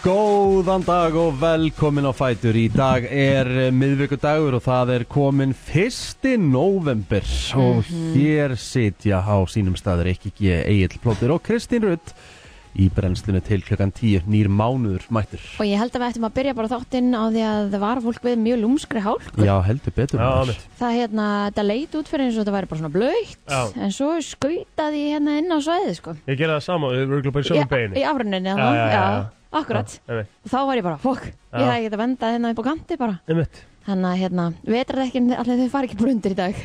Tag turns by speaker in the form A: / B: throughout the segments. A: Góðan dag og velkomin á Fætur. Í dag er eh, miðvikudagur og það er komin 1. november og hér sitja á sínum staður ekki G. Egil Plóttir og Kristín Rutt í brennslinu til klukkan 10 nýr mánuður mættur.
B: Og ég held að við ættum að byrja bara þáttinn á því að það var fólk við mjög lúmskri hálku.
A: Já, heldur betur.
C: Já,
A: maður.
C: einmitt.
B: Það hérna, þetta leit út fyrir eins og þetta væri bara svona blöytt,
C: Já.
B: en svo skautaði ég hérna inn á svæðið, sko.
C: Ég gerði það sama, við vorum bara í sömu
B: Í
C: beginni
B: afrunninni,
C: Já, já, já,
B: já,
C: já.
B: akkurat.
C: einmitt.
B: Og þá var ég bara, fokk, ég
C: Já.
B: hefði getað vendað hérna upp á kanti bara.
C: Einmitt,
B: Þannig að hérna, vetrardekkin, allir þau fara ekki bara undir í dag.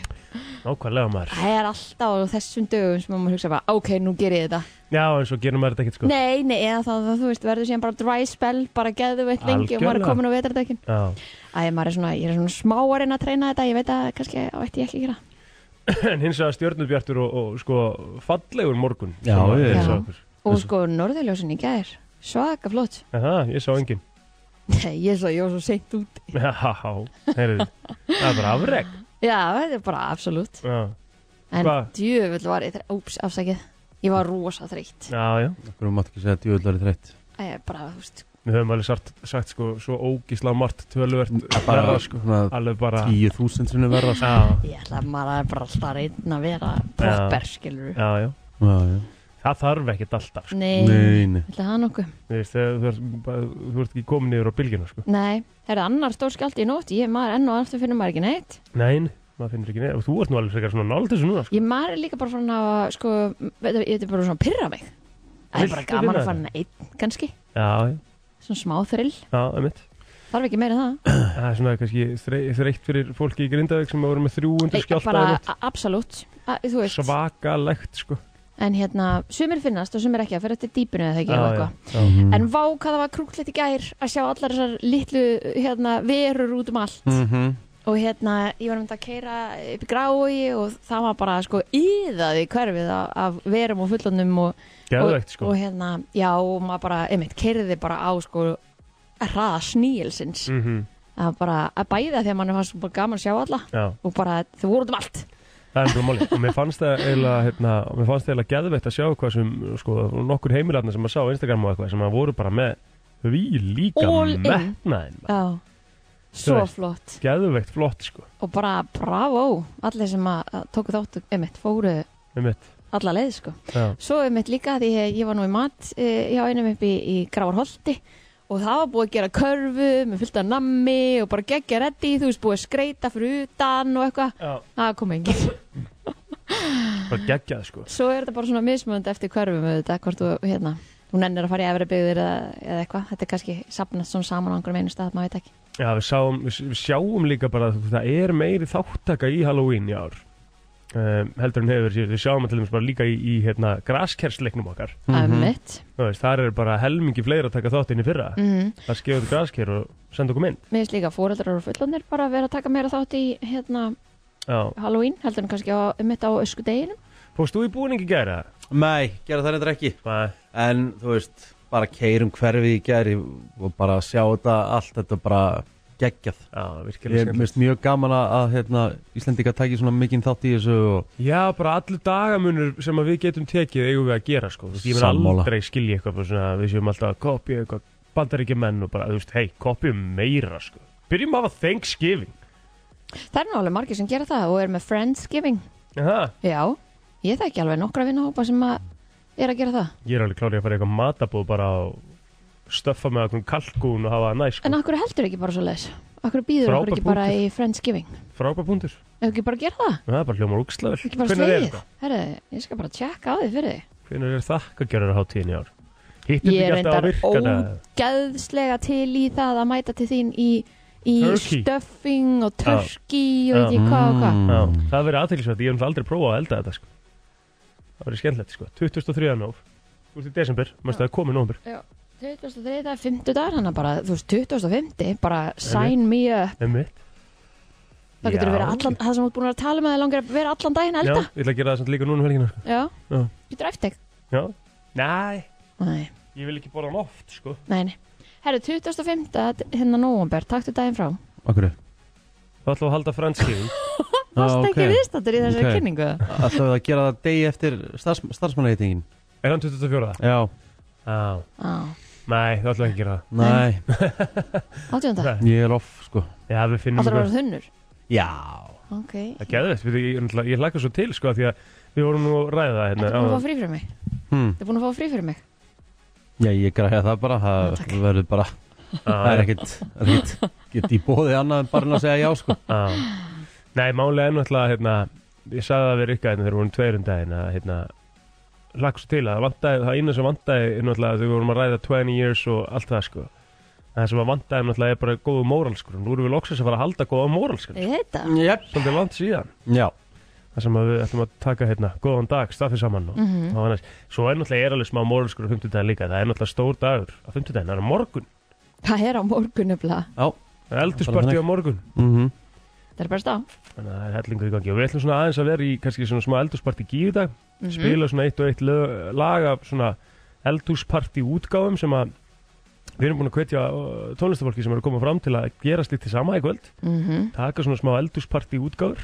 C: nákvæmlega maður
B: Það er alltaf á þessum dögum sem maður hugsa bara, ok, nú ger ég þetta.
C: Já, en svo gerum maður þetta ekkert sko
B: Nei, nei, eða þá, þú veist, verður síðan bara dry spell, bara geðu veit lengi og maður er
C: Algjörlega.
B: komin á vetrardekkin.
C: Já,
B: Æ, maður er svona, ég er svona smá að reyna að treyna þetta, ég veit að kannski ætti ég ekki að gera.
C: en hins vegar stjörnubjartur og, og sko fallegur morgun
A: Já,
C: Svona,
A: ég-
C: eins
B: Já.
C: og okkur.
B: Og
C: Þessu-
B: sko, norðurljósin í gær, svaka flott.
C: Aha, Ég sá engin
B: Nei, ég er svo, ég var svo seint út.
C: Já, heyrðu Það er bara afreg
B: Já, þetta er bara absolutt.
C: Já,
B: En
C: Hvað?
B: djöfull var ég, úps, afsakið, ég var rosa þreytt.
C: já, já
A: Akkur mátt ekki segja djúðlari þreytt.
B: Æ, ég er bara, þú veist,
C: Við höfum alveg sagt, sagt sko svo ógísla margt töluvert
A: Bara
C: verða sko
A: svona
C: Alveg bara
A: 10.000 sinni verða. sko.
C: Já,
B: ég ætla að maður er bara alltaf að reyna að vera proper, skilur við.
C: já, já
A: Já, já.
C: Það þarf ekkert alltaf sko.
B: Nei,
A: Nei, nei.
B: ætla það nokkuð.
C: Þú veist, þegar þú ert bara- þú ert ekki komin yfir á bylginu sko
B: Nei, það er annar stór skjálti í nótt, ég maður enn og aftur finnum maður ekki neitt.
C: Nein, maður finnur ekki neða og þú ert nú alveg frekar svona nált þessu núna sko.
B: Ég maður er líka bara farin að, sko, veit- ég veit bara svona pyrra mig. Það er bara
C: Viltu
B: gaman
C: vinna
B: að fara einn, kannski.
C: Já, já,
B: Svona smá þrill,
C: já, emitt
B: þarf ekki meira en það.
C: Það er svona kannski þrey, þreytt fyrir fólki í Grindavík sem að voru með 300
B: Nei,
C: skjálta
B: bara,
C: í nótt.
B: a- absolutt, a- þú veist.
C: Svakalegt sko
B: En hérna, sumir finnast og sumir ekki, það fyrir eftir dýpinu eða það ekki
C: Já,
B: eða eitthvað.
C: já, já.
A: Mhm.
B: En vá hvað það var krúklegt í gær að sjá allar þessar litlu, hérna, verur út um allt.
C: Mm.
A: Mhm.
B: Og hérna, ég var myndið að keira upp í grái og það var bara sko íðað í hverfið af, af verum og fullonum og
C: Geðvegt
B: og,
C: sko
B: og hérna, já, og maður bara, einmitt, kerði bara á sko hraða sníilsins
C: mm
B: að bara, að bæða því að mann fannst bara gaman að sjá alla
C: Já,
B: og bara, þau voru út um allt
C: það er bara máli og mér fannst það eiginlega hérna, og mér fannst það eiginlega geðveitt að sjá hvað sem sko, nokkur heimilarna sem að sá á Instagram og eitthvað sem að voru bara með við líka
B: All in.
C: metnaðin
B: já, svo
C: veist.
B: flott
C: geðveitt flott sko
B: og bara, bravo, allir sem að, að tóku þáttu, einmitt, fóru
C: einmitt.
B: alla leið, sko,
C: Já,
B: svo einmitt líka því ég, ég var nú í mat, eh, hjá einum upp í, í Gravarholti og það var búið að gera körfu með fullt af nammi og bara geggja reddi, þú veist, búið að skreita fyrir utan og eitthvað,
C: já,
B: það kom engin
C: bara geggjað sko
B: Svo er þetta bara svona mismönd eftir hverfum auðvitað, hvort þú, hérna, hún ennir að fara í efri byggðir eða, eða eitthvað. Þetta er kannski sapnast svona saman á einhverjum einu stað, maður veit ekki.
C: Já, við, sáum, við við sjáum líka bara að það er meiri þáttaka í Halloween í ár um, heldur en hefur síðan. við sjáum til dæmis bara líka í, í hérna, graskersleiknum okkar
B: Það er
A: Mhm.
B: mitt.
C: Þú veist, þar er bara helmingi fleiri að taka þátt inn í fyrra
B: Mm. Mhm.
C: það skefur þetta grasker og senda okkur mynd
B: Mér finnst líka að fóreldrar og fullonir bara vera að taka meira þátt í, hérna,
C: Já,
B: Halloween, heldur en kannski á, mitt á ösku deginum.
C: fókst þú í búningi gæra?
A: Nei, gera það reyndar ekki.
C: Nei,
A: en þú veist bara keirum hverfið í gæri og bara sjá þetta allt þetta bara geggjað
C: já, virkilega
A: ég
C: skemmt
A: finnst mjög gaman að- að hérna, Íslendinga tæki svona mikinn þátt í þessu og
C: Já, bara allir dagamunur sem að við getum tekið eigum við að gera sko Þú veist, Ég mun
A: Sammála.
C: aldrei skilja eitthvað bara svona, að við séum alltaf að kopja eitthvað bandaríkjumenn og bara, þú veist, hei, kopjum meira sko Byrjum af að Thanksgiving
B: Það er nú alveg margir sem gera það og er með Friendsgiving.
C: Aha.
B: Já, ég þekki alveg nokkra vinnahópa sem að er að gera það.
C: Ég er alveg klárið að fara í eitthvað matabóð bara og stöffa með eitthvað kalkún og hafa það næ
B: En
C: sko
B: akkur heldur ekki bara svo leis? Akkur býður okkur
C: Frábær
B: ekki bara
C: punktur.
B: í Friendsgiving?
C: Frábær punktur.
B: Ef ekki bara gera það?
C: Það er bara hljómar úkslavel
B: Ekki bara
C: Hvernig er
B: slegið?
C: þetta?
B: Herðu, ég skal bara tjekka á því fyrir því.
C: Hvernig er þakkagjörður hátíðin í ár? Hittir
B: Ég
C: þetta
B: er
C: ekki alltaf að
B: reyndar
C: virka
B: ógæðslega til í það að mæta til þín í, í
C: Turkey.
B: stuffing og turkey og
C: Já.
B: veit ég hvað og hvað.
C: Já, það verið aðtilsvægt, ég hef náttúrulega aldrei prófað að elda þetta sko. Það verið skemmtilegt sko 2003. nóf, þú ert í desember Mæstu að það komið nóvember
B: 23. dagar, 50 dagar, hann er bara, þú veist, 25, bara sign me up.
C: Emmitt
B: Það getur verið allan, það sem þú ert búin að vera að tala með það langar að vera allan daginn að
C: Já,
B: elda.
C: ég ætla að gera það samt líka núna um helgina sko.
B: Já.
C: Já.
B: Getur eftir þig.
C: Já, næ,
B: Nei,
C: ég vil ekki borða hann oft sko
B: nei, nei. Herru, 25. hérna nóvumber, taktu daginn frá.
A: okkur
C: Það ætla að halda franskíðum
B: Varst ekki viðstættur í þessari
A: Ok.
B: kynningu?
A: Alltaf að gera það degi eftir starfs, starfsmannreitingin
C: Er hann 24.
A: Já,
C: Já,
B: Já.
C: Nei, það ætlum við ekki að gera það.
A: Nei,
B: Átjónda?
C: Nei.
A: ég er off sko
C: Já, við finnum
B: Alltaf að
C: eitthvað-
B: vera þunnur?
A: Já
B: Ok.
C: Það getur þetta, við, ég, náttúrulega- ég hlakka svo til sko því að við vorum nú að ræða það
B: Ertu
C: hérna
B: búin að
C: áðan.
B: fá frí fyrir mig?
A: hm.
B: Ertu búin að fá frí fyrir mig?
A: Já, ég græði það bara
B: Já,
A: Það
B: takk.
A: verður bara Það er ekkit, það er ekkit Get í bóði annað en bara en að segja já sko
C: Já. Nei, málega er náttúrulega hérna, ég sagði það við Rikka hérna þegar við vorum tveir um daginn að hérna hlakka svo til að það vantaði, það eina sem vantaði er náttúrulega þegar við vorum að ræða 20 years og allt það sko það sem að vantaði náttúrulega er bara góðu móralskur nú erum við loksins að fara að halda góða móralskur
B: Ég heit það.
A: yep.
C: svolítið langt síðan
A: Já,
C: það sem að við ætlum að taka hérna góðan dag, staffið saman og, mm
B: Mhm.
C: og annars, svo er náttúrulega er alveg smá móralskur á 50 líka, það er náttúrulega stór dagur á 50 það er á morgun,
B: Það er á morgun nefnilega.
A: já
C: það er eldursparti á morgun
A: mm
B: Það er bara stá.
C: þannig að það er hellingur í gangi og við ætlum svona aðeins að vera í kannski svona smá eldhúsparti gíu dag
B: Mhm.
C: spila svona eitt og eitt lög, lag af svona eldhúsparti útgáfum sem að við erum búin að hvetja uh, tónlistafólki sem eru að koma fram til að gera slítið sama í kvöld
B: Mhm.
C: taka svona smá eldhúsparti útgáfur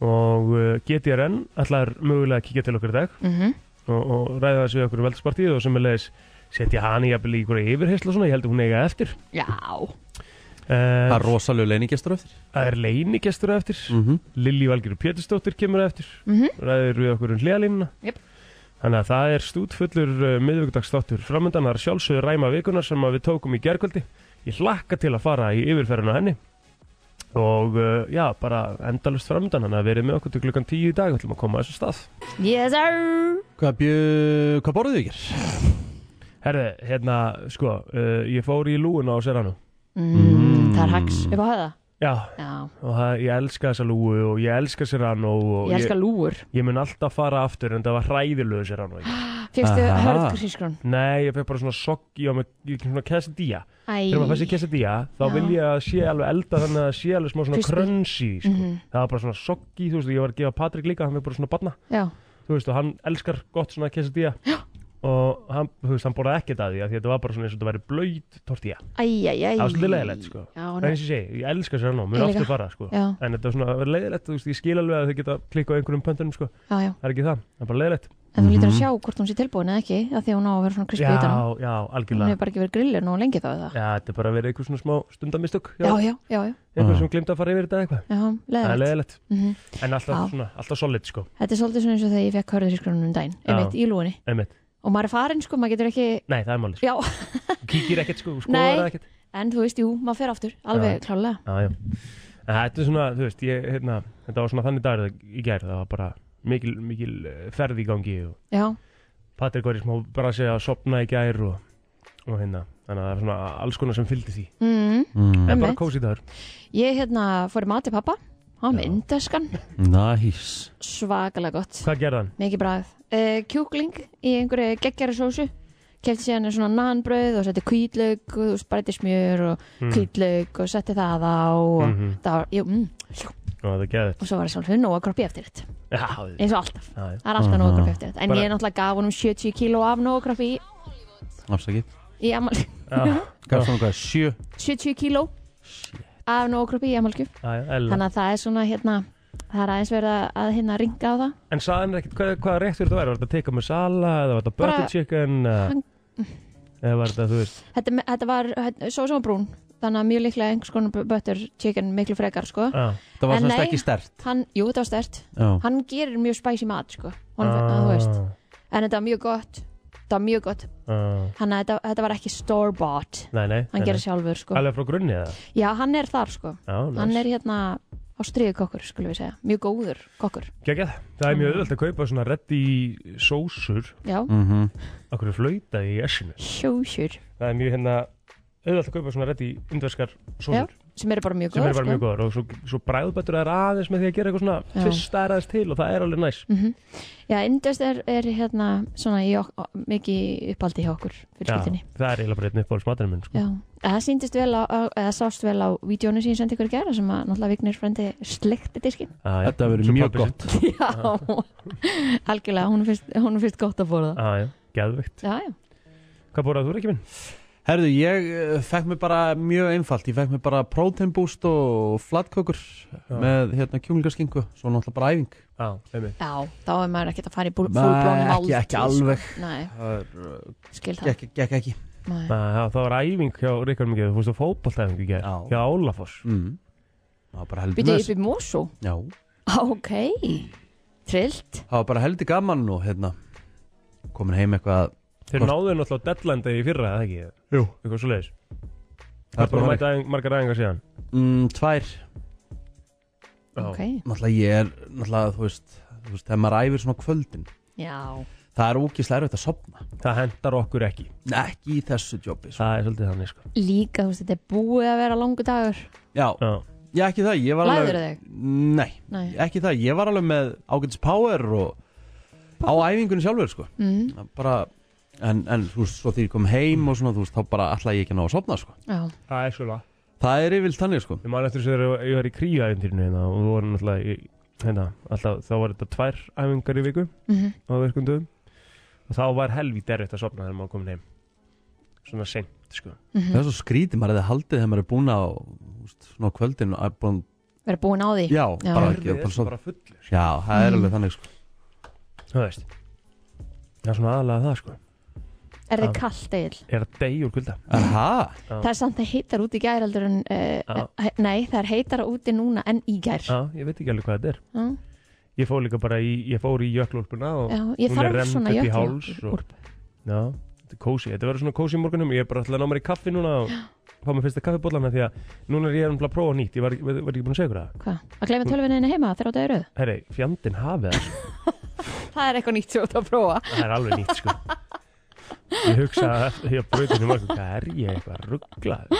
C: og uh, GTRN allar mögulega að kíkja til okkur í dag
B: Mhm.
C: og, og ræða þessu við okkur um eldhúspartið og sem er leiðis setja hann í jafnvel í ykkur yfirheysla svona, ég held að hún eiga eftir
B: Já.
A: Það
C: uh,
A: er rosalegu leiningestur eftir
C: það er leinigestur á eftir
A: mm -hmm.
C: Lilli Valgeri Pétursdóttir kemur á eftir
B: Mhm.
C: ræðir við okkur um hliðalínuna
B: Jöp.
C: Þannig að það er stútfullur uh, miðvíkudagsþáttur framöndan það er sjálfsögur ræma vikunar sem að við tókum í gerkvöldi Ég hlakka til að fara í yfirferðina henni og uh, já, bara endalust framöndan þannig að verið með okkur til klukkan 10 í dag ætlum að koma að þessu stað
B: Yes sir.
A: Hvað, bjö... Hvað borðuðu ykkur?
C: Herði, hérna, sko, uh, ég fór í lúuna á Serrano
B: Mm, Það er hax upp á höða.
C: Já,
B: Já.
C: og það, ég elska þessa lúu og ég elska Serrano og
B: Ég elska lúur.
C: ég mun alltaf fara aftur en það var hræðilögu Serrano
B: Fyrstu
A: Aha.
B: hörð grísgrón.
C: Nei, ég fekk bara svona sogg í á mig, ég- svona quesadilla.
B: Æ.
C: Þegar maður fæst í quesadilla, þá
B: Já.
C: vil ég að sé alveg elda þannig að það sé alveg smá svona
B: Crispy.
C: krönsi, sko.
B: Mhm.
C: Það var bara svona sogg í, þú veist, ég var að gefa Patrik líka, hann er bara svona barna,
B: Já.
C: þú veist, og hann elskar gott svona quesadilla. Já. Og hann, þú veist, hann borðaði ekkert að því, af því að þetta var bara svona eins og þetta væri blöyt tortilla.
B: Æj, æj, æj.
C: Það var svolítið leiðilegt, sko.
B: Já,
C: Það er
B: ná-
C: eins og ég segi, ég elska sér nú, mér
B: Ég
C: aftur
B: líka.
C: fara, sko.
B: já,
C: En þetta var svona að vera leiðilegt, þú veist, ég skil alveg að þau geta klikkað á einhverjum pöntunum, sko.
B: já, já.
C: Það er ekki það, það er bara leiðilegt.
B: En þú lítur að
A: Mhm.
B: sjá hvort hún sé tilbúin eða ekki, af því að hún á að vera svona krispið í
C: Já, já,
B: Hún
C: algjörlega.
B: hefur bara ekki verið grillur nú lengi þá eða.
C: Já, þetta er bara verið eitthvað svona smá stundamistök hjá
B: Já, já, já, já.
C: eitthvað
A: Já.
C: sem glemt að fara yfir þetta eða eitthvað
B: Já,
C: það er
B: leðilegt.
C: leðilegt,
B: Mhm.
C: en alltaf,
B: Já.
C: svona, alltaf solid sko,
B: Þetta er svolítið svona eins og þegar ég fekk hörðurískrunum um daginn,
C: Já.
B: einmitt í lúinni.
C: einmitt
B: Og maður er farin, sko, maður getur ekki,
C: nei, það er málið,
B: já,
C: sko. kíkir ekkert sko
B: Nei.
C: skoðar það ekkert,
B: en þú veist, jú, maður fer aftur, alveg klálega.
C: já, já en þetta er svona, þú veist, ég, hérna þetta var svona þannig dagur í gær, það var bara mikil, mikil eh, ferð í gangi og
B: Já,
C: Patrik var í smá bara að segja að sopna í gær og, og hérna, þannig að það er svona alls konar sem fylgdi því,
B: mm.
A: mm.
C: en bara
B: Einmitt.
C: kósi dagur
B: ég hérna fór í mati pappa, á
C: Já.
B: myndaskan,
A: Næs
B: svakalega gott,
C: hvað gerði hann?
B: mikið bragð. Uh, kjúkling í einhverju geggjara sósu, kefti síðan svona nanbröð og setti kvítlaug, þú veist, bara eitthvað smjör og mm. kvítlaug og setti það á og
C: Mhm.
B: það var, jú, mm,
C: og það gerði
B: og svo var það sjálfsögur nóg að kroppi eftir þetta,
C: já,
B: eins og alltaf.
C: já, já.
B: Það er alltaf nóg að
A: Aha.
B: kroppi eftir þetta, en
C: Bara-
B: ég náttúrulega gaf honum 70 kíló af nóg að kroppi í
A: Afsakið
B: í amal,
C: já,
A: Gafst hann hvað, sjö?
B: 70 kíló af nógrupi í amalgjöf
C: já, já, eðlilega.
B: þannig að það er svona hérna það er aðeins verið að- að hérna ringa á það
C: En sagði hann ekkert hvað, hvað réttur þetta væri? Var þetta teika með sala eða var þetta
B: Bara-
C: butter chicken eða-
B: Hann-
C: eða var þetta, þú veist,
B: þetta, me- þetta var sósa og brún þannig að mjög líklega einhvers konar bu- butter chicken miklu frekar sko
C: já,
A: Það var
B: En
A: semst
B: nei.
A: ekki stert
B: hann, jú þetta var stert,
A: Já,
B: hann gerir mjög spæsi mat sko, hann, að, þú veist en þetta var mjög gott, þetta var mjög gott
C: ah,
B: hann að þetta, þetta var ekki store bought
C: Nei, nei,
B: hann
C: nei,
B: gerir
C: nei.
B: sjálfur sko,
C: Alveg frá grunni eða?
B: já hann er þar sko
C: Já,
B: hann
C: næs
B: er hérna á kokkur skulum við segja, mjög góður kokkur
C: Gekjað, það
B: Mm.
C: er mjög auðvöld að kaupa svona reddi sósur
B: já,
A: mm
C: Akkur er flautað í essinu
B: sjósjur
C: Það er mjög hérna auðvöld að kaupa svona reddi indverskar sósur
B: sem eru bara mjög sko.
C: sem
B: góð
C: eru bara mjög góðar og svo, svo bræðbættur er aðeins með því að gera eitthvað svona
B: Já.
C: tvista er aðeins til og það er alveg næs
B: Mhm. Já, Indust er, er hérna svona í ok mikið í uppaldi hjá okkur fyrir skildinni
C: það er eiginlega bara einn uppáhaldsmaturinn minn sko.
B: Já, það síndist vel á, á eða sást vel á vídjónu sem ég sendi ykkur í gera sem að náttúrulega Vignir frendi sleikti diskin
C: Já, já.
A: Þetta hefur verið
C: Svo
A: mjög
C: pabbi sinn.
A: gott
B: Já, algjörlega, hún finnst, hún finnst gott að fóra það
C: Já, já, geðveikt
B: Já, já,
C: Hvað borðað þú, Ríkjum minn?
A: Herðu, ég eh, fekk mér bara mjög einfalt Ég fekk mér bara protein boost og flatkökur Með hérna kjúlingarskingu Svo náttúrulega bara æfing
C: Já, einmitt
B: já, þá er maður ekkert að fara í
A: Nei,
B: fúlblón
A: ekki, ekki alveg
B: Nei,
A: Það er,
B: skil
A: eh,
B: það
A: gekk, gekk ekki
B: Nei.
C: Það, það, það var æfing hjá Ríkar mikið, þú fórst á fótballtæfingu í gerð,
A: Já.
C: hjá Álafoss.
A: mm. Það var bara heldur
B: Býtu upp í Mosó?
A: Já,
B: Á, Ok, trillt
A: það var bara heldur gaman og hérna komin heim eitthvað
C: Þeir
A: Hvort-
C: náðu náttúrulega deadline í fyrra, eða ekki?
A: Jú.
C: Eitthvað svo leiðis.
A: Það er
C: Búin að
A: bara
C: mæta æfing, margar æfingar síðan.
A: mm, Tvær,
C: Já.
B: Ok,
A: náttúrulega ég er náttúrulega, þú veist, þú veist þegar maður æfir svona á kvöldin
B: já
A: það er ógislega erfitt að sopna
C: Það hendar okkur ekki.
A: Nei, ekki í þessu jobbi sko.
C: Það er svolítið þannig, sko.
B: Líka, þú veist, þetta er búið að vera langu dagur
A: Já,
C: Já.
A: já, ekki það, ég var alveg
B: Læður þig?
A: Nei,
B: Nei
A: ekki það, ég var alveg með ágætis power og á æfingunni sjálfur sko.
B: mm,
A: Það bara, en, en þú veist, svo því ég kom heim og svona, þú veist, þá bara ætlaði ég ekki að ná að sopna sko.
B: Já,
C: Það er svolítið.
A: það er yfirlt þannig sko.
C: Ég man eftir þess að ég var í kríuæfintýrinu hérna og þú voru náttúrulega í, hérna, alltaf, þá var þetta tvær æfingar í viku
B: mm
C: á virkum dögum og þá var helvítið erfitt að sofna þegar maður komin heim. Svona seint, sko.
A: það er svo skrítið maður eða haldið þegar maður er búin á þú veist, svona á kvöldin og er búin,
B: vera búin á því
A: já,
B: Já.
A: bara
C: Kerfið
A: ekki bara
C: er svo
A: svo,
C: bara fullur.
A: já, það er alveg þannig sko.
C: Þú veist. Það er svona aðalega það, sko.
B: Er
C: Já.
B: þið kallt eil?
C: Er að deyja úr kulda.
A: Aha,
B: Það er samt að heitar út í gær heldur en uh,
C: Já.
B: he- Nei, það er heitar úti núna en í gær
C: Já, ég veit ekki alveg hvað þetta er.
B: Já,
C: Ég fór líka bara í, ég fór í jöklúlpuna og,
B: já ég
C: Hún er
B: þarf
C: rennd
B: svona
C: upp í
B: jökla
C: háls og- já, þetta er kósi. Þetta verður svona kósi í morgunum. Ég er bara alltaf að ná mér í kaffi núna og fá mér fyrsta kaffibóllana því að núna er ég nefnilega að prófa nýtt. Ég var, var, var ekki búin að segja ykkur það.
B: Hvað? Að gleyma tölvinni heima þegar á daguröð?
C: Herri, fjandinn hafið það. sko.
B: Það er eitthvað nýtt sem þú ert að prófa
C: Það er alveg nýtt, sko. Ég hugsa að ég bröði í morgun, hvað er ég eitthvað rugglað?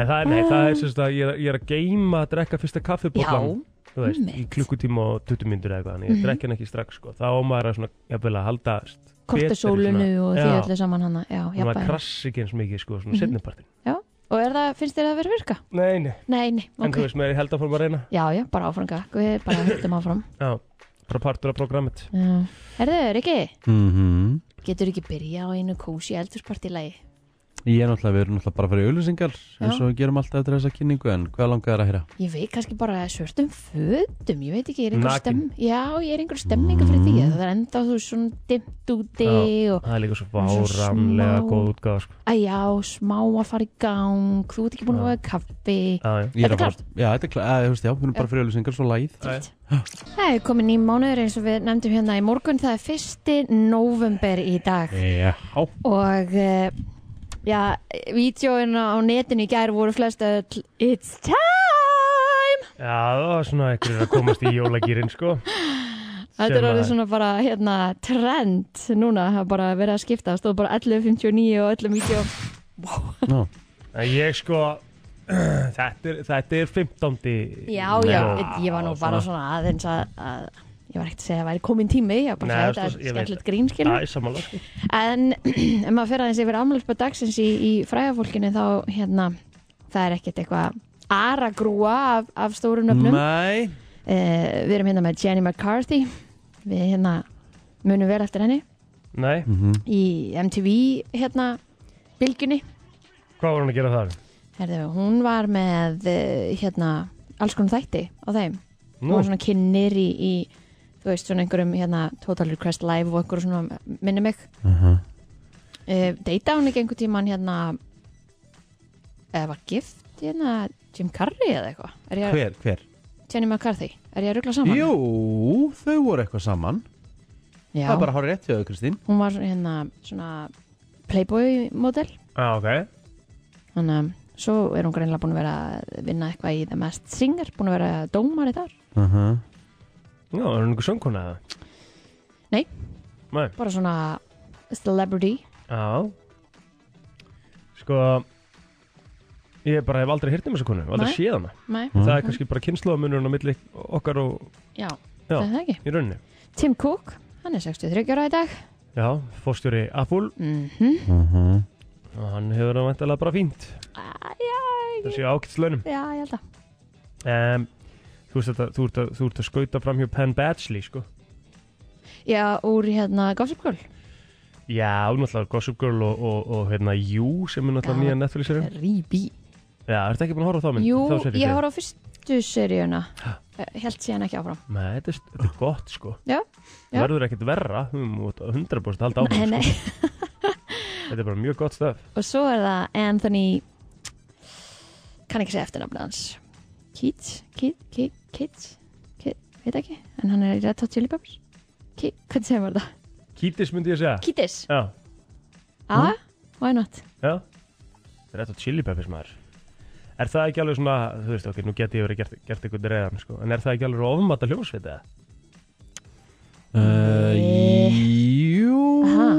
C: En það er, nei, það er sérst að ég er, ég er að geima að drekka fyrsta kaffibóllan.
B: Já,
C: þú veist, í
B: Einmitt.
C: klukkutíma og 20 myndur eða eitthvað, en ég
B: Mhm.
C: drekk hann ekki strax sko. þá á maður að svona, jafnvel að halda st- betri
B: kortisólinu og því
C: Já.
B: öllu saman hana Já,
C: maður
B: jafnvægi.
C: krassi ekki eins mikið sko, svona mm
B: Mhm.
C: -hmm. setnipartin
B: Og er það, finnst þér það að vera að virka?
C: nei, nei,
B: Nei, nei,
C: en þú
B: ok
C: veist, maður held áfram að reyna
B: Já, já, bara áfram gakk, við bara höldum áfram
C: já, bara partur af programmet
B: Já. Herðu, Riki,
A: mhm
B: getur ekki byrja á einu kósi eldurspartilagi?
A: Ég er náttúrulega, við erum náttúrulega bara fyrir auðlýsingar eins og við gerum alltaf eftir þessa kynningu en hvað langar þér að heyra?
B: Ég veit kannski bara svörtum fötum, ég veit ekki, ég er
C: Nakin.
B: einhver
C: Mm.
B: stemm... Já, ég er einhver stemninga fyrir því, það er enda þú veist, svona dimmt úti og...
C: það er líka svo
B: Svo
C: váramlega
B: smá.
C: góð útgáð sko.
B: Æ, já, smá að fara í gang, þú ert ekki búin að
C: Já.
B: hafa
C: já,
B: kaffi...
C: já.
A: Ég
B: Þetta er
A: að fara- Já, þetta er klart, þú veist, já, við erum bara fyrir auðlýsingar svo læð
B: Það er komin í mánuður eins og við nefndum hérna í morgun, það er fyrsti november í dag
A: Já,
B: og uh, já, vídjóin á netinu í gær voru flest öll It's time!
C: já, það var svona einhverjir að komast í jólagýrin sko.
B: Þetta
C: Sem
B: er
C: að-
B: orðið svona bara hérna trend núna, það er bara verið að skipta, það stóð bara 11.59 og öllum vídjó
A: já.
C: en ég sko þetta er, þetta er 15.
B: Já, já, ég var nú bara svona aðeins að, að ég var ekkert að segja að það væri komin tími, ég var bara
C: Nei,
B: að segja að
C: svo-
B: þetta
C: ég
B: er
C: veit
B: skemmtilegt grín, skilur.
C: Já, samanlega sko.
B: En ef maður fer aðeins yfir afmjöldspöð dagsins í, í fræðafólkinu þá hérna, það er ekkert eitthvað aragrúa af, af stóru nöfnum.
A: Nei,
B: Uh, við erum hérna með Jenny McCarthy, við hérna munum vel eftir henni
C: Nei,
B: í MTV hérna bylgjunni.
C: hvað var hann að gera þar?
B: Herðu, hún var með uh, hérna alls konar þætti á þeim. Hún var svona kynir í, í þú veist, svona einhverjum hérna Total Request Live og einhverjum svona minni mig. uh, deyta hún ekki einhver tíman hérna eða var gift hérna Jim Carrey eða eitthvað er ég
A: hver, hver?
B: Jenny McCarthy, er ég að ruggla saman?
A: Jú, þau voru eitthvað saman
B: Já,
A: Það er bara að hára rétt hjá þau, Kristín
B: hún var hérna svona playboy model
C: ah, okay.
B: þannig að svo er hún greinlega búin að vera að vinna eitthvað í The Masked Singer búin að vera dómari þar
C: Já, er hann einhver söngkona eða?
B: Nei.
C: Nei,
B: bara svona celebrity
C: já Sko Ég bara hef aldrei hýrt um þessu konu, hef aldrei
B: Nei.
C: séð hana
B: Nei,
A: Mm.
C: Það er kannski bara kynnslóðamunurinn á milli okkar og
B: já,
C: Já.
B: það er það ekki
C: í rauninni
B: Tim Cook, hann er 63 ára í dag
C: Já, fórstjóri Apple
B: mm
C: og hann hefur það vantilega bara fínt
B: já,
C: Það séu ákvæmstlaunum
B: já, ég held að
C: um, Þú veist þetta, þú ert að, þú ert að skauta fram hjá Penn Badgley, sko
B: Já, úr hérna Gossip Girl
C: Já, náttúrulega Gossip Girl og, og, og hérna You sem er náttúrulega
B: Já.
C: nýja Netflix-seríum
B: Ríbi
C: Já, ertu ekki búin að horfa á þá mynd?
B: Jú,
C: þá seríu?
B: ég horf á fyrstu seríuna Helt síðan ekki áfram
C: Nei, þetta er, þetta er gott sko
B: Já,
C: Það
B: já.
C: verður ekkert verra, þú mátt 100% halda á
B: Nei, nei
C: sko. Þetta er bara mjög gott stöf
B: og svo er það Anthony kann ekki segja eftirnafna hans Keats, Keats, Keats, Keats, Keats veit ekki, en hann er í Red Hot Chili Peppers Ke- hvernig segir maður það?
C: Kítis myndi ég segja
B: Keats,
C: Já, Hm?
B: ah, why not
C: já Rætt á chili peppers maður Er það ekki alveg svona, þú veist okkur, nú geti ég verið gert, gert ykkur reyðan sko. En er það ekki alveg ofumata hljómsveit eða?
A: Uh, Eh, jú,
B: Aha.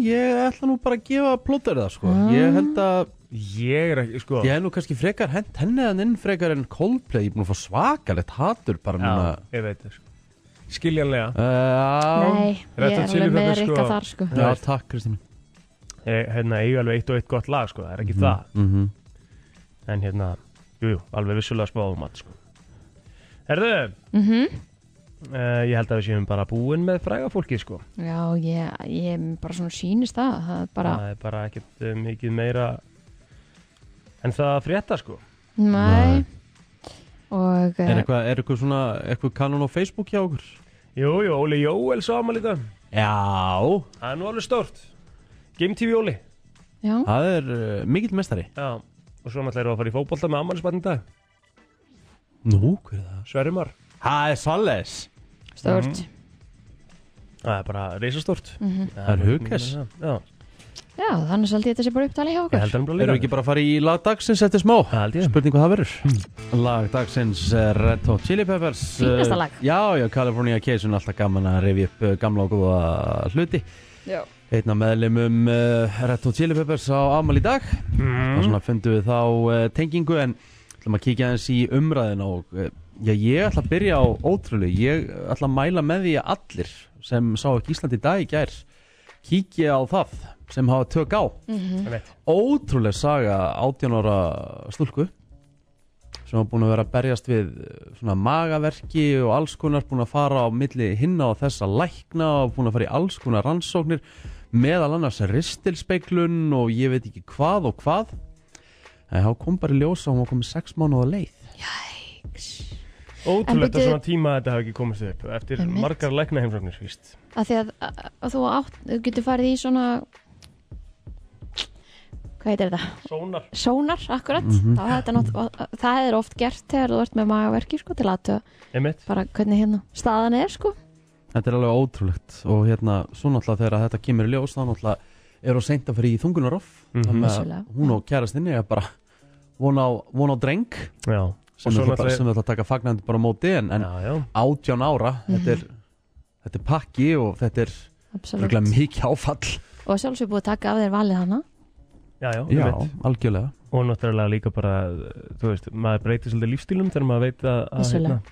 A: ég ætla nú bara að gefa plóter það sko
B: Ah.
A: Ég held að,
C: Ég er ekki, sko
A: ég hef nú kannski frekar hent henni en inn frekar en Coldplay Ég er búin að fá svakalegt hatur bara núna Eh,
C: Já, ég veit það sko. Skiljanlega
A: uh,
B: nei, ég
C: Red
B: er
C: Hot Chili
B: alveg með
C: Peppers,
B: Rikka
C: sko.
B: þar sko
A: Já, takk Kristín
C: ég, hérna, ég alveg eitt og eitt gott lag sko, það er ekki
A: mm -hmm.
C: það en hérna, jújú, jú, alveg vissulega spáðum allt sko. Herðu
B: mm Mhm.
C: uh, ég held að við séum bara búin með fræga fólki sko.
B: já, ég, ég bara svona sýnist það það er bara,
C: það er bara ekkert uh, mikið meira en það að frétta sko.
B: nei og
A: Er
B: eh,
A: eitthvað, er eitthvað svona, eitthvað kanun á Facebook hjá okkur?
C: jú, jú, Óli Jóel sá ámæli í dag
A: Já,
C: það er nú alveg stórt Game TV Óli
B: já,
A: það er uh, mikill mestari
C: Já. og svo náttúrulega erum við að fara í fótbolta með ámælisbarn í dag
A: Nú, hver er það?
C: Sverimar
A: Það er Salles
B: stórt
C: það er bara reysastórt
A: Það er hugkess.
C: Já,
B: já, þannig svolítið þetta sé bara upptalið hjá
C: ég
B: okkur
C: held að hann um
A: Erum við ekki bara að fara í lag dagsins eftir smá?
C: Það held ég.
A: Spurning hvað það verður Lag dagsins er Red Hot Chili Peppers
B: Fínasta
A: Eh,
B: lag.
A: Já, já, California Cation Alltaf gaman að rifja upp eh, gamla og góða hluti
B: já,
A: Einna meðlumum uh, Red Hot Chili Peppers á Amal í dag og
C: Mhm.
A: svona fundum við þá uh, tengingu en ætlum að kíkja aðeins í umræðina og uh, já, ég ætla að byrja á ótrúlega, ég ætla að mæla með því að allir sem sá ekki Ísland í dag í gær kíkja á það sem hafa tök á ótrúlega saga 18 ára stúlku sem var búin að vera að berjast við eh, svona magaverki og alls konar búin að fara á milli hinna og þessa lækna og búin að fara í alls konar rannsóknir meðal annars ristilspeiklun og ég veit ekki hvað og hvað en þá kom bara í ljós að hún var komið sex mánuða leið
B: En
C: Ótrúlegt að
B: bíddu-
C: svona tíma þetta hafi ekki komist upp eftir
B: Einmitt.
C: margar lækna heimsóknir, víst.
B: að því að, að, að þú, átt, þú getur farið í svona hvað heitir þetta?
C: Sónar.
B: Sónar, akkurat það, er þetta nátt, og- og það er oft gert þegar þú ert með magaverki sko, til að athuga
C: Einmitt.
B: bara hvernig hérna staðan er sko.
A: þetta er alveg ótrúlegt og hérna svo náttúrulega þegar þetta kemur í ljós þá náttúrulega er hún seint að fyrir í þungunaroff
C: Mhm.
A: þannig
B: Vissulega.
A: að hún og kærastinni er bara vona á, von á dreng
C: Já.
A: sem við
C: Og svo
A: ætla,
C: náttúrulega-
A: sem við ætla að taka fagnandi bara á móti en, en
C: Já, já.
A: átján ára
B: Mhm.
A: þetta, er, þetta er pakki og þetta er
B: Absolutt.
A: röglega mikið áfall
B: og sjálfsög búið að taka af þér valið hana
C: Já, já.
A: Já,
C: einmitt.
A: algjörlega
C: Og náttúrulega líka bara, þú veist, maður breytir svolítið lífstílum þegar maður veit að, að
B: Vissulega.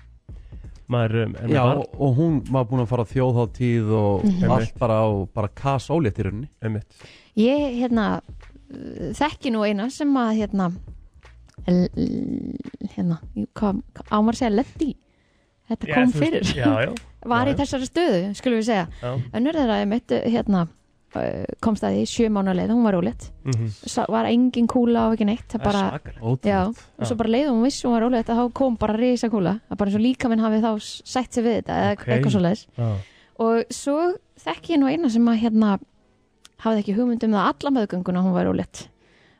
C: maður um, er með
A: Já,
C: barn.
A: og og hún var búin að fara á þjóðháttíð og
B: Mhm.
A: allt bara, og bara kas ólétt í rauninni
C: Einmitt.
B: ég hérna uh, þekki nú eina sem að hérna l- l- hérna hvað á maður að segja lendi þetta
C: Já,
B: kom
C: þú veist,
B: fyrir
C: Já, já.
B: var
C: já,
B: í
C: já.
B: þessari stöðu, skulum við segja
C: já.
B: önnur þeirra ég mitt hérna eh, komst að því sjö mánu leið, hún var ólétt
C: Mm -hmm.
B: Sa- var engin kúla og ekki neitt það bara,
C: Sakalega.
B: já,
A: Ótrúlegt.
B: og svo bara leið og hún vissi hún var ólétt að þá kom bara risa kúla það bara eins og líka minn hafi þá s- sætt sig við þetta eða
C: Ok.
B: eitthvað svo
C: Já.
B: og svo þekki ég nú eina sem að hérna hafði ekki hugmynd um það alla meðgönguna hún var ólétt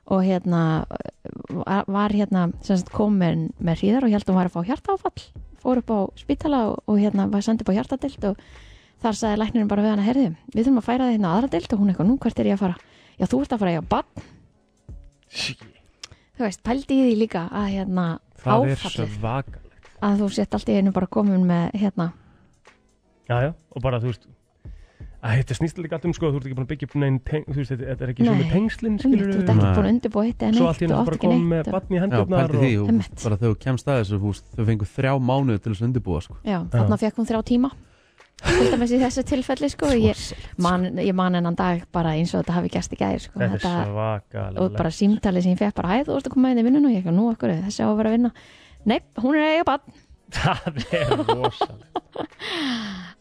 B: og hérna eh, var- var hérna sem sagt komin með hríðar og held að hún var að fá hjartaáfall fór upp á spítala og, og hérna var sendið upp á hjartadilt og þar sagði læknirinn bara við hana herði við þurfum að færa þig hérna á aðra dilt og hún eitthvað nú hvert er ég að fara já þú ert að fara í að bann þú veist pældi í því líka að hérna
C: Það er
B: áfallið
C: svakalega.
B: að þú sett allt í einu bara komin með hérna
C: Já, já. Og bara, þú veist, að þetta snýst líka allt um, sko, þú ert ekki búin að byggja upp neinn, teng- þú veist, þetta þetta er ekki
B: Nei.
C: sömu tengslin,
B: þú
C: skilur
B: ert ekki
A: Nei.
B: búin að undirbúa eitt eða
C: Svo allt í
B: neitt
C: hennu
B: og
C: bara
B: átt ekki
C: kom með
B: neitt og-
C: batni í
A: Já,
C: hendurnar
A: pældi því,
C: og...
A: og
B: Einmitt.
A: bara þegar þú kemst að þessu hús þau fengur þrjá mánuð til þess að undirbúa sko.
B: Já, þarna fekk hún þrjá tíma til dæmis í þessu tilfelli sko ég man, ég man ennan dag bara eins og þetta hafi gæst í gæðir sko
C: Þetta er
B: þetta,
C: svakalega.
B: og bara símtalið sem ég fekk bara hæð þú ert að koma inn í vinnun og ég ekki nú okkur þessi á að vera að vinna Nei, hún er að eiga bann
C: Það er rosalega.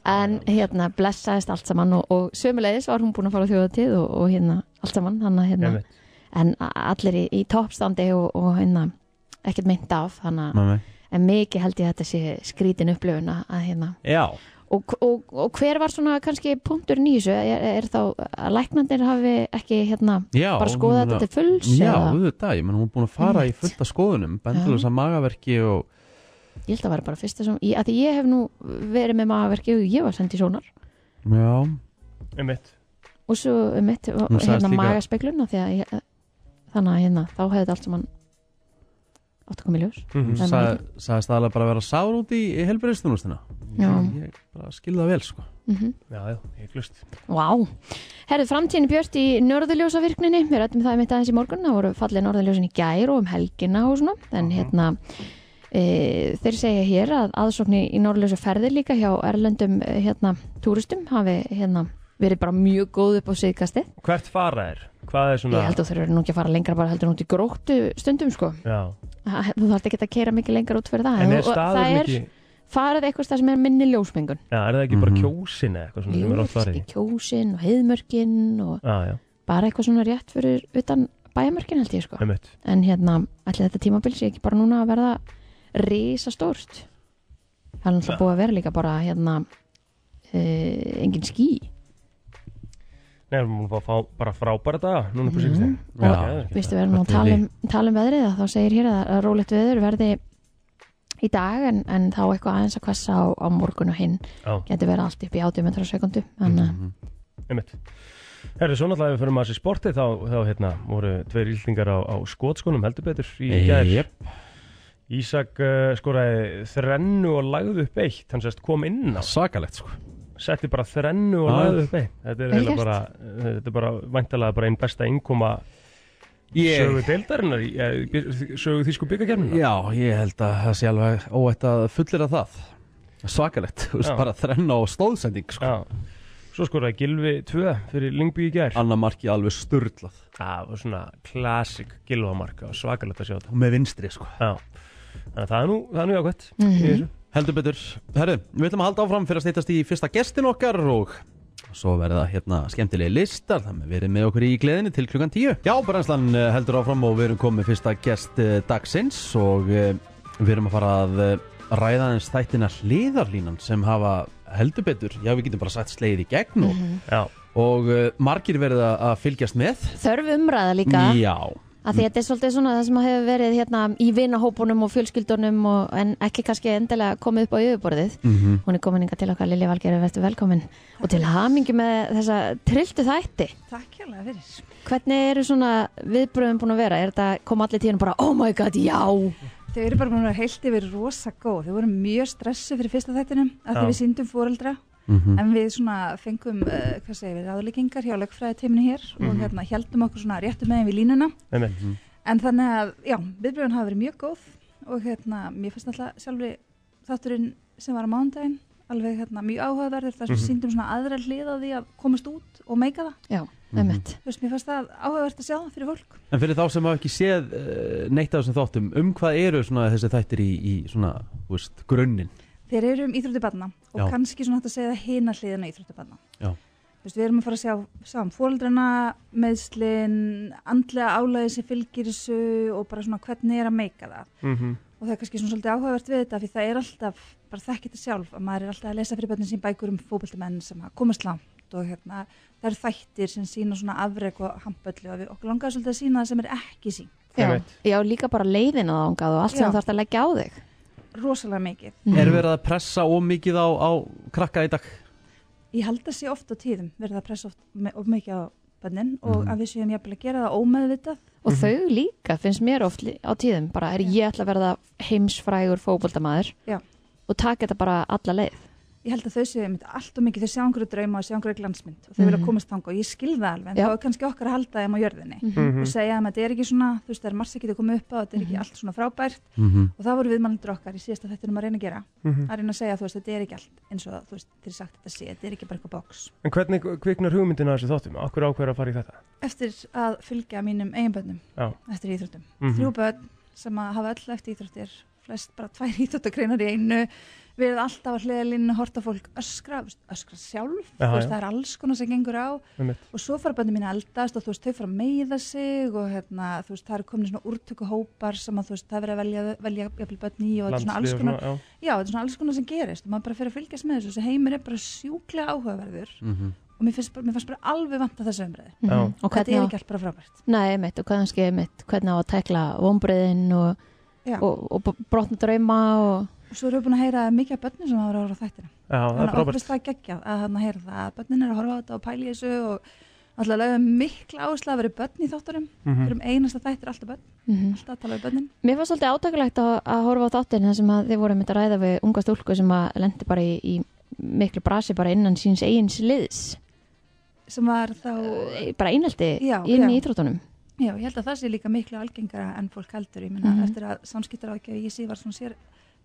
B: en hérna blessaðist allt saman og, og sömulegis var hún búin að fara á þjóðatíð og, og hérna allt saman þannig að hérna
C: Einmitt.
B: en a- allir í, í toppstandi og, og hérna ekkert mynd af þannig að-
A: Nei, nei.
B: en mikið held ég að þetta sé skrítin upplöfun að að, hérna
A: Já,
B: og, og, og hver var svona kannski punkturinn í þessu er, er þá að læknandir hafi ekki hérna
A: Já,
B: bara skoða þetta til fulls
A: Já,
B: eða,
A: auðvitað, ég menn hún er búin að fara í fullta skoðunum bendurlega sem magaverki og
B: ég held að vera bara fyrsta sem, ég, að því ég hef nú verið með magaverki og ég var sendið í sónar
A: já,
C: einmitt
B: og svo um mitt
A: Hún sagðist
B: hérna
A: líka-
B: magaspeglun af því að ég, þannig að hérna þá hefði þetta allt saman átt að koma í ljós
C: Mhm.
A: hún
B: En-
A: sag, sagðist aðalega bara að vera sár út í helbriðstunustina
B: Já.
A: Ég bara skil það vel sko
B: mm
C: Já, já, ég glust
B: Vá, herðu framtíðin er björt í norðurljósavirkninni, við rættum það mitt aðeins í morgun, það voru fallið norðurljósin í gær og um helgina og svona, en
C: Mhm.
B: hérna e, þeir segja hér að aðsóknir í norðurljósaferðir líka hjá erlendum eh, hérna túristum hafi hérna verið bara mjög góð upp á síðkasti
C: Hvert fara er? Hvað er svona
B: ég held að þeir eru nú ekki að fara lengra bara heldur nút í gróttu stundum sko,
C: Já,
B: Ha- þú þarf ekki að keira mikið lengra út fyrir það
C: en
B: Og-
C: er
B: og það
C: staður
B: er
C: ekki
B: farið eitthvað stað sem er minni ljósmengun
C: Já, er það ekki bara
A: Mhm.
C: kjósin eða eitthvað svona sem er oft farið í?
B: í kjósin og heiðmörkin og
C: Já, já,
B: bara eitthvað svona rétt fyrir utan bæjarmörkin held ég sko
C: einmitt
B: en hérna, allir þetta tímabil sé ekki bara núna að verða risa stórt það er náttúrulega búið að vera líka bara hérna uh, engin ský
C: Nei, við múlum bara fá bara frábæra daga Núna på síkustið
A: Mhm. Já.
B: veistu við erum nú að
A: Þetta er
B: tala um, tala um veðrið að þá segir hér að, að rólegt veður verði í dag en, en þá eitthvað aðeins að hvessa á, á morgun og hinn
C: Já. Mhm.
B: getur verið allt upp í 80 metrar á sekundu þannig að
C: Einmitt. Herru, svo náttúrulega ef við fyrir maður sér sportið þá, þá hérna, voru tveir íldingar á, á skotskónum heldur betur í gær.
A: Jep.
C: Ísak uh, skoraði þrennu og lagði upp eitt, hann sérst kom inn á,
A: Sakalegt sko
C: setti bara þrennu og
A: Ah.
C: lagði upp eitt. Þetta er
B: Vel
C: eiginlega
B: gert.
C: bara, eh, þetta er bara væntalega bara einn besta innkoma sögu deildarinnar, í, eh, bi- sögu þýsku byggakefnina.
A: Já, ég held að það sé alveg óætt að fullir að það Svakalegt, þú veist
C: Já.
A: bara þrenna og stóðsending sko
C: Svo skoraði Gilvi 2 fyrir Lingby í gær.
A: Anna marki alveg sturlað
C: Það var svona klassik Gilvamarka og svakalegt að sjá þetta.
A: og með vinstri sko
C: Já. Þannig að það er nú, það er nú jákvæmt.
B: Mhm.
C: í þessu.
A: Heldur betur, herru, við ætlum að halda áfram fyrir að stýttast í fyrsta gestin okkar og svo verða hérna skemmtilegi listar þannig að við erum með okkur í gleðinni til klukkan 10 Já, brennslan eh, heldur áfram og við erum komið með fyrsta gest eh, dagsins og eh, við erum að fara að eh, ræða aðeins þættina hliðarlínan sem hafa heldur betur, já við getum bara sagt slegið í gegn
B: Mhm.
A: og,
C: Já.
A: og eh, margir verið að að fylgjast með
B: þörf umræða líka
A: Já,
C: Mm.
B: að því að þetta er svolítið svona það sem hefur verið hérna í vinahópunum og fjölskyldunum og, en ekki kannski endilega komið upp á yfirborðið
A: Mhm.
B: hún er komin inga til okkar Lilja Valgerið, verður velkomin og til hamingi með þessa trilltu þætti
D: Takk hjálpa fyrir.
B: hvernig eru svona viðbröðum búin að vera er þetta, kom allir tíðan bara oh my god, já
D: Þau eru bara búin að heilt yfir rosa góð. Þau voru mjög stressuð fyrir fyrsta þættinum að
C: Já.
D: því við síndum fóreldra
A: mhm.
D: en við svona fengum, uh, hvað segir við, ráðleggingar hjá lögfræðiteiminu hér og
C: Mhm.
D: hérna heldum okkur svona réttu megin við línuna.
A: Mhm,
C: Einmitt.
D: En þannig að, já, viðbröðun hafa verið mjög góð og hérna, mér finnst alltaf sjálfri þátturinn sem var á mándaginn alveg hérna mjög áhugaverður þar sem
C: Mhm.
D: við síndum svona aðra hliða því að komast út og meika það.
B: já,
C: Mhm.
B: ummitt
D: Þú veist, mér finnst það áhugavert að sjá það fyrir fólk.
A: En fyrir þá sem hafa ekki séð uh, neitt af þessum þáttum, um hvað eru svona þessi þættir í, í svona, þú veist, grunnin?
D: Þeir eru um íþróttu barna og
A: Já.
D: kannski svona hægt að segja það hina hliðina á íþróttu barna.
A: Já.
D: Þú veist, við erum að fara að sjá, sjá um fóreldrana, meðslin, andlega álæði sem fylgir þessu og bara svona hvernig er að meika það.
C: Mhm.
D: Og það er kannski svona svolítið áhugavert við þetta því það er alltaf, bara þekkir þetta sjálf, að maður er alltaf að lesa fyrir börnin sín bækur um fókbaltumenn sem hafa komast langt og hérna, það eru þættir sem sína svona afreg og hampöllu og við okkur langar svolítið að sína það sem er ekki sín.
B: já,
C: Einmitt.
B: já, líka bara leiðin að ángað og allt sem
D: Já.
B: þú þarfst að leggja á þig
D: Rosalega mikið.
B: Mhm.
A: Er verið að pressa ómikið á, á krakka í dag?
D: Ég held að sé oft á tíðum verið að pressa oft me- of mikið á bönnin og að við séum jafnvel að gera það ómeðvitað.
B: og
C: Mhm.
B: þau líka finnst mér oft lí- á tíðum bara er ég ætla að verða heimsfrægur fótboldamaður
D: Já.
B: og taka þetta bara alla leið
D: Ég held að þau séu einmitt allt og mikið, þau sjá einhverju drauma og sjá einhverju glansmynd og þau vilja komast þangað og ég skil það alveg en
B: Já.
D: þá er kannski okkar að halda þeim á jörðinni
C: Mhm.
D: og segja þeim að þetta er ekki svona, þú veist það er margs ekki að koma upp á, þetta er ekki allt svona frábært
A: Mhm.
D: og það voru viðmælendur okkar í síðasta þættinum að reyna að gera,
C: mhm.
D: að reyna að segja þú veist þetta er ekki allt eins og þú veist þeir sagt þetta sé, þetta er ekki bara eitthvað box.
C: En hvernig kviknar hugmyndin að þessu þáttum? Akkur ákveður að fara í þetta?
D: Eftir að fylgja mínum eigin bönnum
C: Já.
D: eftir íþróttum.
C: Mm
D: þrjú börn sem að hafa öll eftir íþróttir flest bara tvær íþjóttakreinar í einu við erum alltaf að hliða línu horta fólk öskra, þú veist, öskra sjálf
C: Já,
D: þú veist,
C: já.
D: það er alls konar sem gengur á
C: Einmitt.
D: og svo fara bönnum mín að eldast og þú veist, þau fara að meiða sig og hérna, þú veist, það eru komin svona úrtökuhópar sem að þú veist, það er verið að velja, velja jafnvel bönn í og þetta er svona alls
C: landslið og
D: konar
C: svona,
D: já, þetta er svona alls konar sem gerist og maður bara fyrir að fylgjast með þessu þessi heimir er bara sjúklega áhugaverður
A: Mhm.
D: og mér finnst, bara- mér finnst bara alveg vant að þessu umræði
C: Já.
B: Mhm.
D: þetta
B: og hvernig
D: er
B: á,
D: ekki allt bara frábært
B: nei, mitt, og kannski mitt, hvernig á að tekla vonbreiðin og,
D: Já.
B: og, og brotna drauma og
D: og svo erum við búin að heyra mikið af börnum sem hafa verið að horfa á þættina
C: já, já, það er
D: þannig að
C: frábært
D: okkur það geggjað að hann að heyra það að börnin er að horfa á þetta og pæli þessu og alltaf lögum mikla áherslu að vera börn í þátturum við
C: Mhm.
D: erum einasta þættir alltaf börn,
B: mhm.
D: alltaf að tala við börnin
B: Mér fannst svolítið átakulegt að, að horfa á þáttinn þar sem að þið voru mitt að ræða við unga stúlku sem að lendi bara í, í miklu brasi bara innan síns eigins liðs
D: sem var þá,
B: Eh, bara einhaldi
D: Já,
B: inn í
D: já.
B: íþróttunum
D: já, ég held að það sé líka miklu algengara en fólk heldur, ég minna
C: Hmm.
B: Mhm.
D: eftir að samskiptar ágjöf í sí var svona sér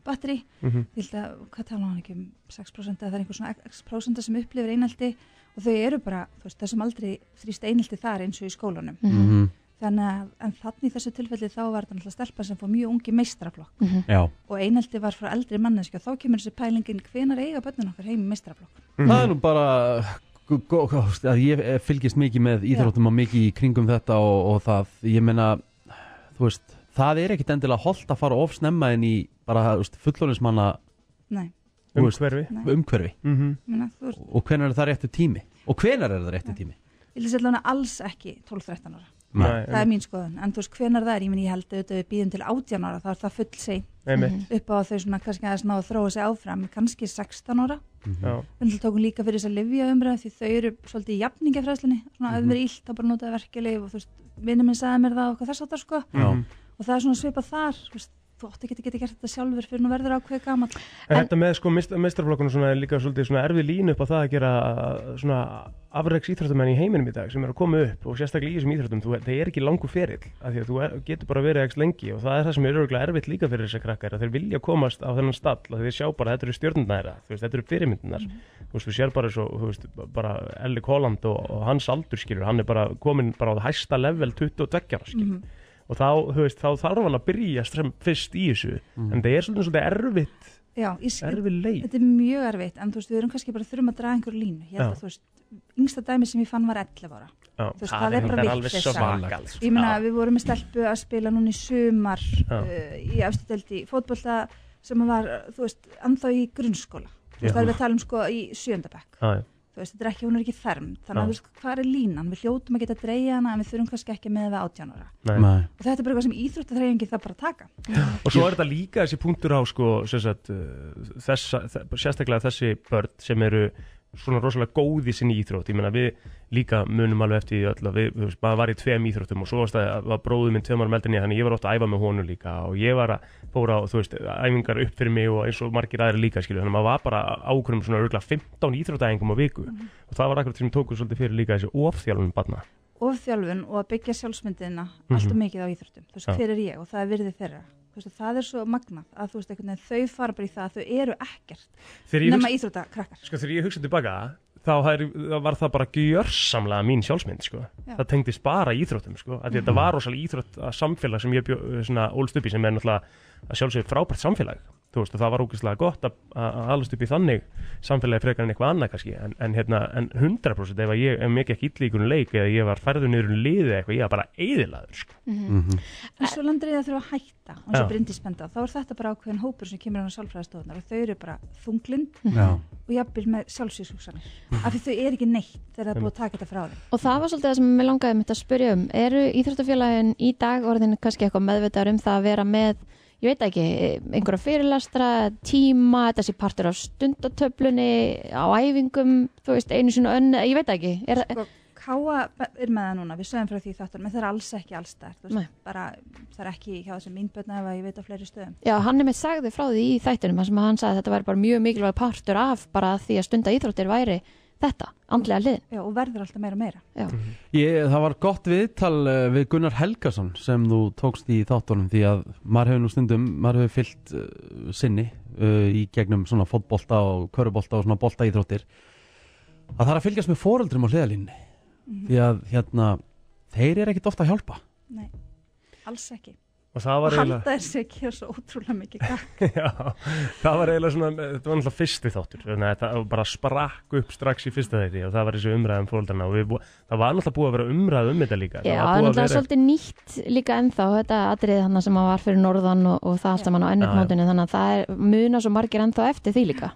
D: batteri,
C: Mhm.
D: ég held að, hvað tala hann ekki um 6% eða það er einhver svona x prósenta sem upplifir einhaldi og þau eru bara, þú veist, þessum aldrei þrýst einhaldi þar eins og í skólanum
A: Mhm.
D: þannig að, en þannig í þessu tilfelli þá var þetta náttúrulega stelpa sem fór mjög ungi meistraflokk
B: Mhm.
A: Já,
D: og einhaldi var frá eldri manneski og þá kemur þessi pælingin hvenar eiga börnin okkar heim í mistraflokk
A: það
C: mhm.
A: er nú bara gó- gó- gó- að ég eh, fylgist mikið með íþróttum og mikið í kringum þetta og, og það, ég meina þú veist, það er ekkit endilega holdt að fara of snemma en í bara þú veist, fullorðinsmanna
D: Nei,
A: þú
C: um
A: veist,
C: hverfi
D: nei,
A: umhverfi
C: Mhm.
D: ég meina, þú veist,
A: og hvenar er það réttu tími og hvenar er það réttu tími
D: ég lýst allavega alls ekki 12-13 ára, það er
C: Nei,
D: mín skoðun en þú veist hvenar það er, ég minn ég held auðvitað við býðum til 18 ára, þá er það full sein
C: einmitt
D: upp á að þau svona kannski aðeins ná að þróa sig áfram kannski 16 ára,
C: já,
D: við náttúrulega tókum líka fyrir þess að livja umræða því þau eru svolítið í jafningafræðslinni svona
C: Mhm.
D: ef mér er illt þá bara notaði verkeflið og þú veist, vinnum minn sagði mér það og hvað þess að það sko
A: Já.
C: Mhm.
D: og það er svona svipað þar, þú veist, þú átti ekki að geta gert þetta sjálfur fyrir nú verður ákveð gamall
C: En
B: En-
C: þetta með sko meistarflokkunum svona er líka svolítið svona erfið línu upp á það að gera uh, svona afreiks íþróttamenn í heiminum í dag sem eru að koma upp og sérstaklega í þessum íþróttum, þú, það er ekki langu ferill af því að þú er, getur bara verið ekki lengi og það er það sem er öruglega erfitt líka fyrir þessar krakkar að þeir vilja komast á þennan stall og þeir sjá bara að þetta eru stjórnundnæra, þú veist, þetta eru fyrirmyndunar þú veist, þú sér bara svo, þú veist, bara Elli Kolland og, og hans aldur skilur hann er bara komin bara á hæsta level 22 ára skilur og þá, þú veist, þá þarf hann að byrja strem, fyrst í þessu, en það er svolítið, svolítið erfitt,
D: Já, ég skil,
C: erfið leið
D: þetta er mjög erfitt en þú veist, við erum kannski bara þurfum að draga einhver línu ég held
C: Já.
D: að þú veist, yngsta dæmi sem ég fann var 11 ára
C: Já,
D: veist, það er bara vitleysa.
C: svakalegt.
D: ég meina,
C: sko. Já.
D: við vorum með stelpu að spila núna í sumar
C: Já.
D: uh, í afstöldeldi fótbolta sem var, uh, þú veist, anþá í grunnskóla þú
C: Já.
D: veist, það er við að tala um sko í sjöndabæk
C: Já, já.
D: þú veist, þetta er ekki, hún er ekki fermd þannig
C: Já.
D: að þú veist, hvað er línan, við hljótum að geta að dreigja hana en við þurfum kannski ekki með það 18 ára
C: Nei.
A: Nei.
D: og þetta er bara eitthvað sem íþróttaþreyfingi það bara að taka
C: og svo er þetta líka þessi punktur á sko, sem sagt, uh, þessa, þe- sérstaklega þessi börn sem eru svona rosalega góð í sinni íþrótt ég meina við líka munum alveg eftir því öll að við, þú veist, maður var í tveim íþróttum og svo varst að var bróðið minn tveimar meldinni þannig ég var ofta að æfa með honum líka og ég var að fóra á, þú veist, æfingar upp fyrir mig og eins og margir aðri líka, skilju, þannig að maður var bara ákveðum svona örgulega 15 íþróttæðingum á viku
D: Mhm.
C: og það var akkurat sem tóku svolítið fyrir líka þessi ofþjálunum barna
D: og þjálfun og að byggja sjálfsmyndina
C: Mhm.
D: alltaf mikið á íþróttum, þú veist,
C: Já.
D: hver er ég og það er virði þeirra, þú veist, það er svo magnað að þú veist, einhvern veginn þau fara bara í það að þau eru ekkert,
C: Þegar ég
D: nema
C: hugsa-
D: íþrótta krakkar
C: Sko þegar ég hugsa tilbaka þá er, þá var það bara gjörsamlega mín sjálfsmynd sko.
D: Já.
C: það tengdist bara íþróttum sko. mm. þetta var rosalega íþrótt samfélag sem ég bjó, svona, ólst upp í sem er náttúrulega að sjálfsögur frábært samfélag Þú veist, og það var ógeðslega gott að, að að alast upp í þannig samfélagi frekar en eitthvað annað kannski en, en, hérna, en 100% ef, að ég, ef mér ekki illa í einhvern leik eða ég var færður niður um liðið eitthvað ég var bara eiðilaður sko.
D: en svo landur ég að þurfa að hætta og eins
C: Já.
D: og brindis benda, á, þá er þetta bara ákveðin hópur sem kemur hann á sálfræðastofunar og þau eru bara þunglind
A: Já.
D: og jafnvel með sjálfsvíðshugsanir
C: Mhm.
D: af því þau eru ekki neitt þegar það er búið að taka þetta frá þeim
B: og það var svolítið það sem mér langaði mitt að spyrja um eru íþróttafélagin í dag orðin kannski eitthvað meðvitaður um það að vera með ég veit ekki, einhverja fyrirlastra tíma, þetta sé partur af stundatöflunni, á æfingum þú veist, einu sinni og önn, ég veit ekki er,
D: sko, Káa er með það núna, við sögum frá því þáttan en það er alls ekki alls þar, þú
B: Nei.
D: veist, bara það er ekki hjá þessum mínbötna ef að ég veit á fleiri stöðum
B: Já, hann er mitt sagði frá því í þættinum þar sem hann sagði að þetta væri bara mjög mikilvæg partur af bara því að stunda íþróttir væri þetta, andlega hliðin.
D: Já, og verður alltaf meira og meira
B: Já.
A: Ég, það var gott viðtal eh, við Gunnar Helgason sem þú tókst í þáttunum því að maður hefur nú stundum, maður hefur fyllt uh, sinni uh, í gegnum svona fótbolta og körubolta og svona bolta íþróttir að það er að fylgjast með foreldrum á hliðalínni því að hérna, þeir eru ekkit ofta að hjálpa
D: Nei, alls ekki
C: og það
D: og
C: var
D: halda
C: eiginlega
D: þér sér að gera svo ótrúlega mikið gagn.
C: já, það var eiginlega svona þetta var náttúrulega fyrsti þáttur þannig að það bara sprakk upp strax í fyrsta þeirri og það var þessi umræðum fólkarna og við, bú- það var náttúrulega búið að vera umræð um þetta líka það
B: Já,
C: var búið
B: það er
C: að
B: náttúrulega
C: vera-
B: svolítið nýtt líka ennþá þetta atrið hann sem að var fyrir norðan og, og það allt saman
C: Já,
B: á
C: já.
B: ennurnótinu þannig að það er, muna svo margir ennþá eftir því líka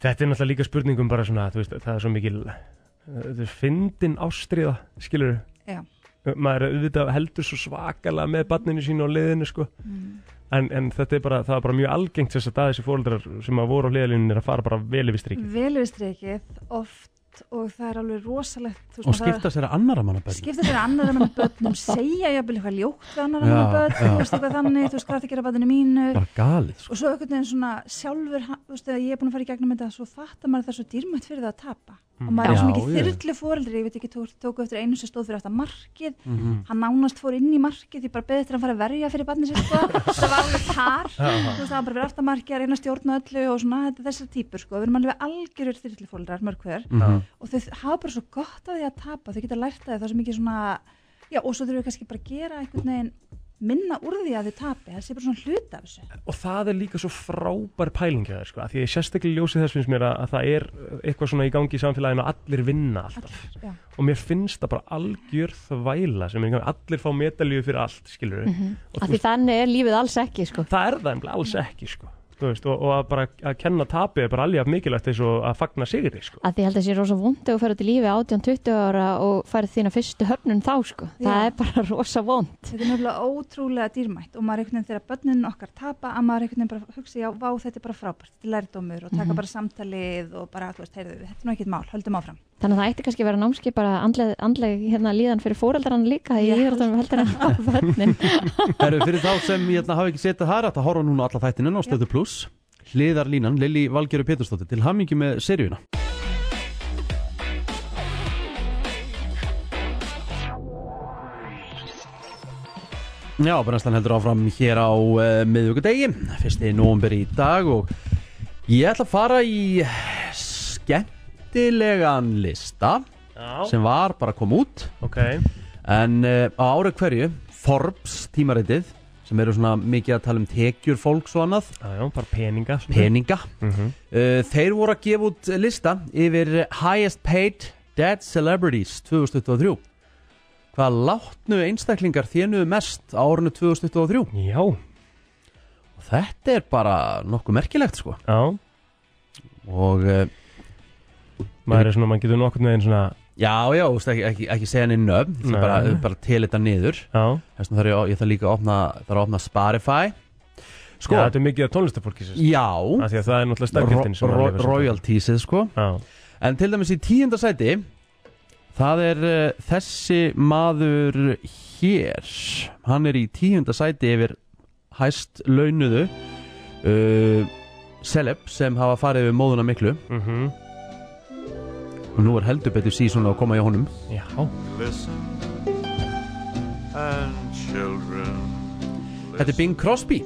C: Þetta er náttúrulega líka spurningum bara svona, þú veist, það er svo mikil, uh, þetta er fyndin ástriða, skilur
D: Já.
C: Maður auðvitað heldur svo svakalega með barninu sínu og liðinu, sko.
B: Mm.
C: En, en þetta er bara, það er bara mjög algengt þess að það þessi fóreldrar sem að voru á liðalínu er að fara bara vel yfir strikið.
D: Vel við strikið oft og það er alveg rosalegt. þú veist,
A: og
D: maður þarf-
A: skipta sér að annara manna börn
D: skipta sér annara manna börnum, segja jafnvel eitthvað ljótt við annara
A: Já,
D: manna börn,
A: já.
D: þú veist eitthvað þannig, þú veist hvað það gera börninu mínu
A: bara galið sko.
D: og svo einhvern veginn svona sjálfur, hann- þú veist þegar ég er búin að fara í gegnum þetta, svo fattar maður það svo dýrmætt fyrir það að tapa og maður er svo
A: Mm. Já,
D: mikið
A: já.
D: þyrlu fóreldri, ég veit ekki, tók, tók eftir einu sem stóð fyrir þetta markið,
A: Mhm.
D: hann nánast fór inn í markið, ég bara beðið til að fara að verja fyrir barnið sér sko, það var alveg þar, þú veist það var bara fyrir aftan markið að reyna að stjórna öllu og svona, þetta er þessar típur sko, við erum alveg algjörur þyrlu fóreldrar mörg hver
A: Mhm.
D: og þau hafa bara svo gott af því að tapa þau geta lært að þau það er svo mikið svona já og svo þurfum við kannski bara að gera einhvern veginn minna úr því að þau tapi það sé bara svona hluta af þessu
C: Og það er líka svo frábær pælingi það, sko, að því að ég sérstaklega ljósi þess finnst mér að, að það er uh, eitthvað svona í gangi í samfélaginu og allir vinna alltaf.
D: já.
C: Og mér finnst það bara algjör þvæla sem er í gangi, allir fá metalíu fyrir allt, skilur Og
B: Mhm. af
C: þú
B: því þannig er lífið alls ekki sko.
C: það er það emla alls ekki sko. Þú veist, og, og að bara að kenna tapið er bara alveg jafn mikilvægt eins og að fagna sigri sko.
B: að því ég held að sé rosa vondi og fer út í lífi 18-20 ára og færð þína fyrstu höfnun þá sko. það
D: Já.
B: er bara rosa vond
D: þetta er nefnilega ótrúlega dýrmætt og maður einhvern veginn þegar börnin okkar tapa að maður einhvern veginn bara hugsa já vá þetta er bara frábært þetta er lærdómur og taka bara samtalið og bara þú veist heyrðu þetta er nú ekkit mál höldum áfram
B: þannig að það ætti kannski að vera námski bara andleg, andleg hérna, líðan fyrir fóreldrarna líka
D: Ég
B: ég er
D: held
B: það heldur en á vörnin
A: Herru, fyrir þá sem ég ætla, hafa ekki setið þar að horfa núna á alla þættinu á stöðu pluss Hliðarlínan, Lili Valgeru Pétursdóttir til hamingi með seríuna Já, brennslan heldur áfram hér á uh, miðvíkudegi, fyrsti nómber í dag og ég ætla að fara í skemmtilegan lista
C: Já,
A: sem var bara að koma út
C: ok
A: En uh, á ári hverju, Forbes tímaritið, sem eru svona mikið að tala um tekjur fólks og annað,
C: Já, já, bara peninga svona.
A: peninga,
C: Mhm.
A: uh, þeir voru að gefa út lista yfir Highest Paid Dead Celebrities 2023. Hvað látnu einstaklingar þénuðu mest á árinu 2023?
C: Já,
A: Og þetta er bara nokkuð merkilegt sko.
C: já
A: Og uh,
C: Maður er svona, maður getur nokkurn veginn svona
A: já, já, þú veist, ekki, ekki, ekki segja henni nöfn, það
C: Nei.
A: er bara, bara til þetta niður.
C: Já,
A: Þess vegna þarf ég, ég þarf líka að opna, þarf að opna Spotify. Sko,
C: já þetta er mikið af tónlistafólki sér
A: já.
C: Af því að það er náttúrulega staðgjöldin
A: Ro- ro- royaltiesið sko
C: Já,
A: en til dæmis í tíunda sæti það er uh, þessi maður hér hann er í tíunda sæti yfir hæst launuðu uh, celeb sem hafa farið yfir móðuna miklu
C: mhm
A: og nú er heldur betur síðan að koma hjá honum
C: Já,
E: Listen and children.
A: þetta er Bing Crosby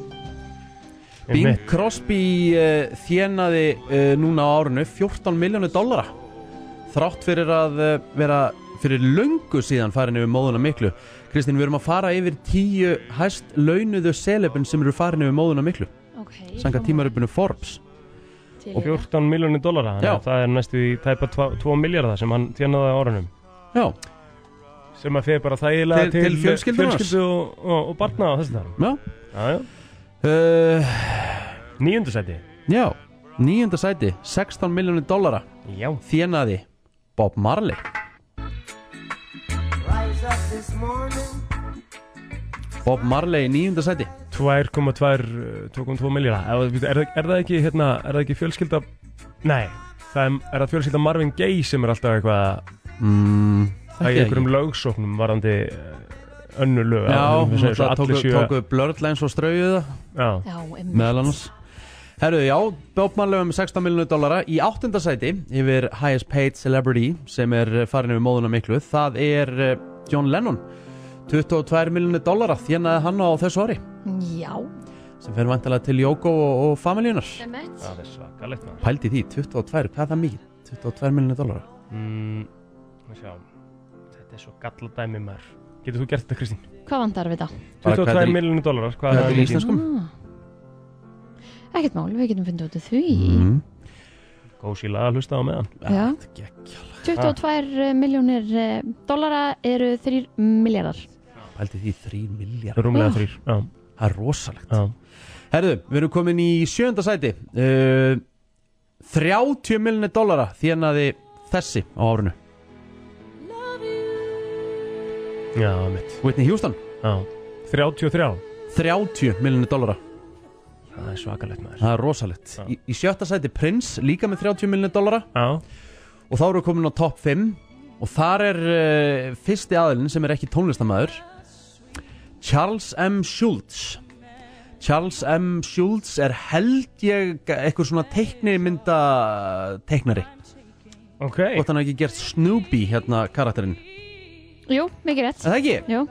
A: Bing
C: einmitt.
A: Crosby uh, þjenaði uh, núna á árinu 14 miljónu dollara þrátt fyrir að uh, vera fyrir löngu síðan farin yfir móðuna miklu Kristín, við erum að fara yfir tíu hæst launuðu selefin sem eru farin yfir móðuna miklu
B: okay,
A: sanga tímaröpunu Forbes
C: 14 miljónir dólara
A: Já.
C: Það er næstu í tæpa 2 miljardar sem hann tjanaði á árunum
A: Já,
C: Sem að fyrir bara þægilega
A: Til- til fjölskyldunars.
C: fjölskyldu og, og, og barna og þess þar
A: já
C: Já, já
A: uh,
C: Níundu sæti
A: Já, nýjunda sæti 16 miljónu dollara
C: Já
A: þjenaði Bob Marley Bob Marley í nýjunda sæti
C: 2,2 2,2 miljardar er, er, það- er það ekki hérna, er það ekki fjölskylda nei, það er, er það fjölskylda Marvin Gaye sem er alltaf eitthvað
A: mm,
C: að
A: þekki
C: í
A: ég
C: einhverjum lögsóknum varandi eh, önnur lög
A: Já,
C: að- við segjum svo
A: náttúrulega tóku,
C: allir séu-
A: tóku blörðleins og strauðið það
C: já,
B: Já,
A: meðal annars Herru, já, Bob Marley um 16 miljónu dollara í áttunda sæti yfir Highest Paid Celebrity sem er eh, farin yfir móðuna miklu það er eh, John Lennon 22 miljónu dollara þjánaði hann á þessu ári
B: Já,
A: sem fer vantilega til Jóko og, og familjunar
C: það er svakalegt maður
A: Pældi því, 22, hvað er það mikið? 22 miljónu dollara
C: mm, við sjá, þetta er svo galladæmi maður Getur þú gert þetta, Kristín?
B: Hvað vantar við það?
A: Bara hvað þetta
C: 22
A: er í-
C: miljonum dólarar, hvað
A: hvað
C: er
A: þetta er í
C: mikið?
A: íslenskum?
B: Ah. Ekkert mál, við getum fundið út af því
A: Mm.
C: Góð síla að hlusta á meðan.
B: Já.
A: Þetta er geggjala.
B: 22 miljónir eh, dollara eru 3 miljardar
A: Pældi því 3 miljard
C: Rúmlega
B: Já.
C: þrýr, já,
A: Það er rosalegt
C: já.
A: Herðu, við erum komin í sjönda sæti uh, 30 miljonir dollara þjónaði þessi á árinu
C: Já, mitt,
A: Whitney Houston,
C: já. 33,
A: 30 miljonir dollara
C: það er svakalegt maður.
A: Það er rosalegt
C: Já.
A: Í, í sjötta sæti Prince, líka með 30 miljonir dollara
C: Já,
A: Og þá erum við komin á top 5 Og þar er uh, fyrsti aðilinn sem er ekki tónlistamæður Charles M. Schultz Charles M. Schultz er held ég eitthvað svona teiknimynda teiknari
C: ok.
A: Hvort hann hafi ekki gert Snoopy hérna karakterinn
B: Jú, mikið rétt
A: Er það ekki?
B: Jú,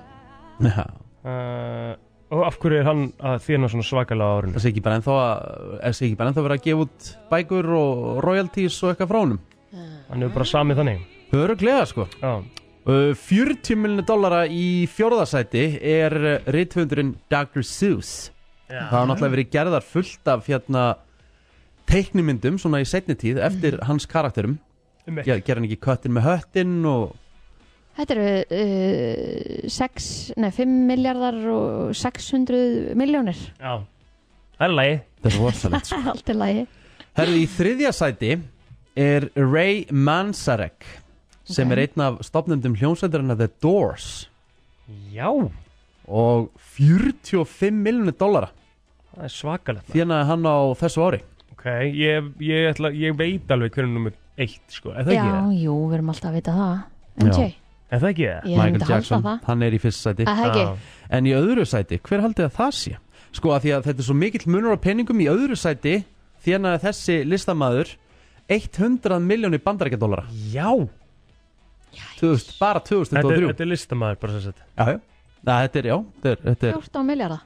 A: Já,
C: Uh, og af hverju er hann að þýrna svona svakalega á árinu?
A: það sé ekki bara ennþá að er sé ekki bara ennþá verið að gefa út bækur og royalties og eitthvað frá honum
C: Hann hefur bara samið þannig.
A: Öruglega sko
C: Já,
A: Uh, 40 miljonir dollara í fjórðasæti er rithöndurinn Dr. Seuss
C: Já.
A: Það hafa náttúrulega verið gerðar fullt af hérna teiknimyndum svona í setni tíð eftir
B: Mhm.
A: hans karakterum
C: um eitt.
A: Ger, Gerði hann ekki köttin með höttin og
B: þetta eru uh, 6, nei 5 miljardar og 600 miljónir
C: Já. Það er lægi.
A: þetta er rosalegt sko
B: Allt er lagi
A: Herðu í þriðja sæti er Ray Manzarek sem
B: Ok.
A: er einn af stopnendum hljómsveitarinn The Doors
C: Já,
A: og 45 miljonir dollara
C: það er svakalegt maður.
A: þjónaði hann á þessu ári
C: Ok, ég, ég, ætla, ég veit alveg hverju nummer eitt, sko. Er það
B: Já,
C: ekki það?
B: jú, við erum alltaf að vita það
A: Já.
B: MJ,
C: Er það ekki það?
B: ég myndi halda það
A: hann er í fyrsta sæti
B: Að það ekki,
A: En í öðru sæti, hver haldið að það sé? Sko að því að þetta er svo mikill munur á peningum í öðru sæti þjónaði þessi listamaður 100 miljónir bandarækjadólara
C: Já.
A: bara
C: Þetta er,
A: 2003
C: þetta er listamaður, bara sem sagt.
A: Já, já. Nei, þetta er, já, þetta er, þetta er
B: 14 miljardar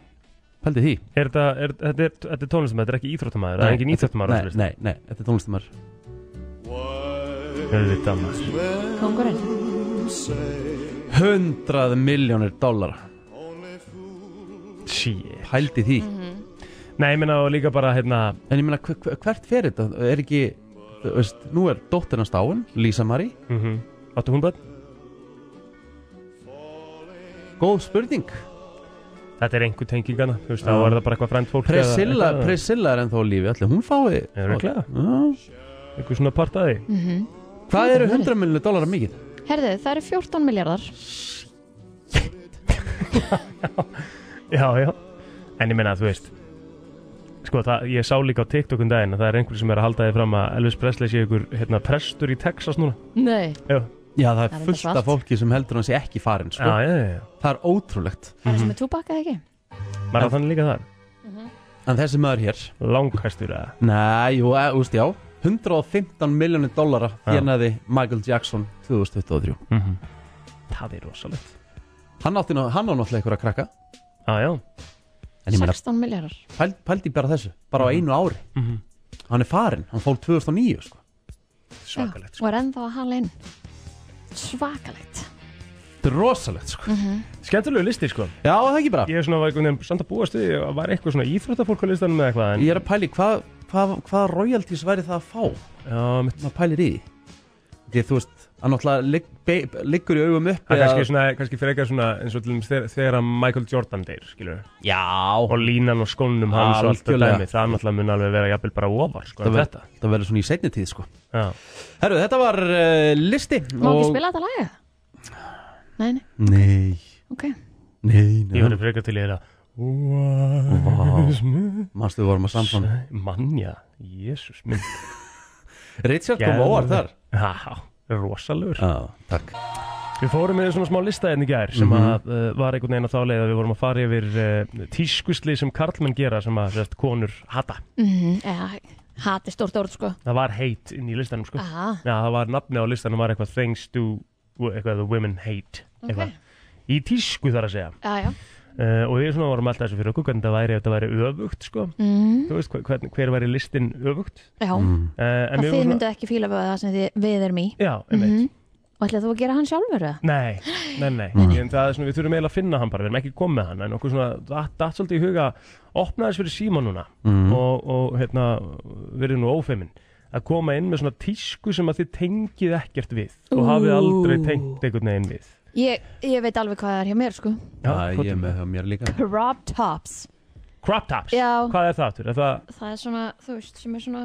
A: pældi því
C: Er þetta, er, þetta er, þetta er tónlistamaður, þetta er ekki íþróttamaður, það er ekki íþróttamaður. á
A: Nei,
C: þessu lista.
A: nei, nei, þetta er tónlistamæður
C: Auðvitað maður.
B: Kongurinn
A: 100 miljónir dólara
C: Shit.
A: Pældi því
B: Mhm.
C: Nei, ég meina og líka bara, hérna,
A: En ég meina, hver- hver- hvert fer þetta? Er ekki, þú veist, nú er dóttirna stáin Lísa Marí,
C: mm áttu hún bönn?
A: góð spurning
C: Þetta er einhver tengingana, þú veist, þá er það bara eitthvað frænt fólk. eða
A: Priscilla,
C: eitthvað.
A: Priscilla er ennþá á lífi, allir hún fái
C: Örugglega.
A: Já.
C: Einhver svona part að því.
A: Hvað eru 100 miljónir dólara mikið?
B: Mhm. Herðu, það eru 14 miljardar
C: Já, já En ég meina að þú veist Sko, það, ég sá líka á TikTok um daginn að það er einhver sem er að halda þið fram að Elvis Presley sé ykkur hérna, prestur í Texas núna
B: Nei
C: Já,
A: Já, það
B: Það
A: er
B: er
A: fullt
B: svart.
A: af fólki sem heldur hann sé ekki farin sko.
C: já, já, já, já.
A: Það er ótrúlegt
B: Það er sem er túbak eða ekki
C: Maður er þannig líka þar
A: En þessi maður hér
C: Langhæstur eða
A: Nei, jú, e, úst, já 115 miljónir dólara
C: Já.
A: þérnaði Michael Jackson 2023
C: Það er rosalegt
A: Hann átti nú, hann á náttúrulega ykkur að krakka
C: Já, já,
A: En ég meina, Mm.
B: 16 miljardar
A: pæl, pældi bara þessu Bara á einu ári
C: Mhm.
A: Hann er farin, hann fór 2009 sko.
C: svakalegt
B: Já, Og er ennþá að hala inn Svakalegt
A: Þetta er rosalegt sko.
C: Skemmtilegu listi, sko
A: Já, er það ekki bara
C: Ég er svona, var einhvern veginn samt að búast við að Var eitthvað svona íþróttafólk á listanum eða eitthvað en,
A: Ég er að pæli, hvað hva, hva royalties væri það að fá?
C: Já, mitt
A: maður pælir í því. því að þú veist, hann náttúrulega ligg, be, liggur í augum upp
C: Það er kannski, svona, kannski frekar svona eins og til dæmis þegar, þegar að Michael Jordan deyr, skilur
A: já,
C: Og línan og skónum hans og allt það
A: Algjörlega.
C: dæmi Það náttúrulega mun alveg vera jafnvel bara ofar, sko en
A: það
C: þetta.
A: verður- það verður svona í seinni tíð sko.
C: Já.
A: Herru, þetta var uh, listi
B: Má ekki spila þetta laga? Nei, nei,
A: Nei,
B: ok
A: nei,
C: Ég verður
A: nei
C: frekar til í þetta
A: Manstu við vorum að samfann
C: Manja, jésus minn
A: Richard kom óvart þar
C: Já, rosalur
A: Já, takk
C: Við fórum með svona smá lista enn í gær sem að uh, var einhvern veginn á þá leið að við vorum að fara yfir uh, tískusli sem karlmenn gera sem að sérst, konur hata
B: Mhm, eða, Hati stórt orð sko
C: Það var hate inn í listanum sko
B: Aha,
C: Já, það var nafni á listanum var eitthvað things to eitthvað the women hate
B: ok
C: eitthvað. Í tísku þar að segja
B: Já, já
C: uh, og við svona vorum alltaf þessu fyrir okkur hvernig það væri ef þetta væri öfugt sko
B: Mm,
C: Þú veist, hver, hver, hver væri listin öfugt
B: já,
C: uh,
A: Mm.
B: að þið myndu ekki fíla við það sem þið, við erum í Mhm.
C: Já, einmitt.
B: og ætlaði þú að gera hann sjálfur það?
C: Nei, nei, nei, En það er svona, við þurfum eiginlega að finna hann bara, við erum ekki komið með hann en okkur svona, það datt svolítið í huga opna þess fyrir síma núna
A: Mhm. Mm.
C: og, og hérna, verið nú ófeimin að koma inn með svona tísku sem að þið tengið ekkert við og hafið aldrei tengt einhvern veginn við
B: Ég, ég veit alveg hvað það er hjá mér sko
A: Já, ég
C: hvað-
A: er með það mér líka
B: Crop tops
C: Crop tops,
B: Já.
C: hvað er það aftur? Er það,
B: Það er svona, þú veist, sem er svona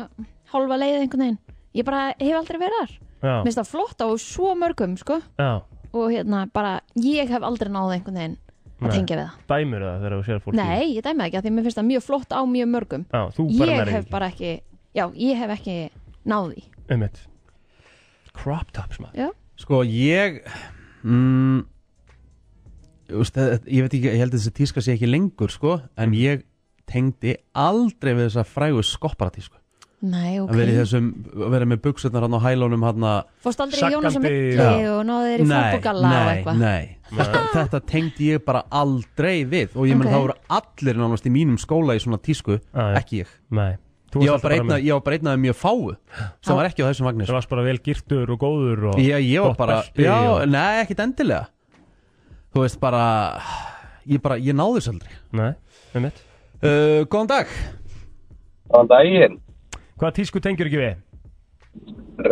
B: hálfa leið einhvern veginn Ég bara hef aldrei verið þar Mér
C: já,
B: finnst það flott á svo mörgum sko
C: já,
B: og hérna bara, ég hef aldrei náð einhvern veginn að
C: Nei.
B: tengja við það
C: dæmur það þegar þú sér fólki
B: Nei, ég dæmi það ekki að því mér finnst það mjög flott á mjög mörgum
C: Já, þú bara
B: Ég
C: nærðu
B: hef
C: ekki.
B: bara ekki, já, ég hef ekki náð því
C: Einmitt. Crop tops maður
A: Sko ég mm, úst, Ég veit ekki, ég held að þessi tíska sé ekki lengur sko, en ég tengdi aldrei við þessa frægu skoppara tísku
B: Nei,
A: að vera í
B: ok
A: þessum, að vera með buksutnar hann á hælónum hann að
B: Fórst aldrei í
C: Saggandi-
B: Jónas og Milli
A: Já.
B: og náðu þeir í
A: Nei,
B: fútbogalla og
A: nei,
B: eitthvað
A: nei þetta, þetta tengdi ég bara aldrei við og ég menn
B: Ok.
A: það voru allir nánast í mínum skóla í svona tísku,
C: Já, já.
A: ekki ég
C: Nei,
A: Ég
C: þú varst
A: var
C: alltaf
A: bara einn af-
C: með-
A: ég var bara einn af þeim mjög fáu sem
B: Já.
A: var ekki á þessum vagnir
C: Þú varst bara vel girtur og góður og
A: Já, ég var
C: gott
A: bara,
C: belti
A: já,
C: og-
A: nei, ekkit endilega Þú veist bara, ég bara, ég náði þess aldrei
C: Nei, einmitt
A: uh, Góðan dag
F: Þann daginn,
C: Hvaða tísku tengjur ekki við?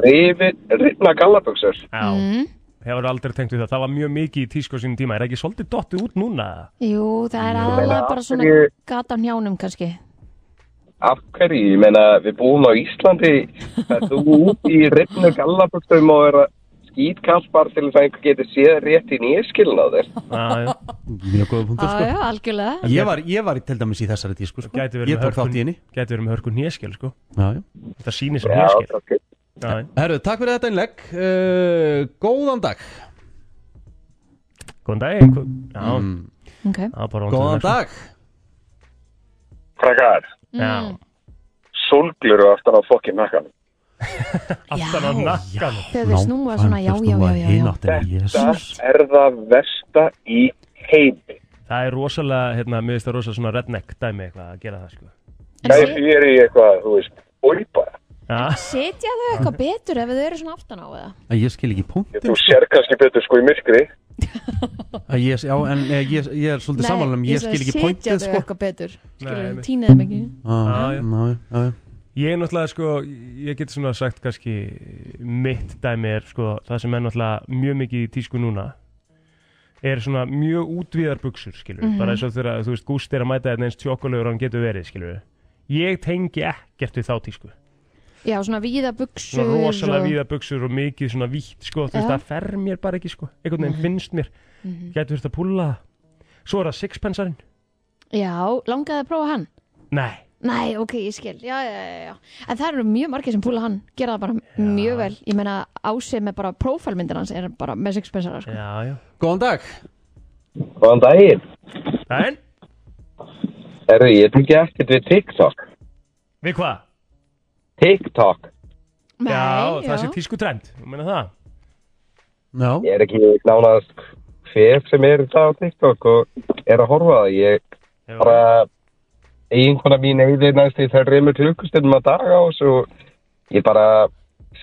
F: rifin, rifna gallaböksur.
C: Já,
B: Mm.
C: hefur aldrei tengt við það Það var mjög mikið í tísku á sínum tíma Er ekki svolítið dottið út núna?
B: Jú, það er aðalega bara svona
F: Ég-
B: gata á njánum kannski
F: Af hverju, ég meina, við búum á Íslandi, það þú út í rifnu gallaböksum og er að skýtkall bara til þess að einhver getur séð rétt í nýjaskilin á þér.
C: Já, já
A: Mjög góða punktur, sko.
B: Já, já, algjörlega
A: Ég var, ég var til dæmis í þessari tísku, sko
C: Gæti verið
A: Ég
C: með
A: tók
C: hörkun
A: þátt í henni
C: Gæti verið með hörkun nýjaskil, sko
A: já, já.
C: Það sýnir sem
F: Já,
C: nýjaskil
F: það er
C: Já, já.
A: Herru, takk fyrir þetta innlegg uh, Góðan dag
C: Góðan dag Já,
B: Ok,
C: já, bara vonandi
A: Mm. Góðan
C: næsta.
A: dag
F: Krakkar,
C: Já,
B: Mm.
F: sólglur og aftan á fokkin nakkan.
C: aftan á
B: Já.
C: nakkan
B: þegar þau snúa svona, já, já, já, já, já.
A: já
F: Er það versta í heimi.
C: Það er rosalega, hérna, mér finnst það rosalega svona redneck dæmi eitthvað að gera það, sko
B: En
F: Það er
B: sit-
F: því er í eitthvað, þú veist, bói bara.
C: Já,
B: sitja þau eitthvað betur ef þau eru svona aftan á eða?
A: Ég skil ekki punktin
F: Þú sér kannski betur sko í myrkri.
A: ég, Já, en eh, ég, ég er svolítið samanlega Ég skil ekki
B: Sitja
A: punktið,
B: þau
A: sko
B: eitthvað betur
C: Nei,
B: Skilur,
C: einmitt.
B: týna þeim ekki
A: Já,
C: Já, já.
A: já, já, já.
C: Ég er náttúrulega sko, ég get svona sagt kannski mitt dæmi er sko, það sem er náttúrulega mjög mikið í tísku núna er svona mjög útvíðar buksur, skilur bara eins og þegar, þú veist, Gúst er að mæta þetta eins tjókulegur hann getur verið, skilur Ég tengi ekkert við þá tísku
B: Já, svona víða buksur
C: svona rosalega
B: og-
C: víða buksur og mikið svona vítt, sko, þú veist,
B: Já.
C: það fer mér bara ekki, sko einhvern veginn finnst mér, getur þetta að púlla það. Svo er það sixpensarinn
B: Já, langaði að prófa hann
C: Nei,
B: Nei, ok, ég skil, já, já, já, já. En það eru mjög margir sem púla hann, gera það bara mjög vel Ég meina ásið með bara prófælmyndir hans er bara með sixpensara sko.
C: já, já
A: Góðan dag
F: Þann daginn,
C: En,
F: herru, ég tengi ekkert við TikTok.
C: við hvað?
F: TikTok.
B: Nei,
C: já, það sé tísku trend, ég meina það
A: Já,
F: Ég er ekki nánast hver sem er í dag á TikTok og er að horfa á það. Ég
C: Hefur-
F: bara, eiginkona mín eigði næst í þær reymur klukkustundum að daga á þessu og ég bara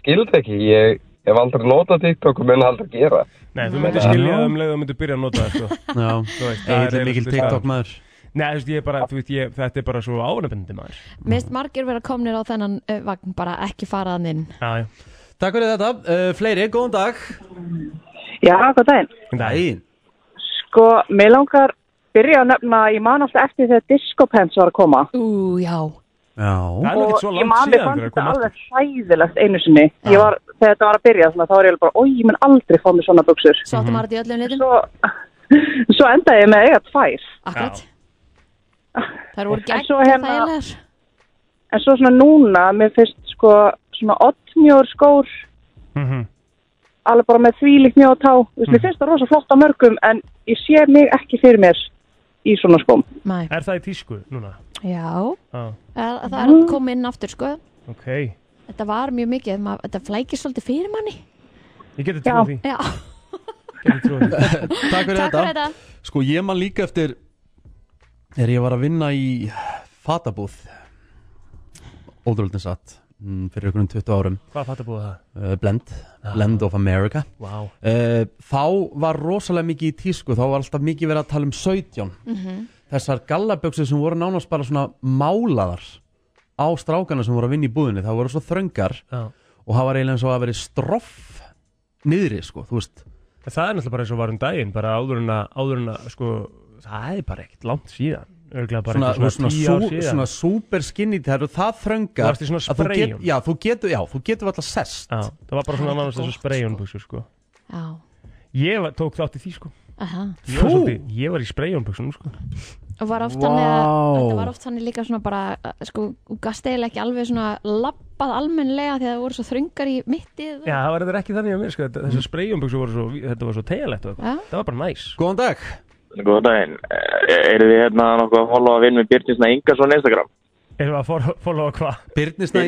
F: skild ekki. Ég hef aldrei notað TikTok og mun aldrei gera.
C: Nei, þú myndir skilja það um leið og myndir byrja að nota það, sko.
A: já
C: Þú veist, það
A: Egil er mikil
C: eiginlega-
A: TikTok maður
C: Nei, þú veist, ég er bara, þú veist, ég, þetta er bara svo áhörnabendi maður.
B: Mist margir vera komnir á þennan uh, vagn bara ekki faraðan inn
C: Já, já.
A: Takk fyrir þetta, uh, fleiri, góðan dag
G: Já, góð daginn.
C: Nei.
A: Dæin
G: Sko, mér langar byrja að nefna, ég man alltaf eftir þegar Discopens var að koma.
B: Ú, já,
A: Já,
C: Það er nú ekkert svo
G: ég
C: langt
G: man, mér
C: síðan
G: fannst
C: þegar það
G: þetta
C: kom aftur.
G: alveg hræðilegt einu sinni. Ég var, þegar þetta var að byrja, svona, þá var ég alveg bara, oi, ég mun aldrei fá mér svona buksur.
B: svo
C: Mhm.
B: áttum maður þetta í öllum litum
G: Svo, svo endaði ég með að eiga tvær.
B: Akkurat
C: Já.
B: Það voru gegn
G: svo
B: hérna...
G: hérna-
B: þægilegar
G: En svo svona núna, mér finnst sko, svona oddmjór skór,
C: Mhm.
G: alveg bara með þvílíkt mjóð tá. Þú veist, mér finnst það rosa flott á mörgum, en ég sé mig ekki fyrir mér í svona skóm.
B: Nei.
C: Er það í tísku núna?
B: Já,
C: Já,
B: það það er
G: Mhm.
B: að koma inn aftur sko
C: ok.
B: Þetta var mjög mikið, maður, þetta flækir svolítið fyrir manni
C: Ég geti trúið því.
B: Já,
C: Geti trúið því.
A: takk fyrir
B: takk fyrir
A: þetta
B: þetta
A: Sko ég man líka eftir Þegar ég var að vinna í fatabúð Ótrúldin satt mm, fyrir ykkur um 20 árum
C: Hvað fattar búið það?
A: uh, Blend, Blend of America
C: Vá
A: uh, Þá var rosalega mikið í tísku þá var alltaf mikið verið að tala um 17
C: Mhm.
A: Þessar gallaböksur sem voru nánast bara svona málaðar á strákana sem voru að vinna í búðinni það voru svo þröngar
C: Já.
A: og það var eiginlega eins og að veri stroff niðri sko, þú veist
C: En það er náttúrulega bara eins og var um daginn bara áður en að, áður en að sko, það er bara ekkert langt síðan örgulega bara
A: svona,
C: eitthvað
A: svona,
C: svona tíu
A: svona,
C: ár
A: sú,
C: síðan
A: svona super skinny það eru það þröngar
C: Þú varst í svona
A: að þú get-
C: spreyjum.
A: já, þú getur, já, þú getur alltaf sest
C: Já, það var bara svona
B: Það er
C: nánast
B: gott,
C: þessu spreyjónbuxu sko.
B: já,
C: Ég var, tók þátt í því sko.
B: aha
C: Ég var,
A: Þú?
C: svolítið, ég var í spreyjónbuxunum sko.
B: og var oft
A: Vá.
B: þannig að þetta var oft þannig líka svona bara að, sko, þú gast eiginlega ekki alveg svona labbað almennlega því að það voru svo þröngar í mittið
C: Já, það var þetta ekki þannig að mér sko. þetta- Þessar spreyjónbuxu voru svo, þetta var svo tegalegt og
B: Já.
C: eitthvað. Það var bara næs
A: Góðan dag
H: Góðan daginn. Eru þið hérna nokkuð að followa vinn með Byrnisna Ingarsson á Instagram?
C: Erum við að for- followa hvað?
A: Byrnisnæ,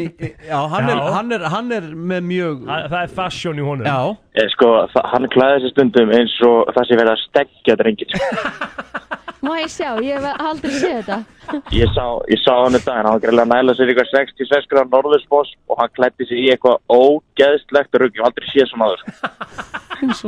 A: já, hann,
C: Já.
A: Er, hann, er, hann er með mjög
C: Það það er fashion í honum
A: Já,
H: Eh, sko, þa- hann klæði sér stundum eins og það sé verið að stekja drengir. sko.
B: má ég sjá, ég hef aldrei séð þetta
H: Ég sá, ég sá hann í daginn, hann var greiðlega að næla sér í eitthvað 66 gráð norðurspós og hann klætti sér í eitthvað ógeðslegt rugg, ég hef aldrei séð svona aður.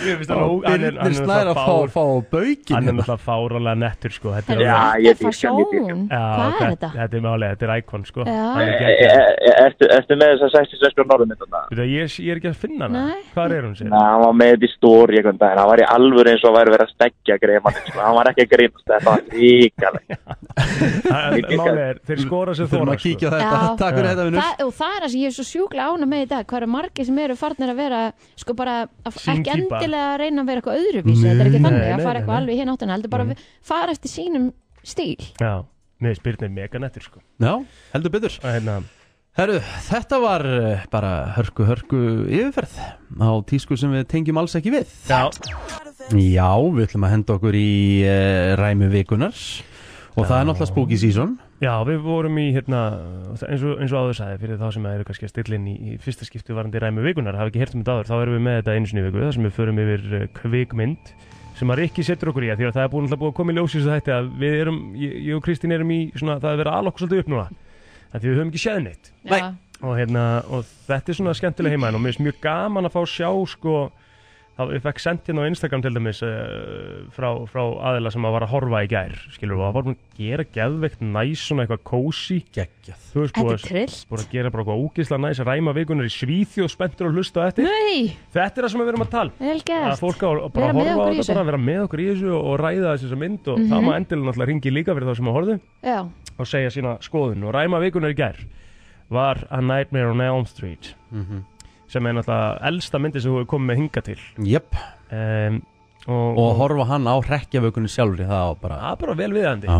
C: Ég finnst hann ó- hann er- hann er
A: Byrnisnæ er
C: náttúrulega
A: að fá,
C: fár-
A: fá baukin
C: Hann er
A: hérna.
C: náttúrulega fáralega nettur sko. Þetta er
B: Heyrðu,
H: Já, ég
B: þetta er
H: dýrka, ég dýrka.
B: fashion.
C: Já,
B: hvað er þetta?
C: Þetta er málega, þetta er íkon sko.
B: Já.
C: Hann er
H: E,
C: geggjaður.
H: e, ertu, ertu með þess að 66 gráð norðurmyndana?
C: Veitu að Ég, ég er ekki að finna hana
B: Nei.
C: Hvar er hún sér?
H: Nei, hann var með þetta í stóri einhvern daginn, hann var í alvöru eins og væri verið að stekja greið mann, sko. hann var ekki að grínast, þetta var ríkalegt.
C: Málega er, þeir skora sko. sér
A: Við þurfum
C: þóra
A: að kíkja á þetta,
B: Já.
A: takk fyrir þetta vinnur
B: Það, og það er það sem ég er svo sjúklega ána með í dag hvað eru margir sem eru farnir að vera sko bara, að f- ekki
C: Sínkýpa.
B: endilega að reyna að vera eitthvað öðruvísi, þetta er ekki
C: Nei,
B: þannig
C: nei,
B: að fara
C: nei,
B: eitthvað
C: nei.
B: alveg í hinn áttuna, heldur bara að fara eftir sínum stíl
C: Já, neður spyrnir mega nettur sko.
A: Já, heldur betur
C: Að Hérna,
A: Herru, þetta var eh, bara hörku, hörku yfirferð á tísku sem við tengjum alls ekki við
C: já,
A: Já, við ætlum að henda okkur í uh, ræmi vikunar og það er náttúrulega spooky season
C: já, við vorum í hérna, eins og, eins og áður sagði fyrir þá sem eru kannski að stilla inn í, í fyrsta skiptu varandi ræmi vikunar, hafa ekki hert um þetta áður þá erum við með þetta einu sinni í viku, þar sem við förum yfir eh, kvikmynd sem að Rikki setur okkur í að því að það er búin alltaf búið að koma í ljósi þess að þetta að við erum, ég, ég og Kristín erum í svona, það er verið að alokk svolítið upp núna að því við höfum ekki séð neitt
A: Nei.
B: Já.
C: og, hérna, og þetta er svona skemmtilega heima og mér finnst mjög gaman að fá að sjá sko, þá ég fekk sendt hérna á Instagram til dæmis uh, frá, frá aðila sem að var að horfa í gær skilur og það var búin að gera geðveikt næs svona eitthvað kósi
A: Geggjað
C: þú veist
B: Þetta
C: búin
B: er
C: að,
B: trill
C: búin að gera bara eitthvað ógisla næs að ræma vikunar í svíþi og spenntur að hlusta á þetta
B: Nei,
C: þetta er það sem við erum að tala um.
B: vel
C: að
B: gert
C: fólk á að bara horfa á þetta bara
B: Mm. Vera með okkur í þessu. Mhm.
C: að vera með okkur í þessu og ræða þessu mynd og það má endilega náttúrulega ringi líka fyrir þá sem að horfðu
B: Já,
C: og segja sína skoðun og ræma vikunar í gær var A Nightmare on Elm Street sem er náttúrulega elsta myndi sem þú hefur komið með hinga til
A: Jöpp,
C: um, og,
A: og horfa hann á rekjavökunni sjálfri það á bara
C: það er bara vel viðandi
A: Já.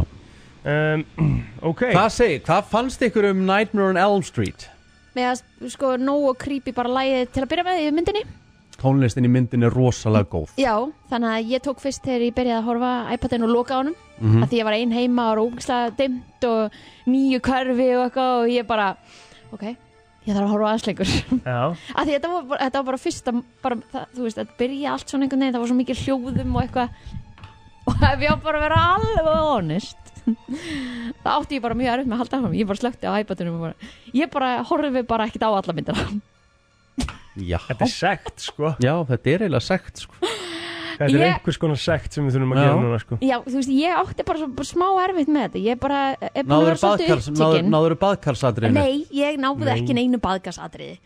C: um, ok
A: Hvað segir, hvað fannst ykkur um Nightmare on Elm Street?
B: með að sko nógu og creepy bara lægið til að byrja með í myndinni
A: Tónlistin í myndin er rosalega góð
B: Já, þannig að ég tók fyrst þegar ég byrjaði að horfa á iPadin og loka á honum mm að því ég var ein heima og rókislega dimmt og nýju körfi og eitthvað og ég bara, ok, ég þarf að horfa aðeins lengur
C: Já,
B: að því þetta var, bara- þetta var bara fyrsta bara, það, þú veist, að byrja allt svona einhvern veginn það var svo mikið hljóðum og eitthvað og ef ég á bara að vera alveg honest þá átti ég bara mjög erfitt með að halda áfram ég bara slökkti á iPadunum og bara, ég bara horfi bara ekkert á alla myndina
A: Já,
C: þetta er sekt sko
A: Já þetta er eiginlega sekt sko.
C: þetta er
B: Ég-
C: einhvers konar sekt sem við þurfum að
A: Já.
C: gera núna sko
B: Já, þú veist, ég átti bara, svo, bara smá erfitt með þetta ég bara er búin að vera
A: Náður
B: svolítið upptíkin
A: náður baðkarsadriðinu
B: Nei, ég náði
C: Nei.
B: ekki neinu baðgasatriði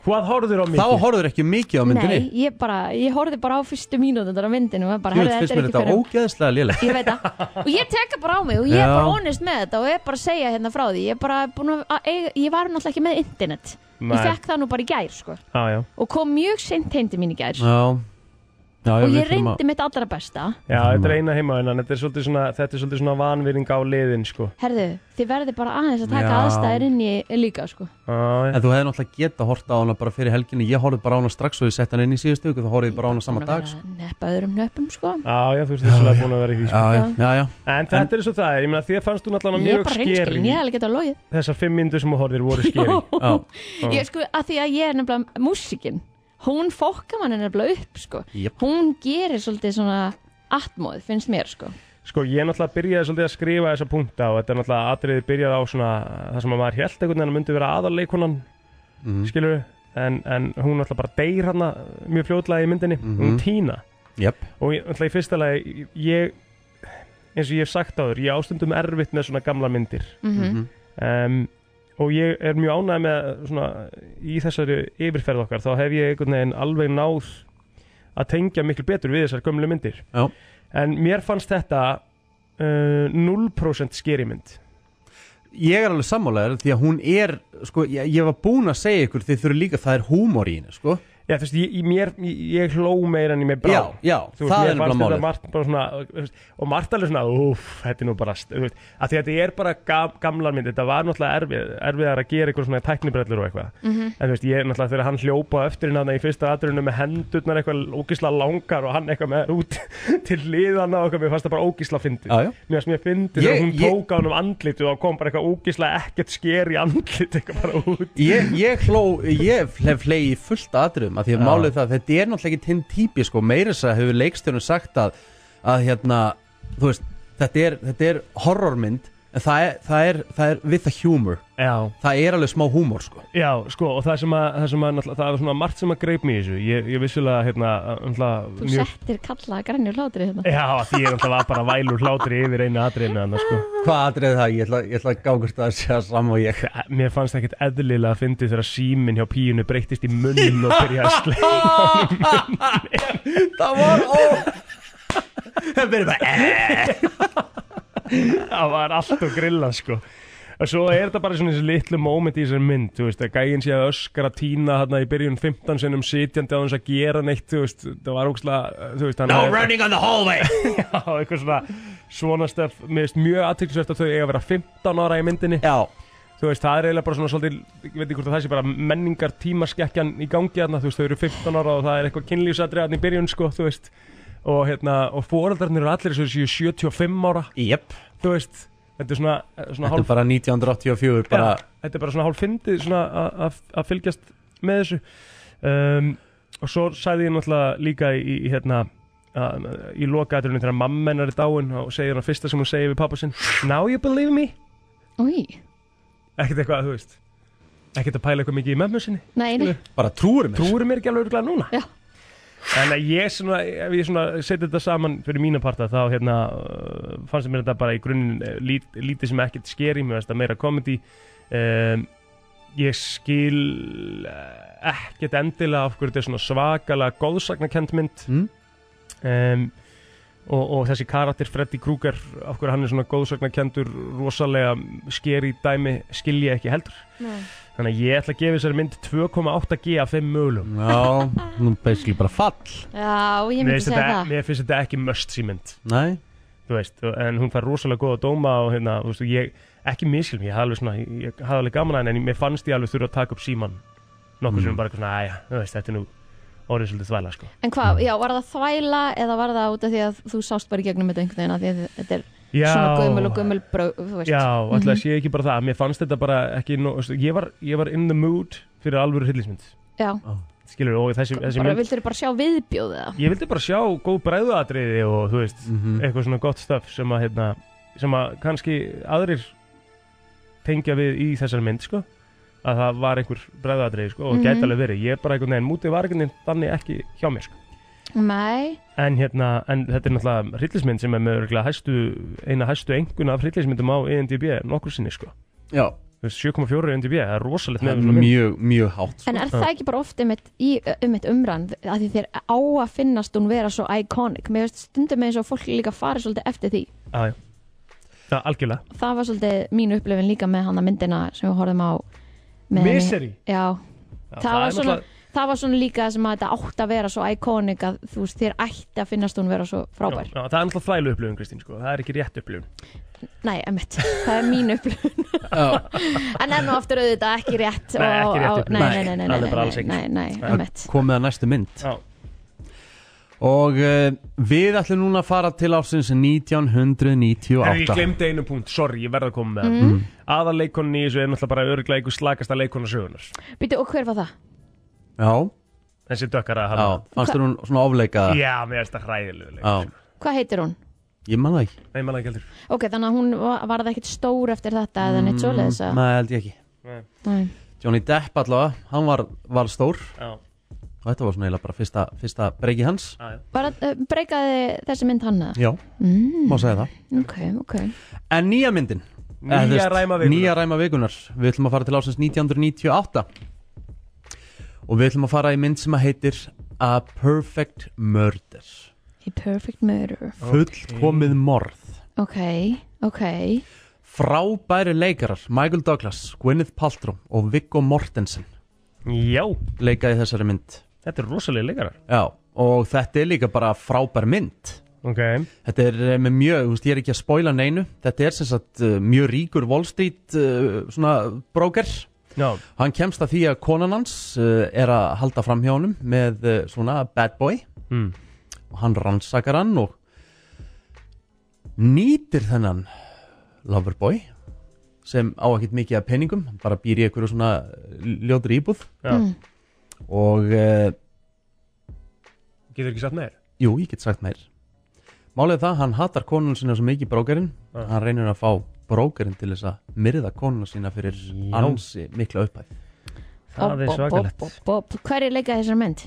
C: hvað horfður á
A: Þá
C: mikið?
A: horfður ekki mikið á myndinni
B: Nei, ég bara, ég horfði bara á fyrstu mínútur á myndinu og bara,
A: Jú,
B: herði,
A: finnst
B: þetta er
A: mér
B: ekki
A: þetta
B: fyrir
A: ógeðslega lélega
B: Ég veit það, og ég teka bara á mig og ég er
A: Já.
B: bara honest með þetta og ég er bara að segja hérna frá því Ég, er bara, búin að, að eiga, ég var náttúrulega ekki með internet
C: Nei.
B: Ég fekk það nú bara í gær, sko
C: Já, já.
B: Og kom mjög seint heim til mín í gær
A: Já, já
B: Og
A: við
B: ég
A: þurfum að-
B: reyndi mitt allra besta
C: já, þetta er eina heimaðinan þetta er svolítið svona, þetta er svolítið svona vanviring á liðin sko
B: Herðu, þið verði bara aðeins að taka
A: Já.
B: aðstæðir inn í líka, sko
C: Já, já.
A: En þú hefði náttúrulega geta horta á hana bara fyrir helginni Ég horfði bara á hana strax og ég sett hana inn í síðustu viku Þá horfði ég bara á hana sama
B: Búin að
A: dag
B: vera
A: sko.
B: að Neppa öðrum nöppum, sko
C: Já, já, þú veist þessulega búin að vera í því sko.
A: Já, já, já, já.
C: En þetta er svo það, er, ég meina þér fannst þú náttúrulega
B: Ég er
C: mjög
B: bara reynskilin,
C: skeri
B: ég hefði getað logið
C: Þessar fimm myndu sem þú horfðir voru skeri
A: Já.
B: Ég sko, að því að ég er nefnilega músikinn Hún fokka mann er nefnilega upp, sko
A: Jöp.
B: Hún gerir svolítið svona atmóð, finnst mér, sko
C: Sko ég náttúrulega byrjaði svolítið að skrifa þessa punkta og þetta er náttúrulega atriðið byrjaði á svona það sem að maður held einhvern veginn að myndi vera aðarleikunan
A: Mhm.
C: mm. skilur en, en hún náttúrulega bara deyr hana mjög fljótlega í myndinni, hún týna
A: Jöp
C: og ég, náttúrulega í fyrsta lagi ég, eins og ég hef sagt áður ég ástundum erfitt með svona gamla myndir
B: Mhm.
C: um, og ég er mjög ánægð með svona, í þessari yfirferð okkar þá hef ég einhvern veginn alveg náð að tengja miklu betur við þessar gömlu myndir
A: Já.
C: en mér fannst þetta uh, 0% skerimynd
A: Ég er alveg sammálaður því að hún er sko, ég, ég var búin að segja ykkur þið þurfum líka það er húmor í henni sko.
C: Já, þú veist, ég, ég, mér, ég, ég hló meira en ég með brá
A: Já, já,
C: Þú
A: það
C: mér
A: er nefnilega
C: fannst þetta
A: málið.
C: margt bara svona, þú veist, og margt alveg svona, uff, þetta er nú bara st- þú veist, að því að þetta er bara gam, gamlar mynd þetta var náttúrulega erfið, erfiðar að gera eitthvað svona tæknibrellur og eitthvað en þú veist, ég náttúrulega þegar hann hljópa eftir hinn þarna í fyrsta atrunum með hendurnar eitthvað ógisla langar og hann eitthvað með þær út til liðana og eitthvað, mér fannst það bara ógisla fyndið
A: Já, já.
C: mér fannst mér fyndið
A: Ég-
C: þegar hún
A: ég-
C: tók á hann um andlitu og kom bara eitthvað ógisla ekkert sker í andlit eitthvað bara út
A: ég, ég hló, ég hef hlegi fullt aðrum að því að
C: Já.
A: málið það, þetta er náttúrulega ekki tinn típi sko, meira þess að hefur leikstjörnum sagt að, að hérna, þú veist þetta er, þetta er horrormynd en það er, það er, það er with a humor
C: Já,
A: það er alveg smá húmor sko.
C: Já, sko, og það sem að, það sem að náttúrulega- það var svona margt sem að greip mér í þessu Ég, ég vissulega, hérna, umhla
B: Þú settir kalla grænir hlátri hérna
C: Já, að því ég náttúrulega var bara vælur hlátri yfir einu atriðinu annars, sko
A: hvað atrið það, ég ætla, ég ætla að gangast að segja saman og ég
C: Þa- Mér fannst ekkert eðlilega að fyndi þegar síminn hjá píinu breyttist í munnin og byrjaði að sleið
A: það var ó það verður bara eh.
C: Það var allt og grilla, sko Og svo er þetta bara svona þessi litlu moment í þessari mynd, þú veist, að gæinn sé að öskra tína hérna í byrjun 15 sinnum sitjandi á þess að gera neitt, þú veist, það var ógstlega, þú veist, hann
A: no
C: er-
A: running on the hallway
C: Já, eitthvað svona svona stef, mér finnst mjög aðtrygglisvert að þau eiga að vera 15 ára í myndinni
A: já,
C: þú veist, það er eiginlega bara svona svolítið, ég veit ekki hvort að það sé bara menningar tímaskekkjan í gangi þarna, þú veist, þau eru 15 ára og það er eitthvað kynlýfsadrið þarna í byrjun, sko, þú veist og hérna, og foreldrarnir eru allir þessu 75 ára,
A: jöp
C: þú veist þetta er svona, eh, svona
A: þetta er
C: hálf
A: bara 1984 bara,
C: Já, þetta er bara svona hálf fyndið svona að- að- að fylgjast með þessu um, og svo sagði ég náttúrulega líka í, í hérna að, í lokaðurinn þegar mamma hennar er dáin og segir hann fyrsta sem hún segir við pappa sinn Now you believe me
B: Új,
C: ekkert eitthvað að þú veist ekkert að pæla eitthvað mikið í mömmu sinni
B: nei, nei,
A: bara trúur mér sko.
C: trúur mér ekki alveg örgulega núna
B: Já.
C: en að ég svona, ef ég svona setja þetta saman fyrir mína parta þá hérna uh, fannst mér þetta bara í grunninn eh, lít, lítið sem ekkert skeri, mér finnst þetta meira komedi um, ég skil eh, ekkert endilega af hverju þetta er svona svakalega góðsagnakend mynd
A: Mm.
C: um, og, og þessi karakter Freddy Krueger af hverju hann er svona góðsagnakendur rosalega skeri dæmi skil ég ekki heldur
B: Nei.
C: þannig að ég ætla að gefa þessari mynd 2,8G af 5 mögulegum
A: já, nú basically bara fall
B: já, ég
C: Mér
B: myndi
C: finnst
B: segja
C: þetta-
B: það
C: mér finnst þetta ekki must see mynd
A: nei,
C: þú veist, og- en hún fær rosalega góða dóma og hérna, þú veist, og ég, ekki miskilm ég hafði alveg svona, ég ég hafði alveg gaman að henni en mér fannst ég alveg þurfa að taka upp síman nokkur mm. sem bara eitthvað svona, aðja, þú veist, þetta er nú orðið svolítið þvæla, sko
B: En hvað, já, var það þvæla eða var það út af því að þú sást bara í gegnum þetta einhvern veginn af því að þetta er
C: Já,
B: svona gömul og gömul bröð, þú veist Mhm.
C: Já, alltaf sé ekki bara það, mér fannst þetta bara ekki, no, þú veist, ég, var, ég var in the mood fyrir alvöru hryllismynd,
B: já.
C: skilur, og þessi, þessi
B: bara
C: mynd
B: vildur bara sjá viðbjóðið það
C: ég vildi bara sjá góð bræðuatriði og þú veist,
A: Mhm.
C: eitthvað svona gott stöf sem að, hérna, sem að kannski aðrir tengja við í þessar mynd, sko að það var einhver bræðuatriði, sko, og
B: Mhm.
C: gæti alveg verið ég er bara einhvern veginn, mútið var einhvern veginn þannig ekki hjá mér, sko
B: Nei,
C: en, hérna, en þetta er náttúrulega hryllismynd sem er með örugglega hæstu, eina hæstu enguna af hryllismyndum á E ENDB nokkur sinni, sko
A: já,
C: Þú veist, 7,4 ENDB, það er rosalegt
A: það
C: með
A: er
C: svona mynd.
A: mjög, mjög hátt
B: en
A: sko.
B: er það ekki bara oft um eitt umrann að því þér á að finnast hún vera svo iconic Mér veist stundum eins og fólk líka farið svolítið eftir því
C: Já, já. Já, algjörlega
B: Það var svolítið mín upplifin líka með hana myndina sem við horfum á með henni.
C: Misery
B: Já,
C: Já,
B: það, var
C: er
B: svona,
C: náttúrulega-
B: það var svona líka sem að þetta átt að vera svo iconic að þú veist þér ætti að finnast hún vera svo
C: Já,
B: frábær
C: já, það er alltaf þvælu upplifun, Kristín, sko. það er ekki rétt upplifun
B: Nei, emitt, það er mín upplifun En enn og aftur auðvitað ekki rétt
C: Nei,
B: og-
C: ekki rétt
B: og-
C: upplifun.
B: Nei, nei, nei, nei,
C: Nei, alveg
B: nei,
C: bara alls
B: nei,
C: ekki.
B: nei, nei,
C: Nei.
B: emitt
A: komið að næstu mynd
C: Já.
A: og uh, við ætlum núna að fara til ásins 1998
C: En ég glemdi einu punkt, sorry, ég verða að koma með það mm. Aðarleikonin í þessu er náttúrulega bara örglega einhver slagasta leikona sögunar
B: Býtu, og hver var það?
A: já,
C: Þessi dökkara
A: já,
C: hann
A: fannst þér hún svona ofleika
C: Já, mér finnst það hræðilegu leik
A: já,
B: Hvað heitir hún?
A: Ég man það ekki
C: Nei, maður ekki heldur
B: ok, þannig að hún va- varð ekkit stór eftir þetta eða
C: Mm,
B: neitt svoleiðis að-
A: Nei, held ég ekki
B: Nei.
A: Johnny Depp allavega, hann var, var stór
C: Já,
A: og þetta var svona eiginlega bara fyrsta, fyrsta breyki hans
C: já, já
B: bara uh, breykaði þessi mynd hann eða?
A: Já,
B: mm,
A: má segja það
B: ok, ok
A: En nýja myndin
C: Nýja
A: Eh, þú veist,
C: ræma vikunnar.
A: Nýja ræma vikunar Við ætlum að fara til ásins 1998 Og við ætlum að fara í mynd sem að heitir A Perfect Murder
B: a perfect murder
A: Fullkomið morð
B: ok, ok
A: Frábæri leikarar Michael Douglas, Gwyneth Paltrow og Viggo Mortensen
C: Já,
A: leika í þessari mynd
C: þetta er rosalega leikarar
A: Já, og þetta er líka bara frábær mynd
C: Ok
A: Þetta er eh, með mjög, þú veist, ég er ekki að spoila neinu Þetta er sem sagt eh, mjög ríkur Wall Street eh, svona broker
C: Já,
A: Hann kemst að því að konan hans uh, er að halda fram hjá honum með uh, svona bad boy
C: Mm.
A: og hann rannsakar hann og nýtir þennan loverboy sem á ekkert mikið af peningum, hann bara býr í einhverju svona ljótur íbúð
C: já
A: og uh,
C: Getur ekki satt meir
A: jú, ég get sagt meir. Málið er það, hann hatar konun sína svo mikið brókarinn,
C: Ah.
A: hann reynir að fá brókarinn til þess að myrða konuna sína fyrir
C: Já.
A: ansi mikla upphæð.
C: Það er
B: Bob, bob,
C: svakalegt
B: bob, bob, bob. hver er leikað þessar mynd?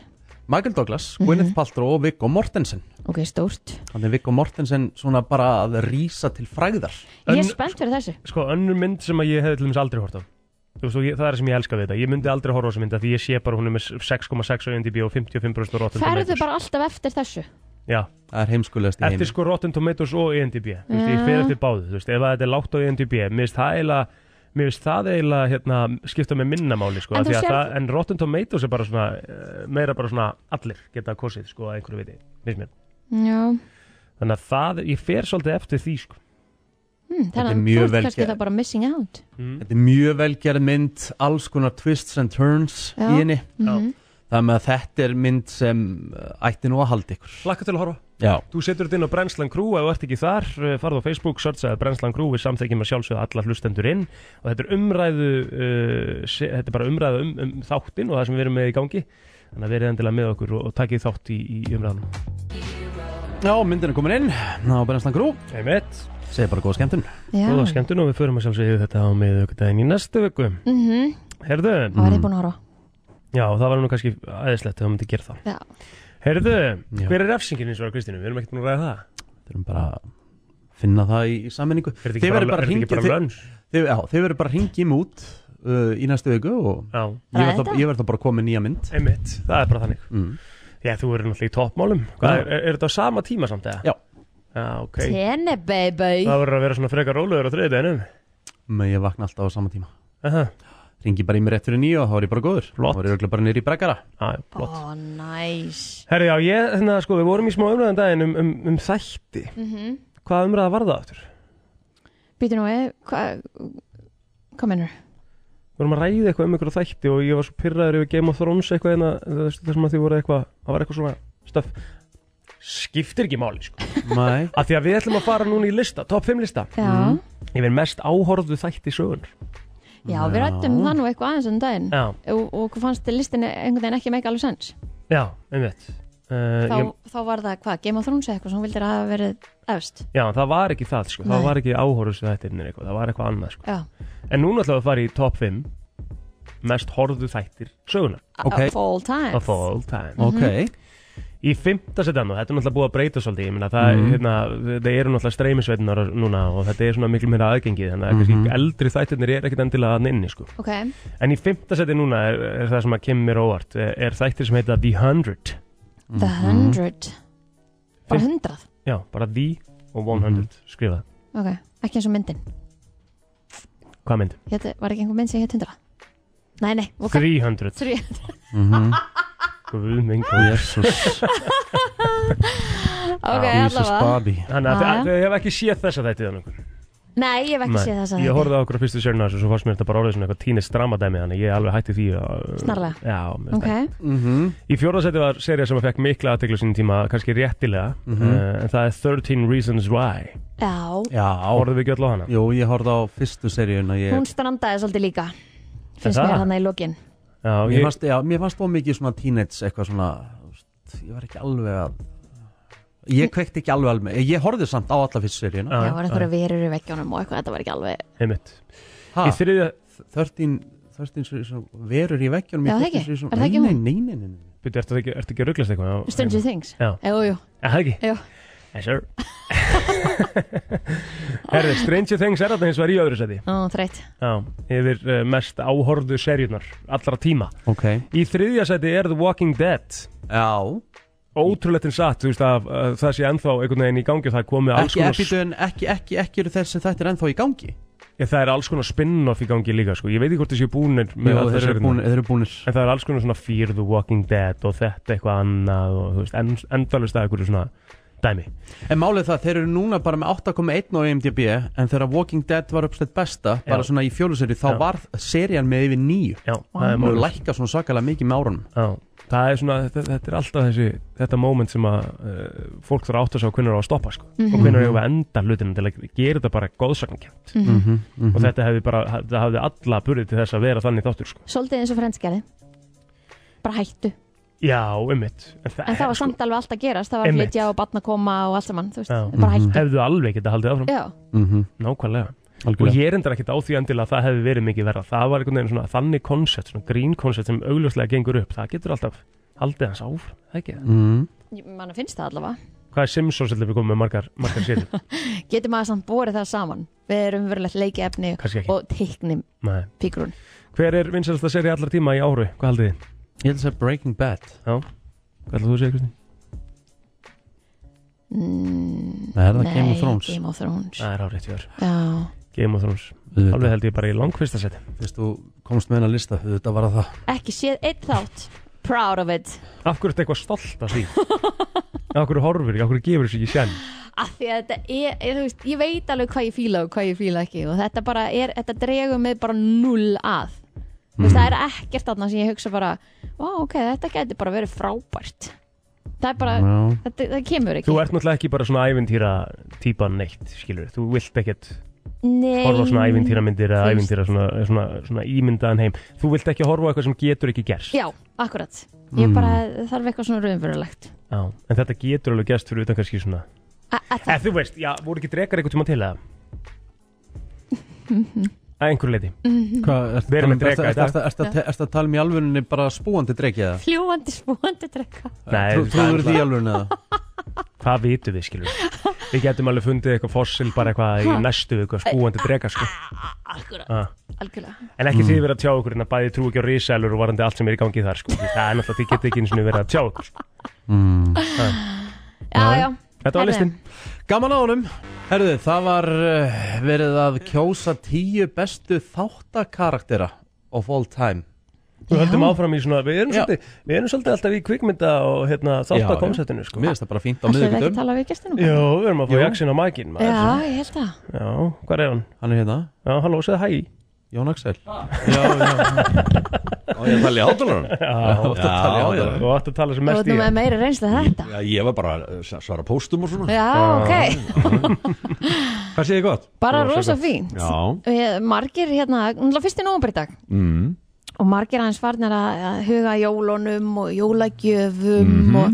A: Michael Douglas, Gwyneth Paltrow og Viggo Mortensen
B: ok, stórt
A: Þannig Viggo Mortensen svona bara að rýsa til fræðar
B: ég er
C: Önn-
B: spennt fyrir þessu
C: Sko, önnur mynd sem að ég hefði til dæmis aldrei hort á Þú veist, og ég, það er það sem ég elska við þetta Ég myndi aldrei horfa á þessa mynd af Því ég sé bara hún er með 6,6 á IMDb og 55% á Rotten
B: ferðu
C: Tomatoes
B: bara alltaf eftir þessu
C: Já,
A: Það er heimskulegast í
C: eftir
A: heimi
C: sko Rotten Tomatoes og IMDb Þú veist, ég fer eftir báðu Þú veist, ef að þetta er lágt á E IMDb Mér finnst það eiginlega Mér finnst það eiginlega hérna, skipta með minnamáli sko,
B: En
C: en,
B: þú sérð-
C: það, en Rotten Tomatoes er bara svona eh, meira bara svona allir geta kosið sko, að einhverju viti, finnst mér
B: já
C: þannig að það, ég fer svolítið eftir því sko.
B: hm,
A: er
B: þannig að
A: mjög
B: þú ert
A: vel
B: kannski
A: gerð.
B: það bara missing out
A: Þetta er mjög velgerð mynd, alls konar twists and turns
B: Já. Mhm.
A: í henni
C: mm.
A: Það með að þetta er mynd sem uh, ætti nú að halda ykkur
C: Laka til að horfa
A: Já,
C: Þú setur þetta inn á Brennslan Crew, ef þú ert ekki þar, eh, farðu á Facebook, searchaði Brennslan Crew, við samþekjum að sjálfsögða alla hlustendur inn og þetta er umræðu, uh, se, þetta er bara umræðu um, um þáttinn og það sem við erum með í gangi, þannig að verið endilega með okkur og, og takkið þátt í, í umræðanum.
A: Já myndin er komin inn Ná, Brennslan Grú,
C: Einmitt,
A: segir bara góða skemmtun
B: já,
C: góða skemmtun og við förum að sjálfsögðu yfir þetta á miðugdæðin í næstu viku.
B: mm -hmm.
C: Herðu,
B: það var ég búin að horfa á.
C: já það var nú kannski aðeinslegt ef það myndi gera það.
B: Já.
C: Herðu,
A: Já.
C: hver er refsingin eins og að Kristínu? Við erum ekkert búin að ræða það.
A: Þurfum bara að finna það í, í sammenningu
C: Er þetta ekki bara, bara,
A: að
C: bara,
A: hringja-
C: bara
A: þið-
C: lönns?
A: þið- já, Þið verður bara að ringja um út uh, í næstu viku og
C: Já,
A: ég verð
B: Ræða
A: þá-
B: þetta?
A: ég verð þá bara að koma með nýja mynd
C: einmitt, það er bara þannig.
A: mm.
C: Já, þú eru náttúrulega í toppmálum. Hvað,
A: Já.
C: er, er þetta á sama tíma samt eða?
A: Já.
C: Já, ok.
B: Tene, baby
C: Það verður að vera svona frekar rólegur á þriðdeginum.
A: Men Mm. ég vakna alltaf á sama tíma
C: Aha,
A: Ringi bara í mig rétt fyrir nýju og þá er ég bara góður
C: Flott.
A: Þá er ég örugglega bara nýri í brekkara
C: já, já, flott.
B: ó, næs
C: Herri, já, ég, þannig að sko, við vorum í smá umræðan daginn um, um, um þætti. Mm -hmm. Hvað umræða var það aftur?
B: býtu nú, eh, hvað hvað mennur?
C: Við vorum að ræða eitthvað um einhverja þætti og ég var svo pyrraður yfir Game of Thrones eitthvað hérna, en þessum að því voru eitthvað, það var eitthvað svona stöf. Skiptir ekki máli, sko.
A: Mæ
C: Af því að við ætlum að fara núna í lista, top 5 lista.
B: já
C: Yfir mest áhorðu þætti sögunar.
B: Já, við rættum það nú eitthvað aðeins um daginn
C: Já,
B: og, og hvað fannst þér listinni einhvern veginn ekki meika alveg sens
C: já, einmitt. Uh,
B: þá,
C: ég-
B: þá var það hvað, Game of Thrones eða eitthvað sem þú vildir að hafa verið efst
C: Já, það var ekki það, sko.
B: Nei.
C: Það var ekki áhorfis þættirnir eitthvað. Það var eitthvað annað, sko.
B: Já,
C: En núna ætlaðu að fara í top 5 mest horfðu þættir söguna.
A: Ok.
B: of all time
C: Of all time.
A: Ok
C: Í fymta setjan, og þetta er náttúrulega búið að breyta svolítið, ég meina það,
A: Mhm.
C: hérna, það eru náttúrulega streymisveitunar núna og þetta er svona miklu meira aðgengið, þannig að
A: Mhm.
C: kannski eldri þættirnir er ekkit endilega að inni, sko.
B: Ok,
C: En í fymta setjan núna er, er það sem að kemur mér óvart, er, er þættir sem heita The Hundred.
B: the hundred bara
C: Fimm-
B: hundrað,
C: Já, bara The og
A: Mhm.
C: 100 skrifað.
B: ok, ekki eins og myndin
C: Hvað mynd?
B: Hét, var ekki einhver mynd sem hétt hundrað? Nei, nei, ok,
C: 300.
B: þrjú
C: Guð minn góður.
A: Jesus
B: ok,
A: Jesus
B: allavega
A: Bobby
C: Þannig að
B: Jæja.
C: þau- þau hef ekki séð þessa þættið þannig.
B: Nei, ég hef ekki séð þess að
C: Ég horfði á okkur á fyrstu sérna þessu og svo fannst mér þetta bara orðið svona eitthvað tínist dramadæmi þannig ég alveg hætti því að...
B: Snarlega.
C: Já, mér
B: Ok,
C: finnst það. Í fjórðarsæti var serið sem að fekk mikla aðtekla sín tíma, kannski réttilega, uh, en það er 13 Reasons Why.
B: já,
A: Já
C: Horfðu við ekki öll á hana?
A: Jú, ég horfði á fyrstu seríun og ég
B: hún strandaði svolítið líka finnst
C: það?
B: mér þannig í lokin
C: Já,
A: Mér
C: ég,
A: fannst, já, mér fannst þó mikið svona teenage eitthvað svona þú veist, Ég var ekki alveg að Ég kveikti ekki alveg alveg, ég horfði samt á alla fyrst seríuna
B: Já, var eitthvað verur í veggjónum og eitthvað, þetta var ekki alveg
C: Einmitt.
A: Ha,
C: Í þriðja,
A: 13, 13 seríu sem verur í veggjunum í
B: Já, það
A: 13
B: ekki.
A: seríu sem-
B: Er það ekki
A: Nei,
B: hún?
A: Nei, nei, nei, nei
C: byrju, ertu ekki, ertu ekki að rugglast eitthvað? á-
B: Stranger Things
C: Já.
B: Jú, jú,
C: Er það ekki?
B: jú,
C: Yes, sir. Herði, Stranger Things er þarna hins vegar í öðru seti.
B: Ó, þreytt
C: Já, yfir uh, mest áhorðu serjurnar allra tíma.
A: Ok,
C: Í þriðja seti er The Walking Dead.
A: já
C: Ótrúleitin satt, þú veist að uh, það sé ennþá einhvern veginn í gangi og það er komið alls
A: Ekki,
C: konar...
A: ekki, ekki, ekki, ekki, ekki eru þessi þetta er ennþá í gangi
C: Ég, það er alls konar spin-off í gangi líka, sko. Ég veit ekki hvort þessi búnir með
A: Jú,
C: allar
A: þeir eru
C: seríurnar.
A: búnir, þeir eru búnir.
C: En það er alls konar svona Fear the Walking Dead og þetta eitthvað annað og þú veist, en, endalist að einhverju svona dæmi.
A: En málið er það, þeir eru núna bara með 8,1 á IMDb En þegar Walking Dead var uppstætt besta
C: Já.
A: Bara svona í fjóluseri, þá
C: Já.
A: var serían með yfir nýju
C: Já, það
A: Hún
C: er
A: hefur
C: málið.
A: lækkað svona svakalega mikið með árunum
C: Já, það er svona, þetta, þetta er alltaf þessi, þetta moment sem að uh, fólk þarf að átta sig á hvernig á að stoppa, sko.
B: Mhm.
C: Og hvernig á að enda hlutina til að gera þetta bara góðsaknakent.
B: Mhm.
C: Og þetta hefði bara, það hafði alla burðið til þess að vera þannig þáttur, sko.
B: Svolítið eins og frendskjæði Bara hættu
C: Já, ummitt.
B: En það var samt alveg allt að gerast Það var að
C: Einmitt.
B: flytja og batna koma og allt saman Þú veist,
C: Já. Mhm.
B: bara hættu
C: Hefðu alveg getað haldið áfram.
B: Já,
A: mm -hmm.
C: Nákvæmlega. Og ég er endar ekkert á því endilega að það hefði verið mikið verra. Það var einhvern veginn svona þannig koncept, svona grín koncept sem augljóslega gengur upp. Það getur alltaf haldið hans áfram, það ekki það.
A: mm.
B: ég- mann finnst það allavega
C: Hvað er Simpsons heldur við komum með margar, margar sérum?
B: Getur maður samt borið það saman Við erum verulegt leiki efni
C: Kannski ekki.
B: og teiknim
C: Nei.
B: píkrun
C: Hver er vinsalasta séri allra tíma í ári? Hvað haldið þið?
A: Ég held að segja Breaking Bad
C: Já. Hvað heldur þú að segja, Kristín?
B: mm,
A: Nei, er það Game of Thrones?
B: Game of Thrones
C: Það er árið tjóður.
B: Já,
C: Game of Thrones.
A: Auðvitað.
C: Alveg held ég bara í langfyrsta seti.
A: Fyrst þú komst með hennar lista, þetta var að það
B: ekki séð eitt þátt Proud of it
C: Af hverju er þetta eitthvað stolt af því? Af hverju horfur ekki? Af hverju gefur þessu ekki sjæn?
B: af því að þetta er, er þú veist, ég veit alveg hvað ég fíla og hvað ég fíla ekki og þetta bara er, þetta dregur mig bara null að þú veist,
C: Mm.
B: það er ekkert þarna sem ég hugsa bara, vá, ok, þetta gæti bara verið frábært það er bara,
A: Já.
B: þetta, það kemur ekki
C: Mm. Þú ert náttúrulega ekki bara svona ævintýra típan neitt, skilur. Þú vilt ekkert
B: Nei,
C: horfa á svona ævintýramyndir eða
B: Þú veist.
C: ævintýra svona, svona, svona ímyndaðan heim þú vilt ekki horfa á eitthvað sem getur ekki gerst
B: já, akkurat
C: Mm.
B: ég bara þarf eitthvað svona raunverulegt
C: Já, en þetta getur alveg gerst fyrir utan kannski svona
B: A- að
C: eða
B: það,
C: þú veist, já, voru ekki drekar eitthvað tíma til eða að einhverju leiti
A: Hvað, ertu að
C: Við erum
A: tala um-
C: með dreka í
A: ertu-
C: dag.
A: ertu- ertu- ertu- Ertu að tala um í alvörunni bara spúandi dreki eða?
B: fljúandi spúandi drekka
C: Nei,
A: Trú-
C: það er
A: Trúður því
C: náttúrulega-
A: í alvörunni eða?
C: hvað vitum við skilur við getum alveg fundið eitthvað fossil bara eitthvað í næstu viku skúandi drekar sko
B: akkurat,
C: Ah.
B: algjörlega
C: en
A: Mm.
C: ekki þið verið að tjá okkur en að bæði trú ekki á risalur og varandi allt sem er í gangi þar sko. það er náttúrulega þið getur ekki eins og verið að tjá okkur sko.
B: já, já,
C: þetta var
B: Herðu.
C: listin
A: Gaman á honum Herðu, það var uh, verið að kjósa tíu bestu þáttakarakterra of all time
C: Við höldum áfram í svona, við erum,
A: Já.
C: svolítið, við erum svolítið alltaf í kvikmynda og hérna,
A: Já, já.
C: þáttakonceptinu sko.
A: Mér finnst það bara fínt á
B: ætlum við ekki að
A: miðvikutum
B: tala við gestinum
C: Jó, við erum að fá
A: Jú.
C: jaksin á mækin
B: já,
C: Já,
B: ég held það
C: hvað er hann?
A: Hann er hérna,
C: Já, halló, segðu hæ
A: Jón Axel Já, já
I: Og ég tali átalarun
C: Já,
I: Já, já
C: þú ætti að tala sem
B: Þú
C: mest
B: ert
C: í
B: nú með meira reynslu að þetta
I: Já, Ég var bara að svara póstum og svona
B: Já, ok,
I: Hvað sé ég gott?
B: bara rosa fínt
I: Já
B: Eh, margir hérna, náttúrulega fyrst í nógumbur í dag
I: mm.
B: og margir aðeins farnir að að huga að jólunum og jólagjöfum
I: Mhm.
B: og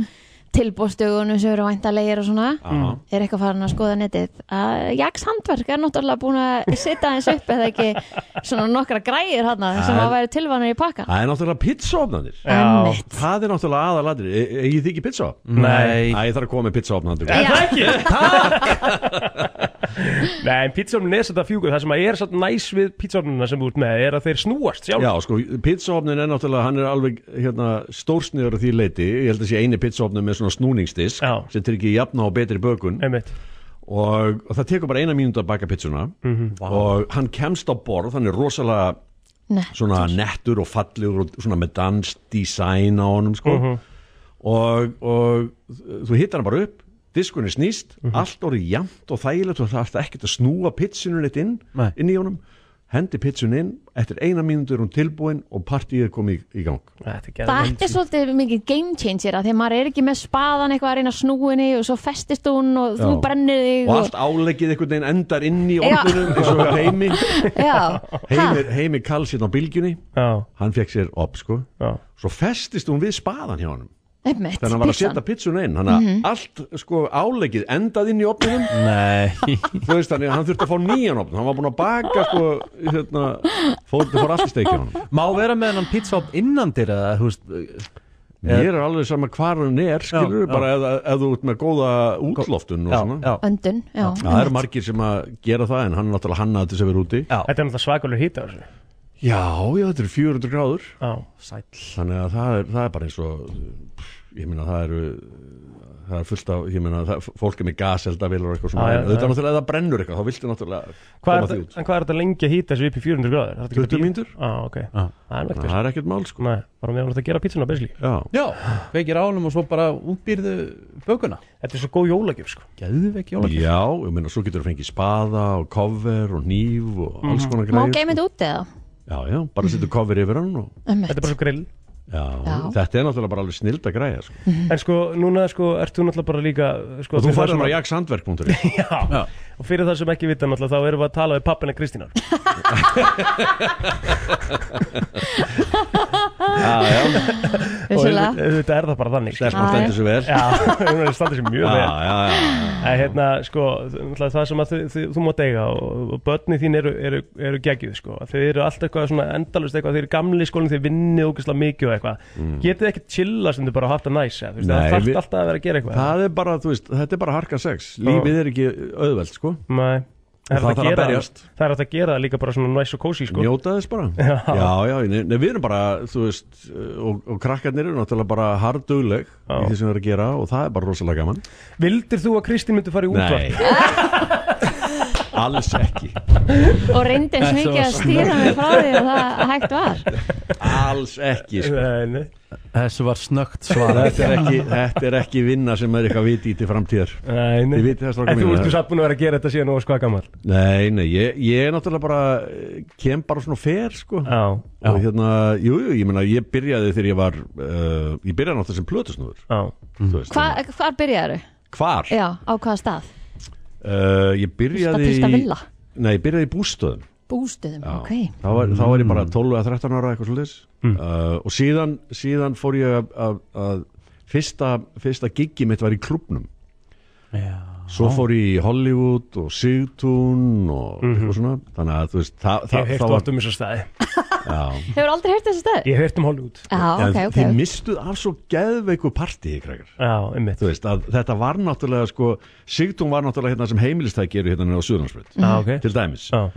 B: tilbúrstögunum sem eru væntalegir og svona
I: Já.
B: er eitthvað farin að skoða netið að Jax Handverk er náttúrulega búin að setja aðeins upp eða ekki svona nokkra græir hana sem
I: Það er-
B: að væri tilvanir í pakkan
I: Það er náttúrulega pizzaofnandir
B: Einmitt.
I: Það er náttúrulega E-, aðaladri Ég þykir pizza
A: Nei,
I: Æ, ég þarf að koma með pizzaofnandur
B: Já.
C: Nei, en pítsornum er þetta fjúkuð Það sem að er svolítið næs við pítsornuna sem þú ert með er að þeir snúast sjálf
I: Já, sko, pizzaofnin er náttúrulega, hann er alveg hérna, stórsniður að því leiti, ég held að sé eini pizzaofnum með svona snúningsdisk
C: Já.
I: sem tryggir jafna og betri bökun
C: Einmitt.
I: og, og það tekur bara eina mínúti að baka pizzuna og hann kemst á borð, hann er rosalega
B: Nei,
I: svona nettur og fallegur og svona með dans design á honum sko. og, og þú hittar hann bara upp diskunni snýst, allt orðið jæmt og þægilegt og það ætti ekkert að snúa pitsunum eitt inn,
A: Nei.
I: inn í honum hendi pitsun inn, eftir eina mínútur er hún tilbúin og partíið er komið í, í gang
C: Þetta
B: Það er svolítið mikið game changer að því að maður er ekki með spaðan eitthvað að reyna að snúinni og svo festist hún og þú
I: Já.
B: brennir þig
I: og allt áleggið einhvern veginn endar inn í
B: Já.
I: ofnunum eins og heimi
B: Já,
I: heimir, heimir kall sérna á bylgjunni
C: Já,
I: hann fekk sér op sko
C: já,
I: svo festist hún við spaðan hjá honum
B: Einmitt,
I: þannig að hann var að
B: pitsan.
I: setja pizzuna inn þannig að allt sko áleggið endað inn í opninum
A: Nei
I: þú veist þannig að hann þurfti að fá nýjan opn hann var búin að baka sko hérna, fór, það fór allt í steikja hann
A: Má vera með hennan pizza upp innan dyr eða, þú veist
I: mér er alveg sama hvar hann er skilur
A: Já,
I: bara ef, ef þú ert með góða útloftun og
A: Já,
I: svona
A: já,
B: Öndun, já,
I: Já, það eru margir sem að gera það en hann er náttúrulega hannaði til þess að vera úti
A: já,
C: Þetta er náttúrulega svakalur hýta þessu
I: já, já, þetta eru 400 gráður
C: Já,
A: sæll
I: þannig að það er, það er bara eins og pff, ég meina það eru það er fullt af, ég meina það, fólk er með gas elda og eitthvað svona,
C: Já, já,
I: en auðvitað
C: já.
I: náttúrulega ef það brennur eitthvað, þá viltu náttúrulega
C: hvað er,
I: koma því
C: þetta-
I: út
C: en hvað er þetta lengi að hýta þessu upp í 400 gráður? Er þetta ekki
I: 20
C: að bíða?
I: mínútur?
C: Já, ok Það er
I: Þannig
C: mægt
I: að
C: veist
I: það er ekkert mál sko
C: Nei, bara meðan þú ert að gera pítsuna basically
I: já,
A: Já, kveikir álum og svo bara útbýrðu bökuna
C: Þetta er svo góð jólagjöf sko
A: Geðveik jólagjöf
I: já, ég meina svo getur þú fengið spaða og cover og nýf og alls konar
B: Má
I: greiður
B: geimið út eða?
I: já, já, bara setur cover yfir hann og,
B: Einmitt.
C: Þetta er bara svo grill
I: já,
B: Já.
I: þetta er náttúrulega bara alveg snild að græja sko.
C: En sko, núna sko, ert þú náttúrulega bara líka sko,
I: og þú
C: fyrir
I: færðar
C: það
I: bara
C: sem-
I: jaksandverk.ri
C: Já, og fyrir það sem ekki vita náttúrulega þá erum við að tala við pappina Kristínar
B: Vissulega.
C: Þetta er það bara þannig sko.
I: þess maður stendur svo vel
C: Já, hún er standið sér mjög
I: já,
C: vel
I: já, já.
C: En hérna, sko, náttúrulega það sem að þið, þið, þú mátt eiga og, og börni þín eru, eru, eru geggjuð, sko. Þið eru allt eitthvað svona endalust eitthvað, þið eru gamli í skólinni, þið vinnið ógeðslega mikið og eitthvað. Getið þið ekki chilla sem þið bara haft að næs, eða, þú veist, það
I: Mm. Nei,
C: þarf
I: við-
C: alltaf að vera að gera eitthvað.
I: það er bara, þú veist, þetta er bara harka sex lífið er ekki auðveld sko
C: Nei, hægt
I: Og það þarf að
C: gera
I: berjast.
C: Það er hægt að gera það líka bara svona næs og kósi, sko.
I: Njóta þess bara Já, já, já nei, nei, við erum bara, þú veist eh, og, og krakkarnir eru náttúrulega bara hardugleg í því sem við erum að gera og það er bara rosalega gaman
C: Vildir þú að Kristín myndi fara í útvarp?
I: alls ekki
B: Og reyndi eins mikið að stýra mig frá því og það hægt var
I: alls ekki sko.
C: Nei, nei.
A: Þessu var snögt svar
I: þetta, er ekki, þetta er ekki vinna sem er eitthvað viti í til framtíðar
C: Nei, nei.
I: Þið vitið það, strákar
C: En þú
I: mínir,
C: ertu
I: það-
C: satt búin að vera að gera þetta síðan og sko að gammal.
I: Nei, nei, ég, ég er náttúrulega bara eh, kem bara svona fer sko
C: Já.
I: og hérna, jú, jú, ég meina ég byrjaði þegar ég var uh, ég byrjaði náttúrulega sem plötusnúður
C: Já.
I: mm. veist,
B: Hva, Hvar byrjaðu?
I: Hvar?
B: Já, á hvaða stað?
I: Uh, ég byrjaði
B: Statista
I: í-
B: villa
I: Nei, ég byrjaði í bústöðum
B: Bústuðum,
I: Já.
B: ok
I: þá, var, þá var ég
C: Mm.
I: bara 12 eða 13 ára eitthvað svolítið uh, og síðan, síðan fór ég að, að, að fyrsta, fyrsta giggi mitt var í klubnum svo fór ég í Hollywood og Sigtún og eitthvað svona þannig að þú veist það, það,
C: Mhm. Ég hef
I: það
C: heyrt oft um þessa staði.
I: já,
B: Hefur aldrei heyrt þessi stað?
C: Ég hef heyrt um Hollywood.
B: Já,
I: En
B: ok, ok
I: þið mistuð af svo geðveiku partíi krakkar
C: Já, einmitt.
I: þú veist að þetta var náttúrulega sko Sigtún var náttúrulega hérna sem heimilistæk eru hérna á Suðurlandsbreyt
C: Já, ok.
I: til dæmis
C: Já.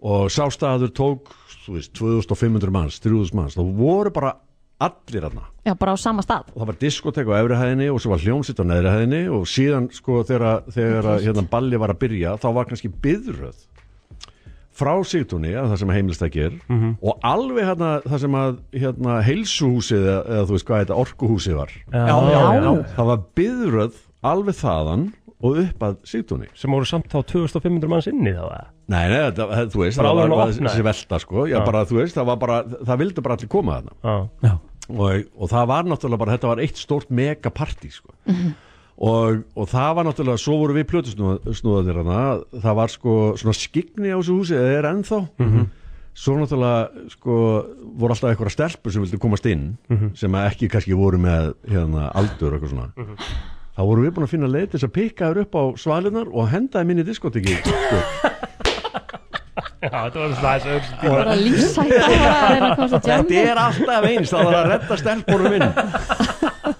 I: og sástaður tók þú veist, 2500 manns, 3000 manns þá voru bara allir aðna
B: Já, bara á sama
I: og
B: stað
I: það var diskotek á efri hæðinni og svo var hljómsitt á neðri hæðinni og síðan sko þegar, þegar að, hérna, balli var að byrja þá var kannski byðröð frá sigtunni að það sem heimilstæki er og alveg hérna það sem að hérna, heilsuhúsið eða, eða þú veist hvað þetta orkuhúsið var
C: Já,
I: það var byðröð alveg þaðan og upp að sigtunni
C: sem voru samt þá 2500 manns inni þá eða?
I: Nei, nei, þetta, það- þú veist,
C: Bara
I: það
C: áður
I: var,
C: en það
I: var
C: opnaði.
I: þessi velta sko, já, bara, þú veist, það var bara, það vildi bara allir koma þarna
C: Já,
I: og, og það var náttúrulega bara, þetta var eitt stórt megapartí sko og, og það var náttúrulega, svo voru við plötusnúðanir hana, það var sko svona skikni á þessu húsi, eða er ennþá svo náttúrulega sko voru alltaf einhverja stelpur sem vildi komast inn sem að ekki kannski voru með hérna aldur og eitthvað svona þá voru við búin að finna leið til þess að pikka þér upp á svalinnar og henda þeim inn í diskoteki sko.
C: já þetta var svona þessu öðru
B: Það var að lífsæta Það var að reyna að komast að
I: Þetta
B: jammi
I: er alltaf eins, það var að redda stelpunum inn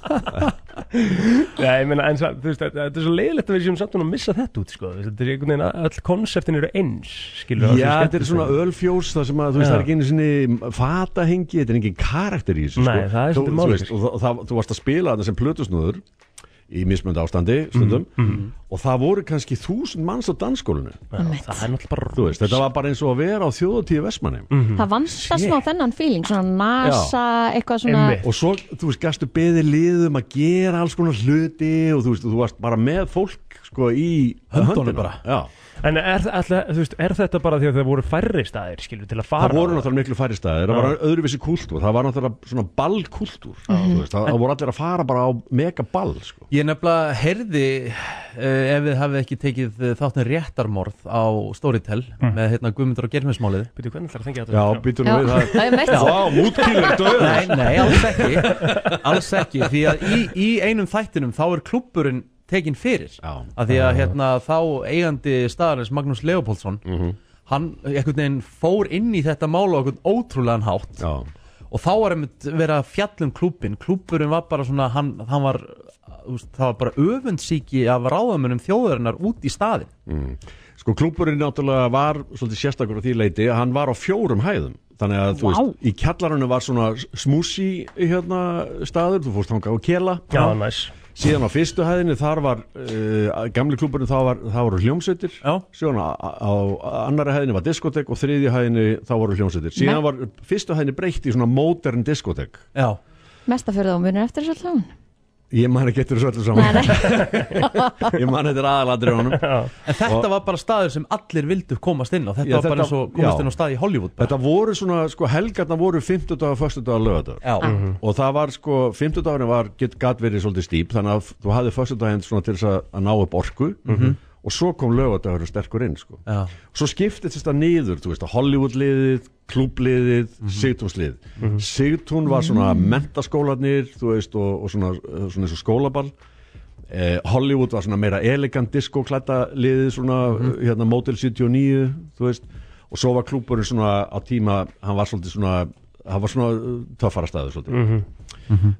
C: Já, ég meina, en það, þú veist, þetta þetta er svo leiðilegt að við séum samt núna að missa þetta út, sko þú veist, Þetta er einhvern veginn, að öll konseptin eru eins, skilur
I: Já, þetta er svona
C: sko.
I: ölfjós það sem að, þú veist,
C: Já.
I: það er ekki einu sinni fatahengi, þetta er engin karakter í þessu
C: Nei,
I: sko.
C: það er
I: Þú-
C: svolítið
I: þú
C: málið,
I: veist,
C: sko.
I: Og það, það, þú varst að spila þetta sem plötusnúður í mismönda ástandi stundum
C: Mm,
I: og það voru kannski þúsund manns á dansskólinu
C: Já, það er náttúrulega bara
I: þú veist, þetta var bara eins og að vera á þjóðatíu Vestmanni
C: Mm.
B: Það vantar smá þennan feeling Svona nasa, eitthvað svona
C: Einmitt.
I: og svo, þú veist, gastu beðið liðum að gera alls konar hluti og þú veist, og þú varst bara með fólk sko í
A: Höndunum
I: höndunum.
A: bara.
I: Já.
C: En er, alltaf, þú veist, er þetta bara því að það voru færri staðir, skilur, til að fara
I: það voru náttúrulega miklu færri staðir, það var öðruvísi kúltúr, það var náttúrulega svona ballkúltúr, þú veist, það, það voru allir að fara bara á megaball, sko.
A: Ég nefnilega heyrði eh, ef við hafið ekki tekið eh, þáttin réttarmorð á Storytel með hérna Guðmundur og Germismálið
C: Býtu, hvernig ætlar að fengja
I: Já,
C: þetta?
I: býtur
B: Já,
I: nú við það
B: það er meitt
I: Vá, mútkýlur,
A: Nei,
I: döður
A: nei, alls ekki Alls ekki, því að í, í einum þættinum þá er klúppurinn tekin fyrir
I: Já.
A: að því að hérna, þá eigandi staðarins Magnús Leopoldsson
I: Mhm.
A: hann einhvern veginn fór inn í þetta mál og einhvern ótrúlegan hátt
I: Já,
A: og þá var einmitt verið að fjallum klúppin klúppurinn var bara svona hann, hann var, þú veist, það var bara öfundsíki af ráðamönnum þjóðarinnar út í staðin
I: sko klúburinn náttúrulega var svolítið sérstakur á því leiti að hann var á fjórum hæðum þannig að þú veist, í kjallarunni var svona smúsi hérna staður, þú fórst hanga og kela
C: Já, næs
I: síðan á fyrstu hæðinni þar var uh, gamli klúburinn, þá var, það voru hljómsveitir
A: Já.
I: síðan á, á annari hæðinni var diskotek og þriðju hæðinni þá voru hljómsveitir síðan var fyrstu hæðinni breytt í svona modern diskotek
A: Já,
B: Mesta fyrir þá munir eftir þessu alltaf
I: ég man ekki eftir þessu öllu
B: Nei,
I: saman
B: nei,
I: ég man eftir aðaladrið honum
A: en þetta var bara staður sem allir vildu komast inn á þetta
I: Já,
A: var bara
I: þetta-
A: eins og komast
I: já.
A: inn á stað í Hollywood bara.
I: þetta voru svona, sko helgarna voru 50 dagar, 1. dagar, lögadag
A: Já,
I: og það var sko, 50 dagurinn var get, gat verið svolítið stýp, þannig að þú hafði fyrstu daginn svona til þess að, að ná upp orku og svo kom lögadagur sterkur inn sko.
A: Já.
I: svo skiptist þetta niður, þú veist að Hollywoodliðið, klúbliðið mm -hmm. Sigtúnsliðið, Sigtún var svona mentaskólanir, þú veist og, og svona, eh, svona eins og skólaball eh, Hollywood var svona meira elegant diskoklæta liðið svona hérna Motel 79, þú veist og svo var klúburinn svona á tíma hann var svolítið svona, hann var svona eh, töffara staður svolítið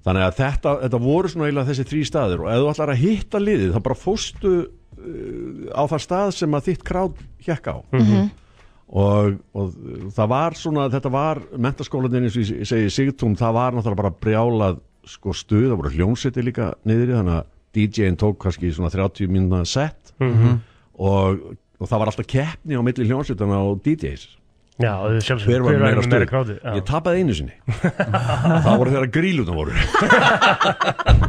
I: Þannig að þetta, þetta voru svona eiginlega þessi þrý staðir og ef þú ætlar að hitta liðið þá bara fóstu uh, á það stað sem að þitt kráð hjekk á og, og það var svona, þetta var mentaskólanin eins og ég segi Sigtún, það var náttúrulega bara brjálað sko stuð, það voru hljómsveitir líka niðri þannig að DJ-in tók kannski svona 30 mínuna sett og, og það var alltaf keppni á milli hljómsveitana og DJs
C: Já, það er sjálfsög
I: hver var meira stuð
C: kráði
I: ég tapaði einu sinni það voru þegar gríluna voru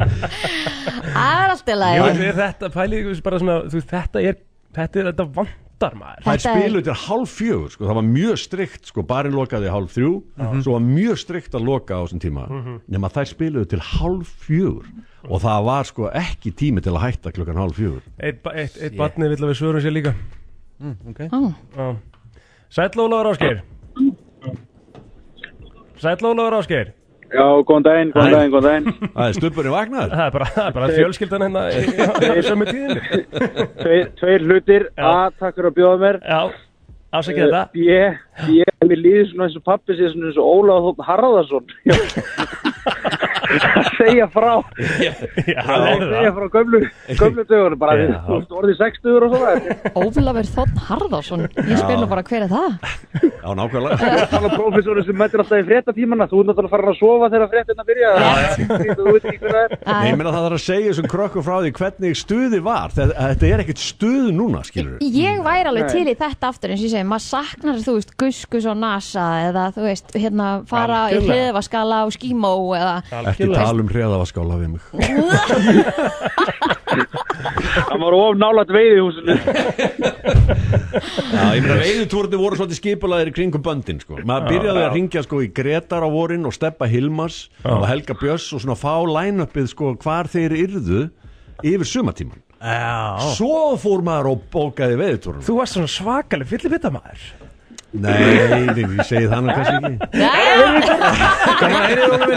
B: það er alltaf
C: Ég
B: læg
C: veit, er þetta, pælið ykkur bara svona, þú veist, þetta er, þetta er, þetta vantar maður.
I: Þær
B: Þetta er-
I: spiluðu til hálf fjögur, sko, það var mjög strikt, sko, barinn lokaði hálf þrjú, svo var mjög strikt að loka á þessum tíma,
B: Mhm.
I: nema þær spiluðu til hálf fjögur og það var sko ekki tími til að hætta klukkan hálf fjögur.
C: Eitt, ba- eitt, eitt barnið vill að við svörum sér líka.
B: Ó.
C: Sæll Ólafur Ásgeir. Sæll Ólafur Ásgeir.
H: Já, góðan daginn, góðan daginn, góðan daginn.
I: Það er stubburinn vagnar.
C: Það er bara, það er bara fjölskyldan hérna í í- í sömu tíðinu.
H: Tveir, tveir hlutir,
C: Já.
H: A, takk fyrir að bjóða mér.
C: Já, afsakið þetta.
H: B, B, mér líður svona eins og pappi sér svona eins og Ólaf Þótt Harðarsson. að segja frá,
C: Já,
H: að
C: það er
H: segja
C: það.
H: frá gömlu, gömlu dögunum, bara því,
C: Já.
H: þú veist, orðið 60 og svona.
B: Ólafur Þotn Harðarsson Ég spyr nú bara hver er það
I: Já, nákvæmlega.
H: Þannig að prófessorinn sem mætir alltaf í fréttatímana, þú er náttúrulega farin að sofa þegar fréttina byrja. Þú veit ekki hvað það er.
I: Nei, ég meina það þarf að segja þessum krökkum frá því hvernig stuði var. Þetta, þetta er ekkert stuð núna, skilur
B: Ég væri alveg til í þetta aftur eins og ég segi, maður saknar þú veist guskus og nasa eða þú veist hérna fara í
C: Algjörlega.
B: hliðvaskala og skímó eða
I: Ekki tala um hreðavaskála við mig.
H: Hann var of nálat veiði húsinu.
I: Já, ég meina veiðutúrni voru svolítið skipulaðir í kringum böndin sko. maður byrjaði að ringja sko í Gretar á vorin og Steppa Hilmars og Helga Björns og svona fá line-upið sko hvar þeir yrðu yfir sumatíman
A: já
I: svo fór maður og bókaði veiðutúrni
C: Þú varst svona svakaleg fyllibita maður.
I: Nei, nei, ég segi það nú kannski ekki
B: Bæ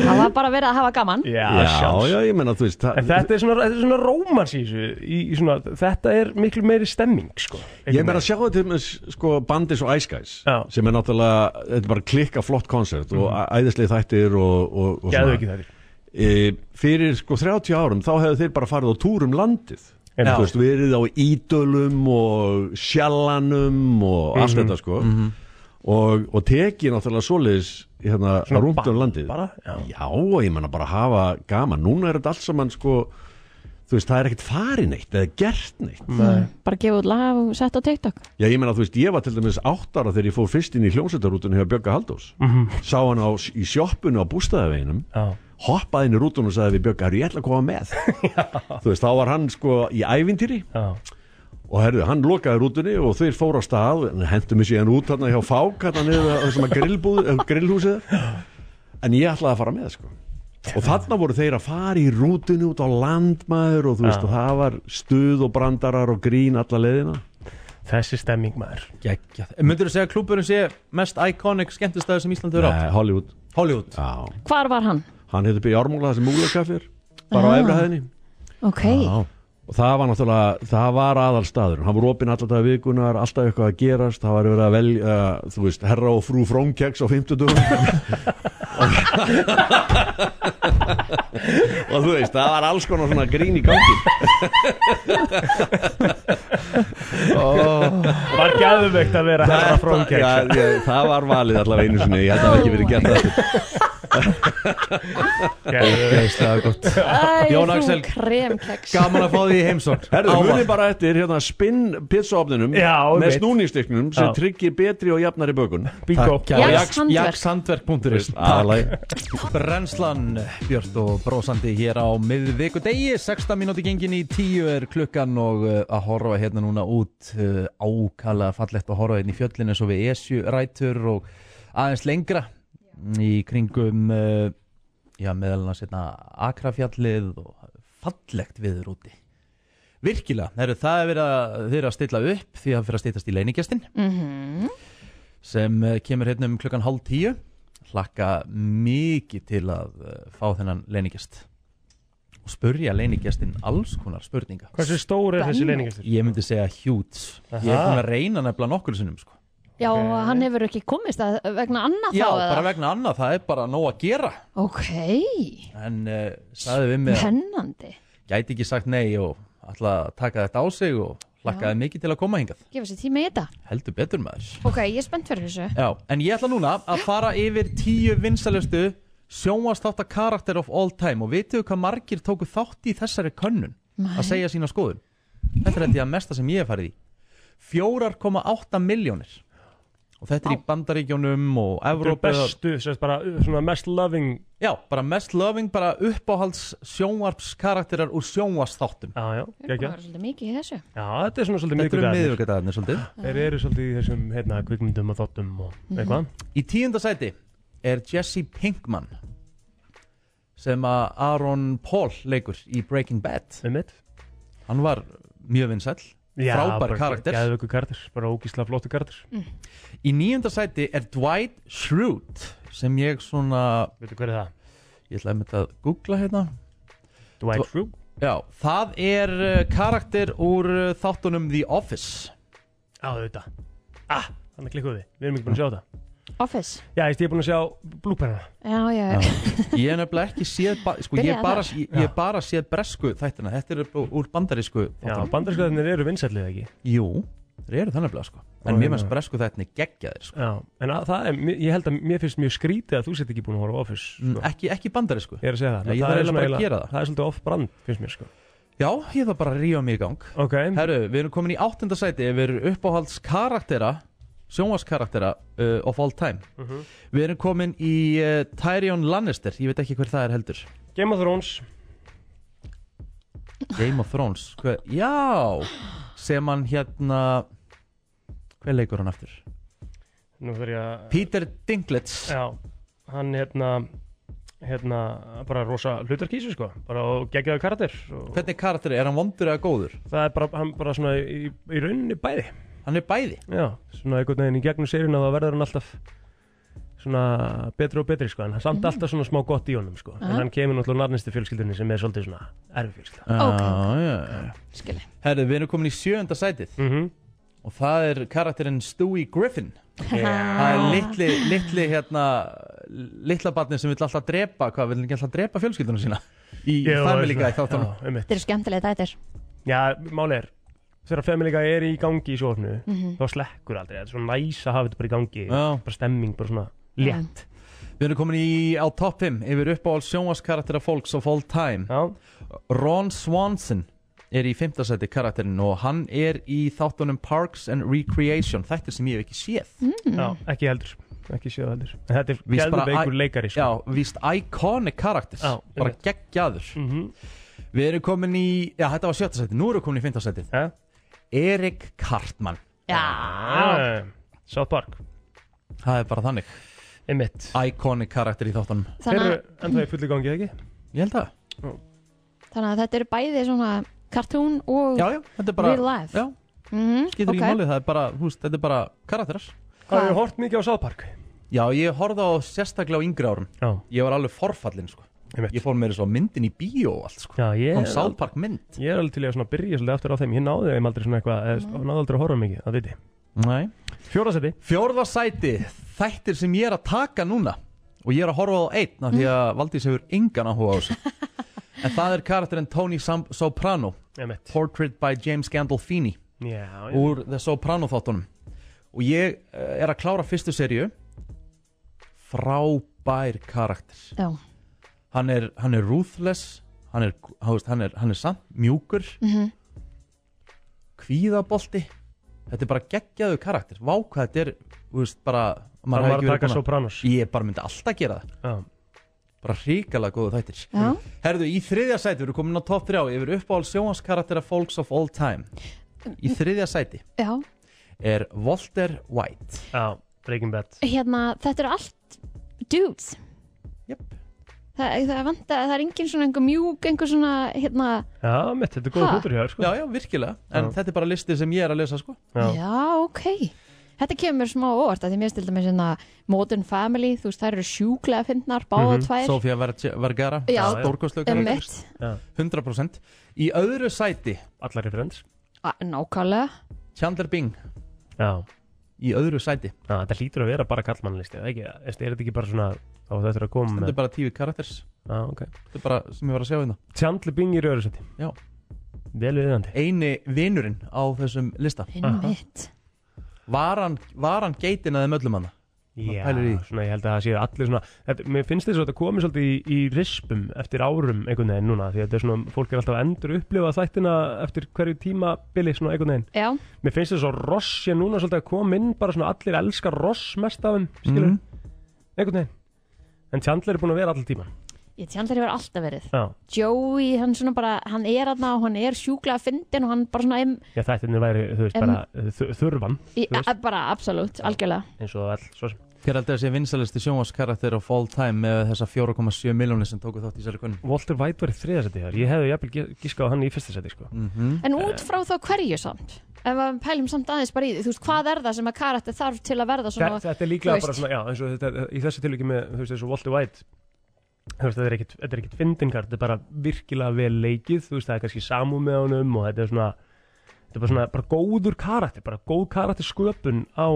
B: Það var bara verið að hafa gaman
C: Já,
I: Já,
C: sjálfs.
I: já, ég meina þú veist
C: En
I: það,
C: þetta er svona, þetta er svona rómans í þessu, í, í svona, þetta er miklu meiri stemming, sko.
I: Ég meina að sjá þetta með sko bandis og Ice Guys
C: Já. Mhm.
I: sem er náttúrulega, þetta er bara klikka flott koncert og æðislega þættir og, og, og
C: Gæðu ekki þetta.
I: e, fyrir sko 30 árum þá hefðu þeir bara farið á túrum landið
C: Já.
I: þú veist, verið á ídölum og sjallanum og allt
C: Mhm.
I: þetta sko og, og tekið náttúrulega svoleiðis hérna
C: Svona
I: rúmt um
C: ba-
I: landið
C: bara, já.
I: og ég menna bara hafa gaman núna er þetta allt saman sko þú veist, það er ekkert farið neitt eða gert neitt
B: Mm. Bara gefa út lag og sett á TikTok
I: Já, ég meina, þú veist, ég var til dæmis áttara þegar ég fór fyrst inn í hljómsveitarútunni hjá Björga Haldós
C: Mhm.
I: sá hann á, í sjoppunni á bústæðaveginum
C: Já.
I: hoppaði inn í rútunni og sagði við Björga, herru, ég ætla að koma með þú veist, þá var hann sko í ævintýri
C: Já.
I: og herru, hann lokaði rútunni og þeir fóru á stað en hendur mig síðan út hann hjá fák hann niður að- þessum að grillbúð, eh, grillhúsið en ég ætlaði að fara með, sko og þarna voru þeir að fara í rútinu út á landmaður og þú veist
C: Já.
I: og það var stuð og brandarar og grín alla leiðina
C: Þessi stemming maður
A: Geggjað. Myndirðu segja að klúburinn sé mest iconic skemmtistæður sem Íslandi eru átt?
I: Nei, Eh, Hollywood
A: Hollywood.
I: Já.
B: Hvar var hann?
I: hann hefði byrjað ármúla þessi múlakaffir bara á
B: Ah.
I: efrahæðinni
B: Ok,
I: og það var náttúrulega, það var aðal staður hann voru opinn alltaf vikunar, alltaf eitthvað að gerast það var verið að velja, uh, þú veist herra og frú frónkeks á fimmtudum og þú veist, það var alls konar svona grín í gangi
C: Var gæðumvegt að vera herra frónkeks
I: Já, ég- það var valið allavega einu sinni ég held að það hafi ekki verið gert það
C: Geðveikt.
A: Geislega gott.
B: Æ,
A: Jón
B: þú
A: Axel.
B: kremkeks
A: Gaman að fá því í heimsókn.
I: Herðu,
A: Ávallt.
I: munið bara eftir hérna spinn pizzaofninum
C: Já, ég
I: með
C: veit.
I: snúningstyknum sem
C: Já.
I: tryggir betri og jafnari bökun
C: Bingo
A: Takk kærlega.
B: Jax Handverk.
A: Jaxhandverk.is
I: Aðalagi.
A: Brennslan Björn og brósandi hér á miðvikudegi 16 mínúti gengin í 10 er klukkan og uh, að horfa hérna núna út uh, ákala fallegt að horfa hérna í fjöllinu svo við Esju rætur og aðeins lengra í kringum uh, já meðal annars hérna Akrafjallið og fallegt viður úti Virkilega, Heru, það er verið að, þið eruð að stilla upp því að fyrir að stýtast í leinigjastinn
B: Mhm.
A: sem eh, kemur hérna um klukkan hálf tíu hlakka mikið til að eh, fá þennan leiningjast og spurja leiningjastin alls konar spurninga
C: Hversu stór er þessi leiningastur?
A: ég myndi segja hjút ég er búin að reyna nefnilega nokkur sinnum sko.
B: Já, hann hefur ekki komist að, vegna annað
A: já,
B: þá
A: bara
B: eða?
A: vegna annað, það er bara nóg að gera
B: Ok,
A: en uh, sagði við mig að
B: pennandi
A: gæti ekki sagt nei og ætla að taka þetta á sig og hlakkaði mikið til að koma hingað
B: Gefa sér tíma í þetta
A: heldur betur maður
B: Ok, ég er spennt fyrir þessu
A: Já, en ég ætla núna að fara yfir tíu vinsalustu sjónvastáttar karakter of all time og vitið þið hvað margir tóku þátt í þessari könnun að segja sína skoðun Þetta er þetta mesta sem ég hef farið í 4,8 miljónir og þetta er í Bandaríkjónum og
C: Þetta er
A: Evrópu
C: bestu, sem sagt bara uh, svona mest loving
A: Já, bara mest loving, bara uppáhalds sjónvarpskarakterar úr sjónvastáttum
C: Já, já,
B: Við erum
C: gekkja
B: bara svolítið mikið í þessu
C: Já, þetta er svona svolítið
A: Þetta eru
C: miðvikudagarnir.
A: miðvikudagarnir svolítið
C: Þeir eru svolítið í þessum, hérna, kvikmyndum og þóttum og eitthvað
A: Í tíunda sæti er Jesse Pinkman sem að Aaron Paul leikur í Breaking Bad
C: Um mitt
A: Hann var mjög vinsæll, frábær karakter
C: Gæðvöku karakter, bara ógísla flóttu karakter
A: Í níunda sæti er Dwight Schrute sem ég svona,
C: Veitu hver er það?
A: ég ætlaði með að googla hérna
C: Dwight
A: Dw-
C: Schrute
A: Já, það er uh, karakter úr uh, þáttunum The Office
C: Já, þetta Ah, þannig klikkuðu við, við erum ekki búin að sjá þetta
B: Office
C: Já, ég er búin að sjá blúperna
B: Já, já,
A: Ég er nefnilega ekki séð, ba- sko ég
B: Byrjaðu
A: bara,
B: þar.
A: ég, ég bara séð bresku þættina Þetta er úr bandarísku
C: Já,
A: þáttunum
C: bandarskaðinir eru vinsællið ekki
A: Jú, þeir eru þannig að sko En
C: Ó,
A: mér
C: já.
A: finnst bresku þættinni geggjaðir sko
C: Já, en að, það er, mér- ég held að mér finnst mjög skrítið að þú sett ekki búin að horfa á Office
A: Mm,
C: sko.
A: ekki, ekki bandarísku
C: Ég er að segja það
A: Nei, ég
C: það
A: þarf
C: er
A: eiginlega bara að
C: eiginlega-
A: gera það.
C: Það er svolítið off-brand, finnst mér sko
A: Já, ég þarf bara að rífa mig í gang
C: Ok,
A: Herru, við erum komin í áttunda sæti Við erum uppáhalds karaktera Sjónvaskaraktera uh, of all time Við erum komin í uh, Tyrion Lannister Ég veit ekki hver það er heldur
C: Game of Thrones
A: Game of Thrones hver, Já, sem hann hérna Hver leikur hann aftur?
C: Nú þarf ég að
A: Peter Dinklage
C: Já, hann hérna hérna, bara rosa hlutarkísu sko bara og geggjaðu karakter og
A: Hvernig karakter er hann vondur eða góður?
C: það er bara, hann bara svona í, í rauninni bæði
A: Hann er bæði
C: já, svona einhvern veginn í gegnum sérina þá verður hann alltaf svona betri og betri sko en hann
A: Mhm.
C: samt alltaf svona smá gott í honum sko en hann kemur náttúrulega narnistu fjölskyldinni sem er svolítið svona erfi fjölskylda
B: Ok.
A: Já, Ah, já, já.
B: skilji
A: Herru, við erum komin í sjöunda sætið
C: mm -hmm.
A: Og það er karakterinn Stewie Griffin Það er litli, litli hérna Litla barni sem vill alltaf drepa Hvað, vill ekki alltaf drepa fjölskyldunum sína Í Family Guy þáttunum
C: já, einmitt.
B: Þetta eru skemmtilega dætir
C: já, máli er þegar Family Guy er í gangi í sjófnu
B: Mhm.
C: þá slekkur aldrei, þetta er svona næs að hafa þetta bara í gangi
A: Já.
C: bara stemming, bara svona létt
A: Við erum komin í á top 5 Yfir uppáhald sjónvaskaraktera fólks of all time
C: já,
A: Ron Swanson er í fimmtasæti karakterinn Og hann er í þáttunum Parks and Recreation Þetta sem ég hef ekki séð
B: Mhm.
C: Já, ekki heldur ekki séð heldur En Þetta er
A: Víst bara
C: gæðveikur
A: að-
C: leikari sko.
A: Já, víst iconic karakter
C: Já,
A: Bara
C: einmitt.
A: geggjaður
C: Mhm.
A: Við erum komin í, já þetta var sjötta sæti Nú erum við komin í fimmta sæti
C: Já.
A: Erik Kartmann
B: Já,
C: Eh, South Park
A: Það er bara þannig
C: Einmitt.
A: Iconic karakter í þáttunum
C: Þeir
B: Þannig að-
C: eru ennþá í fullu gangi, ekki?
A: Ég held að
B: Þannig að þetta eru bæði svona kartún og
A: Já, já, þetta er bara
B: real life
A: Já,
B: mm,
A: getur ekki málið, það er bara, húst, þetta er bara karakterar
C: Það hefur hort mikið á Sáðpark
A: Já, ég horfði á sérstaklega á yngri árum
C: Já.
A: Ég var alveg forfallin, sko
C: Einmitt.
A: Ég fór meira svo myndin í bíó og allt, sko
C: Já, ég
A: Kom South mynd
C: Ég er alveg til í að svona byrja svolítið aftur á þeim Ég náði þeim aldrei svona eitthvað eða Náði aldrei að horfa mikið, það viti
A: Nei
C: Fjórðasetti
A: Fjórða sæti, þættir sem ég er að taka núna og ég er að horfa á einn
B: Mm.
A: af því að Valdís hefur engan áhuga á þessu en það er karakterinn Tony Sam Soprano
C: Emmett.
A: Portrait by James Gandolfini
C: Já, já.
A: úr The Soprano þáttunum og ég eh, er að klára fyrstu serju frábær karakter
B: Já,
A: hann er, hann er ruthless hann er, hann, veist, hann er, hann er samt mjúkur
B: Mhm.
A: kvíðabolti þetta er bara geggjaðu karakter vá hvað þetta er þú veist, bara,
C: Hann
A: maður hefði
C: var
A: ekki
C: að
A: verið
C: taka
A: búinn
C: Sopranos.
A: ég bara myndi alltaf gera það
C: Já.
A: bara hrikalega góðu þættir
B: Já.
A: herðu í þriðja sæti, við erum komin á top 3 yfir uppáhald sjóhanskaraktera folks of all time í þriðja sæti
B: já
A: er Walter White
C: já, Breaking Bad
B: Hérna, þetta eru allt dudes
A: Jöp.
B: Það, það, vanda, það er engin svona einhver mjúk, einhver svona hérna,
C: Já, mitt, þetta er góða
B: Ha?
C: hútur hjá þér, sko
A: já, já, virkilega, en
C: Já.
A: þetta er bara listi sem ég er að lesa sko.
C: Já.
B: já. ok Þetta kemur mér smá óvart að því mér stildi með svona hérna Modern Family, þú veist, þær eru sjúklega fyndnar, báða
A: Mhm.
B: tvær
A: Sofía Verge- Vergara,
B: Já.
A: stórkostlegu
B: Emmett,
A: 100% Í öðru sæti
C: Allar í frends
B: A- nákvæmlega
A: Chandler Bing
C: Já,
A: Í öðru sæti
C: já þetta hlýtur að vera bara kallmannlisti eða ekki, er þetta ekki bara svona þá þetta er að koma
A: Þetta
C: með
A: er bara tíu karakters
C: Já, ok
A: Þetta er bara sem ég var að segja hérna
C: Chandler Bing í röðursætti
A: Já.
C: Vel viðandi
A: Eini vinurinn á þessum lista
B: Einmitt,
A: Var hann, var hann geitin að þeim öllum hana?
C: Já,
A: pælir í því.
C: svona ég held að það séu allir svona þetta, Mér finnst þess að þetta komi svolítið í, í rispum eftir árum einhvern veginn núna því að þetta er svona, fólk er alltaf að endur upplifa þættina eftir hverju tíma bili svona einhvern veginn
B: já,
C: Mér finnst þess að Ross sé núna svolítið að koma inn bara svona allir elskar Ross mest af þeim skilur,
A: Mhm.
C: einhvern veginn En Chandler er búin að vera allir tíman
B: ég tjandlar hefur alltaf verið
C: Já,
B: Joey, hann svona bara, hann er aðna og hann er sjúklega fyndin og hann bara svona em,
C: já þættinni væri, þú veist,
B: En-
C: bara þ- þurfan
B: í,
C: Þú veist.
B: a, bara absolutt, algjörlega
C: eins og all, svo sem
A: Hver heldur þessi vinsalisti sjónvarskarakter á fall time með þessa 4,7 miljónir sem tóku þátt í sér kunn
C: Walter White var í þriðasæti þar, ég hefði jafnvel gi- giskað á hann í fyrsta sæti sko.
B: En út frá þá hverju samt Ef að við pælum samt aðeins bara í því Þú veist, hvað er það sem að karakter þarf til að verða
C: Þe-
B: svona
C: þetta er líklega bara
B: þú veist.
C: svona, já, eins og þetta, í þessu tilviki með, þú veist, eins og Walter White þú veist, þetta er ekkit, þetta er ekkit fyndingar, þetta er bara virkilega vel leikið, þú veist, það er kannski samú með honum og þetta er svona þetta er bara svona, bara góður karakter, bara góð karakter sköpun á,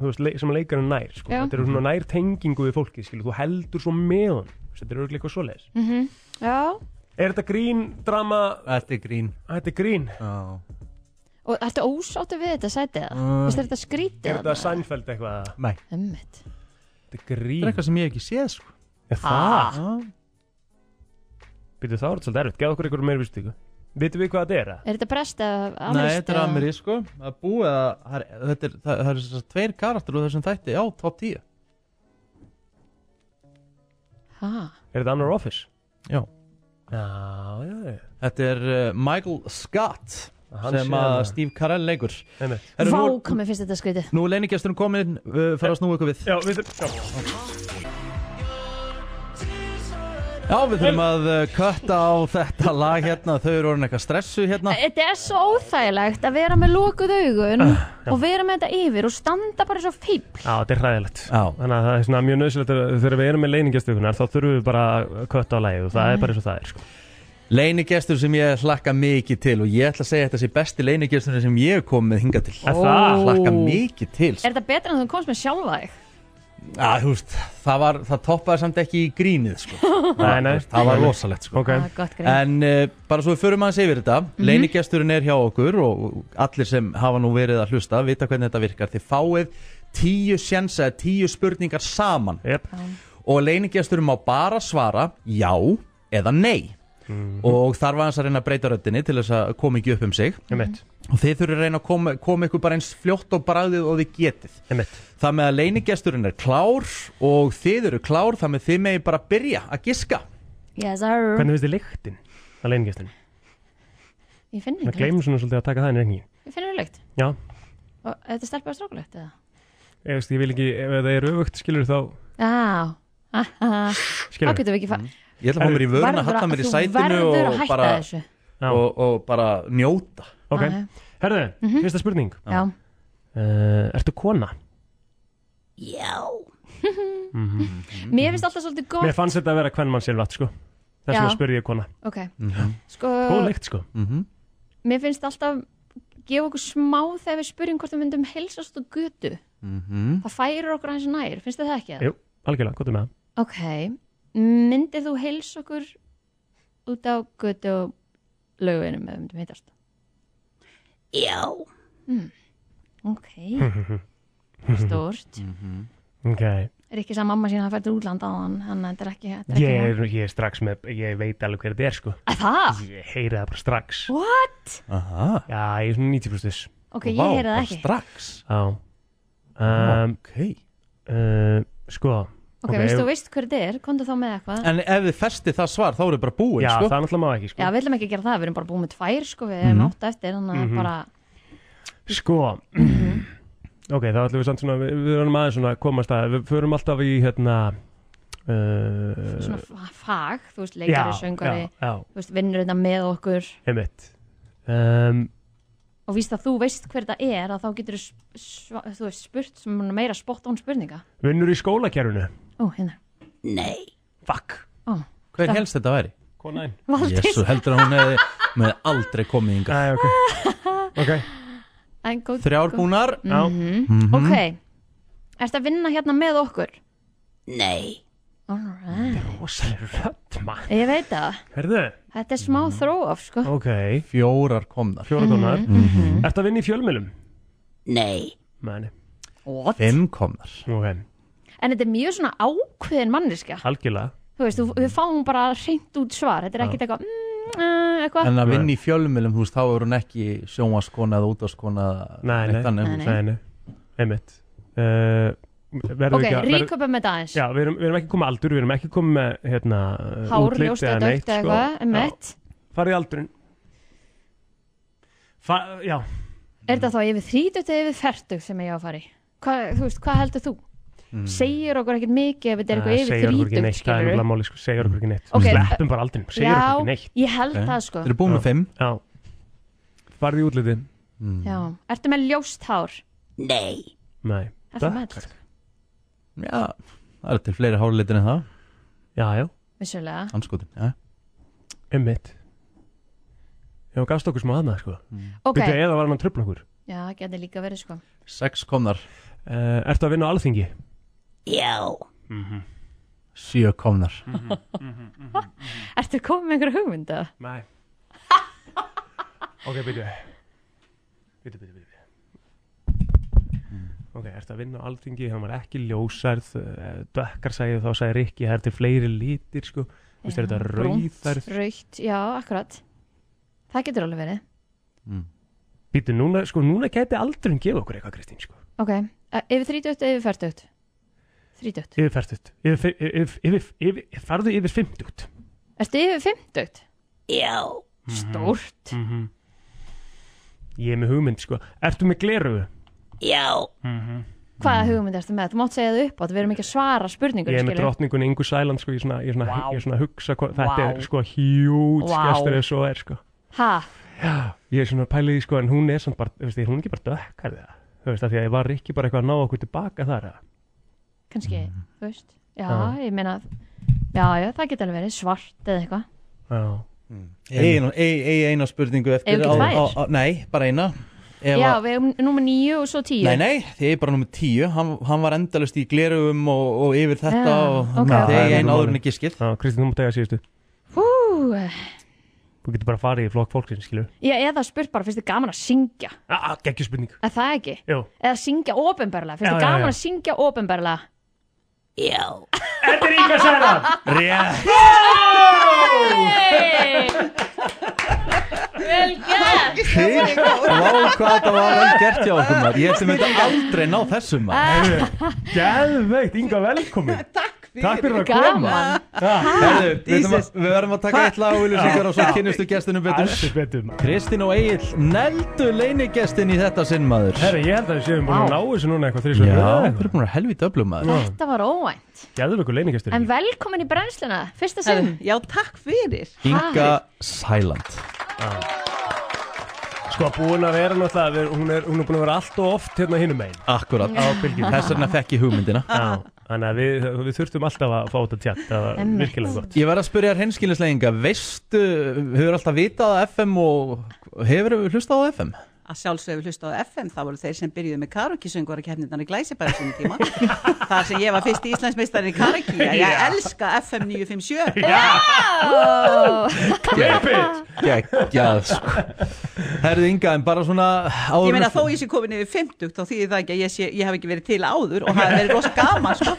C: þú veist, leik, sem leikarinn nær, sko,
B: Já.
C: þetta er svona nær tengingu við fólkið, skilu, þú heldur svo með honum, þú veist, þetta er örgleika svoleiðis
B: mm Já,
C: Er þetta grín, drama,
A: Þetta er grín
C: þetta er grín
A: Já.
B: og ertu ósáttu við þetta sætið það?
A: Mm.
B: Þú veist, er þetta skrítið?
C: Er þetta sænfæld eitthvað,
A: Nei,
B: Ömmit
C: þetta er
A: þetta er
C: grín
A: eitthvað sem ég hef ekki séð sko.
C: Er það, býtu þá er þetta svolítið erfitt, geða okkur einhverjum meir vistíku Vitum við hvað þetta er, eða?
B: Er þetta brest eða
A: Nei,
B: amirist?
A: þetta er Ameri sko að búið að það er, þetta er, það, það er þessar tveir karakter úr þessum þætti á top 10
B: Ha,
C: Er þetta annar office?
A: Já.
C: Já, já, já.
A: Þetta er uh, Michael Scott
C: Hann
A: sem
C: sér
A: að
C: það.
A: Steve Carell leikur
C: Einmitt.
A: Herru,
B: vá,
A: nú,
B: hvað mér finnst þetta skrítið
A: nú er leinigesturinn komin uh, fara að snúa ykkur við
C: Já, við þurfum
A: Já, við þurfum að uh, kötta á þetta lag hérna þau eru orðin eitthvað stressu hérna
B: Þetta er svo óþægilegt að vera með lokuð augun
J: Ah,
B: og vera með þetta yfir og standa bara svo fíbl
C: Já, þetta er hræðilegt
A: Já.
C: Þannig að það er svona mjög nöðsilegt þegar við erum með leiningastugunar þá þurfum við bara að kötta á lægið og það er bara eins og það er sko.
A: Leinigestur sem ég hlakka mikið til og ég ætla að segja þetta sé besti leinigestur sem ég hef komið hingað til
C: Er það?
A: Hlakka mikið til
B: Er þetta betra en þú komst með sjálfa þig?
A: Já, þú veist, það, var, það toppaði samt ekki í grínið sko.
C: Nei, nei.
A: Það var rosalegt sko.
C: Ok,
B: Ah, gott greið
J: eh,
A: En uh, bara svo við förum aðeins yfir þetta
B: Mhm.
A: Leinigesturinn er hjá okkur og allir sem hafa nú verið að hlusta vita hvernig þetta virkar Þið fáið tíu sjensa, tíu spurningar saman
C: yep.
A: og leinigesturinn má bara svara já eða nei og þarf aðeins að reyna að breyta röddinni til þess að koma ekki upp um sig
C: einmitt,
A: og þið þurfið að reyna að koma, koma ykkur bara eins fljótt og bragðið og þið getið
C: einmitt
A: Það með að leinigesturinn er klár og þið eru klár, það með þið megi bara byrja að giska
B: Yes, sir.
C: Hvernig finnst þið lyktin að leiningastunum?
B: Ég finn
C: Það
B: ekki
C: gleymum svona svolítið að taka það inn í reyningin
B: Ég finn ekki
C: Já,
B: Og er þetta stelpa að strákulegt eða?
C: ég veist, ég vil ekki, ef það er öfugt skilur þá
B: Já, Já, þá
J: Skilurðu?
B: getum við ekki fara
J: Ég ætla að fá mér í vörun Mm. að halla mér í sætinu
B: Þú verður að
J: og
B: hætta
J: bara,
B: þessu Ah,
J: og, og bara njóta
C: Ok,
B: Já,
C: herðu,
B: Mhm.
C: fyrsta spurning
B: Já,
C: uh, Ertu kona?
B: já. Mér finnst alltaf svolítið
C: Mhm. Mér
B: gott
C: fannst þetta að vera hvern mann silvat sko Þess
B: Já.
C: vegna spurði ég kona
B: Ok,
J: Mhm.
B: sko
C: Góð leikt sko
J: Mhm.
B: Mér finnst alltaf gefa okkur smá þegar við spurjum hvort við myndum helsast og götu
J: Mhm.
B: Það færir okkur aðeins nær, finnst þið það ekki?
C: Jú, algjörlega, gott um það
B: Ok, myndið þú heils okkur út á götu og lögvinum ef við myndum heitast? Já. Mm. Ok, stórt.
C: Ok,
B: Er ekki sem mamma sína að færa til útlanda á hann, þannig að þetta er ekki... þetta er
C: ég
B: ekki
C: er, ég er strax með Ég veit alveg hver þetta er sko
B: Að það?
C: Ég heyri það bara strax
B: What?
J: Aha,
C: Já, ég er svona 90 brústis
B: Ok, ég heyrði það
J: bara
B: ekki.
J: strax
C: Já um,
J: Ok
C: uh, Sko
B: Ok, veist þú veist hver þetta er, komdu þá með eitthvað.
J: En ef þið festi það svar þá eru bara búin
C: Já,
J: sko.
C: það er náttúrulega má ekki sko
B: Já, við ætlum ekki að gera það, við erum bara búin með tvær, sko, við
C: Mhm.
B: erum átt eftir, þannig að bara...
C: Sko
B: Mhm.
C: Ok, þá ætlum við samt svona Við, við erum aðeins svona að komast að Við förum alltaf í hérna uh,
B: Svona fa- fag, þú veist, leikari, söngari,
C: Já, já,
B: þú veist, vinnur þetta með okkur
C: einmitt um,
B: og víst að þú veist hver það er að þá getur þú veist, spurt sem meira spott án spurninga
C: Vinnur í skólakerfinu
B: ó, hérna,
C: Fuck
B: ó,
J: Hver helst þetta væri?
C: Konaðinn
B: Valdís
J: Jésu, heldur að hún hefði með aldrei komið yngar
C: Æ, ok Ok,
B: en góð
J: Þrjár búnar
C: já
B: góð- ok,
C: Mhm.
B: ertu að vinna hérna með okkur? nei alright,
C: Rósalega rödd, maður
B: ég veit það
C: Herðu,
B: þetta er smá
C: Mhm.
B: throw off, sko
C: ok
J: Fjórar komnar
C: Fjóra konar
B: Mhm.
C: Ertu að vinna í fjölmjölum?
B: nei,
C: Mæni,
B: what?
J: Fimm komnar
C: ok,
B: en þetta er mjög svona ákveðin manniska
C: algjörlega
B: þú veist, þú- við fáum bara reynd út svar þetta er ekkert eitthvað mm, uh, eitthvað,
J: En að vinna í fjölmjölum, þú veist, þá er hún ekki sjónvaskona eða útvaskona
C: Nei, nei,
J: nei,
B: Nei,
J: nei.
C: nei,
B: nei.
C: nei. einmitt uh, Verðum
B: ok,
C: ekki að verð-
B: ríköpum með það eins
C: Já, við erum, við erum ekki komið aldur, við erum ekki komið með hérna, uh,
B: hár,
C: útlit
B: ljóst
C: eða
B: eða
C: neitt,
B: dögt eða
C: sko.
B: eitthvað, emmett
C: Já, Farið í aldurinn Fa Já,
B: Er þetta þá yfir 30 eða yfir 40 sem ég á að fara í? Hva, þú veist, hvað heldur þú? Segir okkur ekkert mikið ef þetta er
C: Nei,
B: eitthvað
C: Mm. Eh, segir okkur
B: yfir
C: ekki
B: 30
C: neitt, það er nefnilega máli, sko, segir okkur ekki neitt
B: Ok. eh,
C: Sleppum bara aldurinn, segir
B: Já,
C: okkur ekki neitt Eh?
B: ég held það sko
J: Þeir eru búin með fimm
C: Já, farið í útliti
J: Hmm.
B: Já. Ertu með ljóst hár? Nei
C: Nei,
B: Ertu
C: Takk.
B: með þetta? sko?
J: Já, það eru til fleiri hárlitir en það
C: já, já,
B: Vissulega
J: Anskotin, já
C: einmitt Já, gafst okkur smá aðna, sko okay.
B: Ok,
C: eða var hann að tröfla okkur
B: já, það getur líka verið sko
J: Sex komnar,
C: uh, Ertu að vinna á alþingi?
J: sjö komnar
B: Ertu komið með einhverja hugmynda?
C: Nei Ok, byrju Byrju, byrju, byrju Ok, ertu að vinna á alþingi hann var ekki ljósærð eh, dökkar sagði þá sagði Rikki það er til fleiri lítir sko Þú veist, er þetta rauðærð
B: Raukt, já, akkurat Það getur alveg verið
C: Býtu, núna, sko, núna gæti aldurinn gefa okkur eitthvað, Kristín, sko
B: Ok, e- yfir 30 eða yfir 40? 30
C: Yfir færtut, yfir, fi- yfir, yfir, yfir farðu yfir fymtut
B: Ertu yfir 50? Já Stórt
C: Mhm. Ég er með hugmynd, sko Ertu með glerugu?
B: Já Hvaða hugmynd erstu með? Þú mátt segja það upp átt, við erum ekki að svara spurningur
C: Ég er með drottningun Ingu Sæland, sko Ég er svona, ég er svona,
B: Vá.
C: ég er svona að hugsa hvað, Þetta
B: Vá.
C: er, sko, hjút wow.
B: Vá.
C: skestur eða svo er, sko
B: Ha,
C: Ég er svona pælið í sko en hún er samt bara, þú veist, er hún ekki bara dökkar það? Þú veist, af því að ég var ekki bara eitthvað að ná okkur tilbaka þar að
B: kannski, þú veist Já,
C: Já.
B: ég meina Já, já, það getur alveg verið svart eða eitthvað
C: Já,
J: Egin eina spurningu eftir
B: Eigum við
J: á-
B: ekki tvær?
J: á- á- Nei, bara eina Ef
B: Já,
J: að-
B: við erum númer níu og svo tíu
J: Nei, nei, þið er bara nummið tíu Hann, hann var endalust í glerugum og, og yfir þetta
B: Já,
J: og
B: ok.
J: það
C: Já,
J: er eina
C: já.
J: áður en ekki skil
C: já Kristín, þú mútt eiga síðustu
B: Hú,
C: Þú getur bara farið í flokk fólksins, skilur
B: Já, eða spurt bara, finnst þið gaman að syngja
C: Ah, geggjur spurning
B: Er það ekki?
C: Jú,
B: Eða syngja ofinberlega, finnst
C: Já,
B: þið
C: já, já.
B: gaman að syngja ofinberlega Já
C: þetta er Inga Sæland Rétt
B: Vel gert
J: Vá, hvað þetta var vel gert hjá okkur maður Ég sem þetta aldrei ná þessum maður
C: Geðveikt, Inga velkomin
G: Takk
A: Takk fyrir að
B: Gaman.
A: koma
B: Ha?
A: Herðu, við ætlum
J: Jesus.
A: að- Við verðum að taka eitt lag og viljusingar og svo
J: Já.
A: kynnistu gestinum
C: Heldur betur.
A: betur Kristín og Egil, neldu leinigestin í þetta sinn maður
C: Herra, ég held að við séum búin að
B: Vá.
C: ná þessu núna
A: Já,
C: eitthvað þrísvöld
A: við erum búin að helvita öflum maður
B: Þetta var óvænt
C: Gæður okkur leiningastur
B: En velkomin í brennsluna, fyrsta sinn
K: Já, takk fyrir
A: Inga Sæland
C: Sko, búin að vera náttúrulega við- Hún er, hún er búin að vera allt og oft hérna hinum megin
A: Akkurat,
C: Á bylgjunni.
A: þess vegna fekk ég hugmyndina
C: Já, þannig að við, við þurftum alltaf að fá þetta tjátt Það var
B: Einmitt.
C: virkilega gott
A: Ég verð að spyrja hreinskilislega Veistu, hefur alltaf vitað að FM og hefur hlustað á FM?
K: Að sjálfsögur hlusta á FM, það voru þeir sem byrjuðu með karaoke-söngur að kemniðan í glæsibæra sinni tíma. Þar sem ég var fyrst Íslandsmeistarinn í karaoke, ég
C: Já.
K: elska FM 957.
A: Geggjað sko. Herðu Inga, en bara svona áður
K: Ég meina
A: en-
K: þó ég sé komin yfir 50, þá þýðir það ekki að ég, sé, ég hef ekki verið til áður og það hefur verið rosa gaman, sko.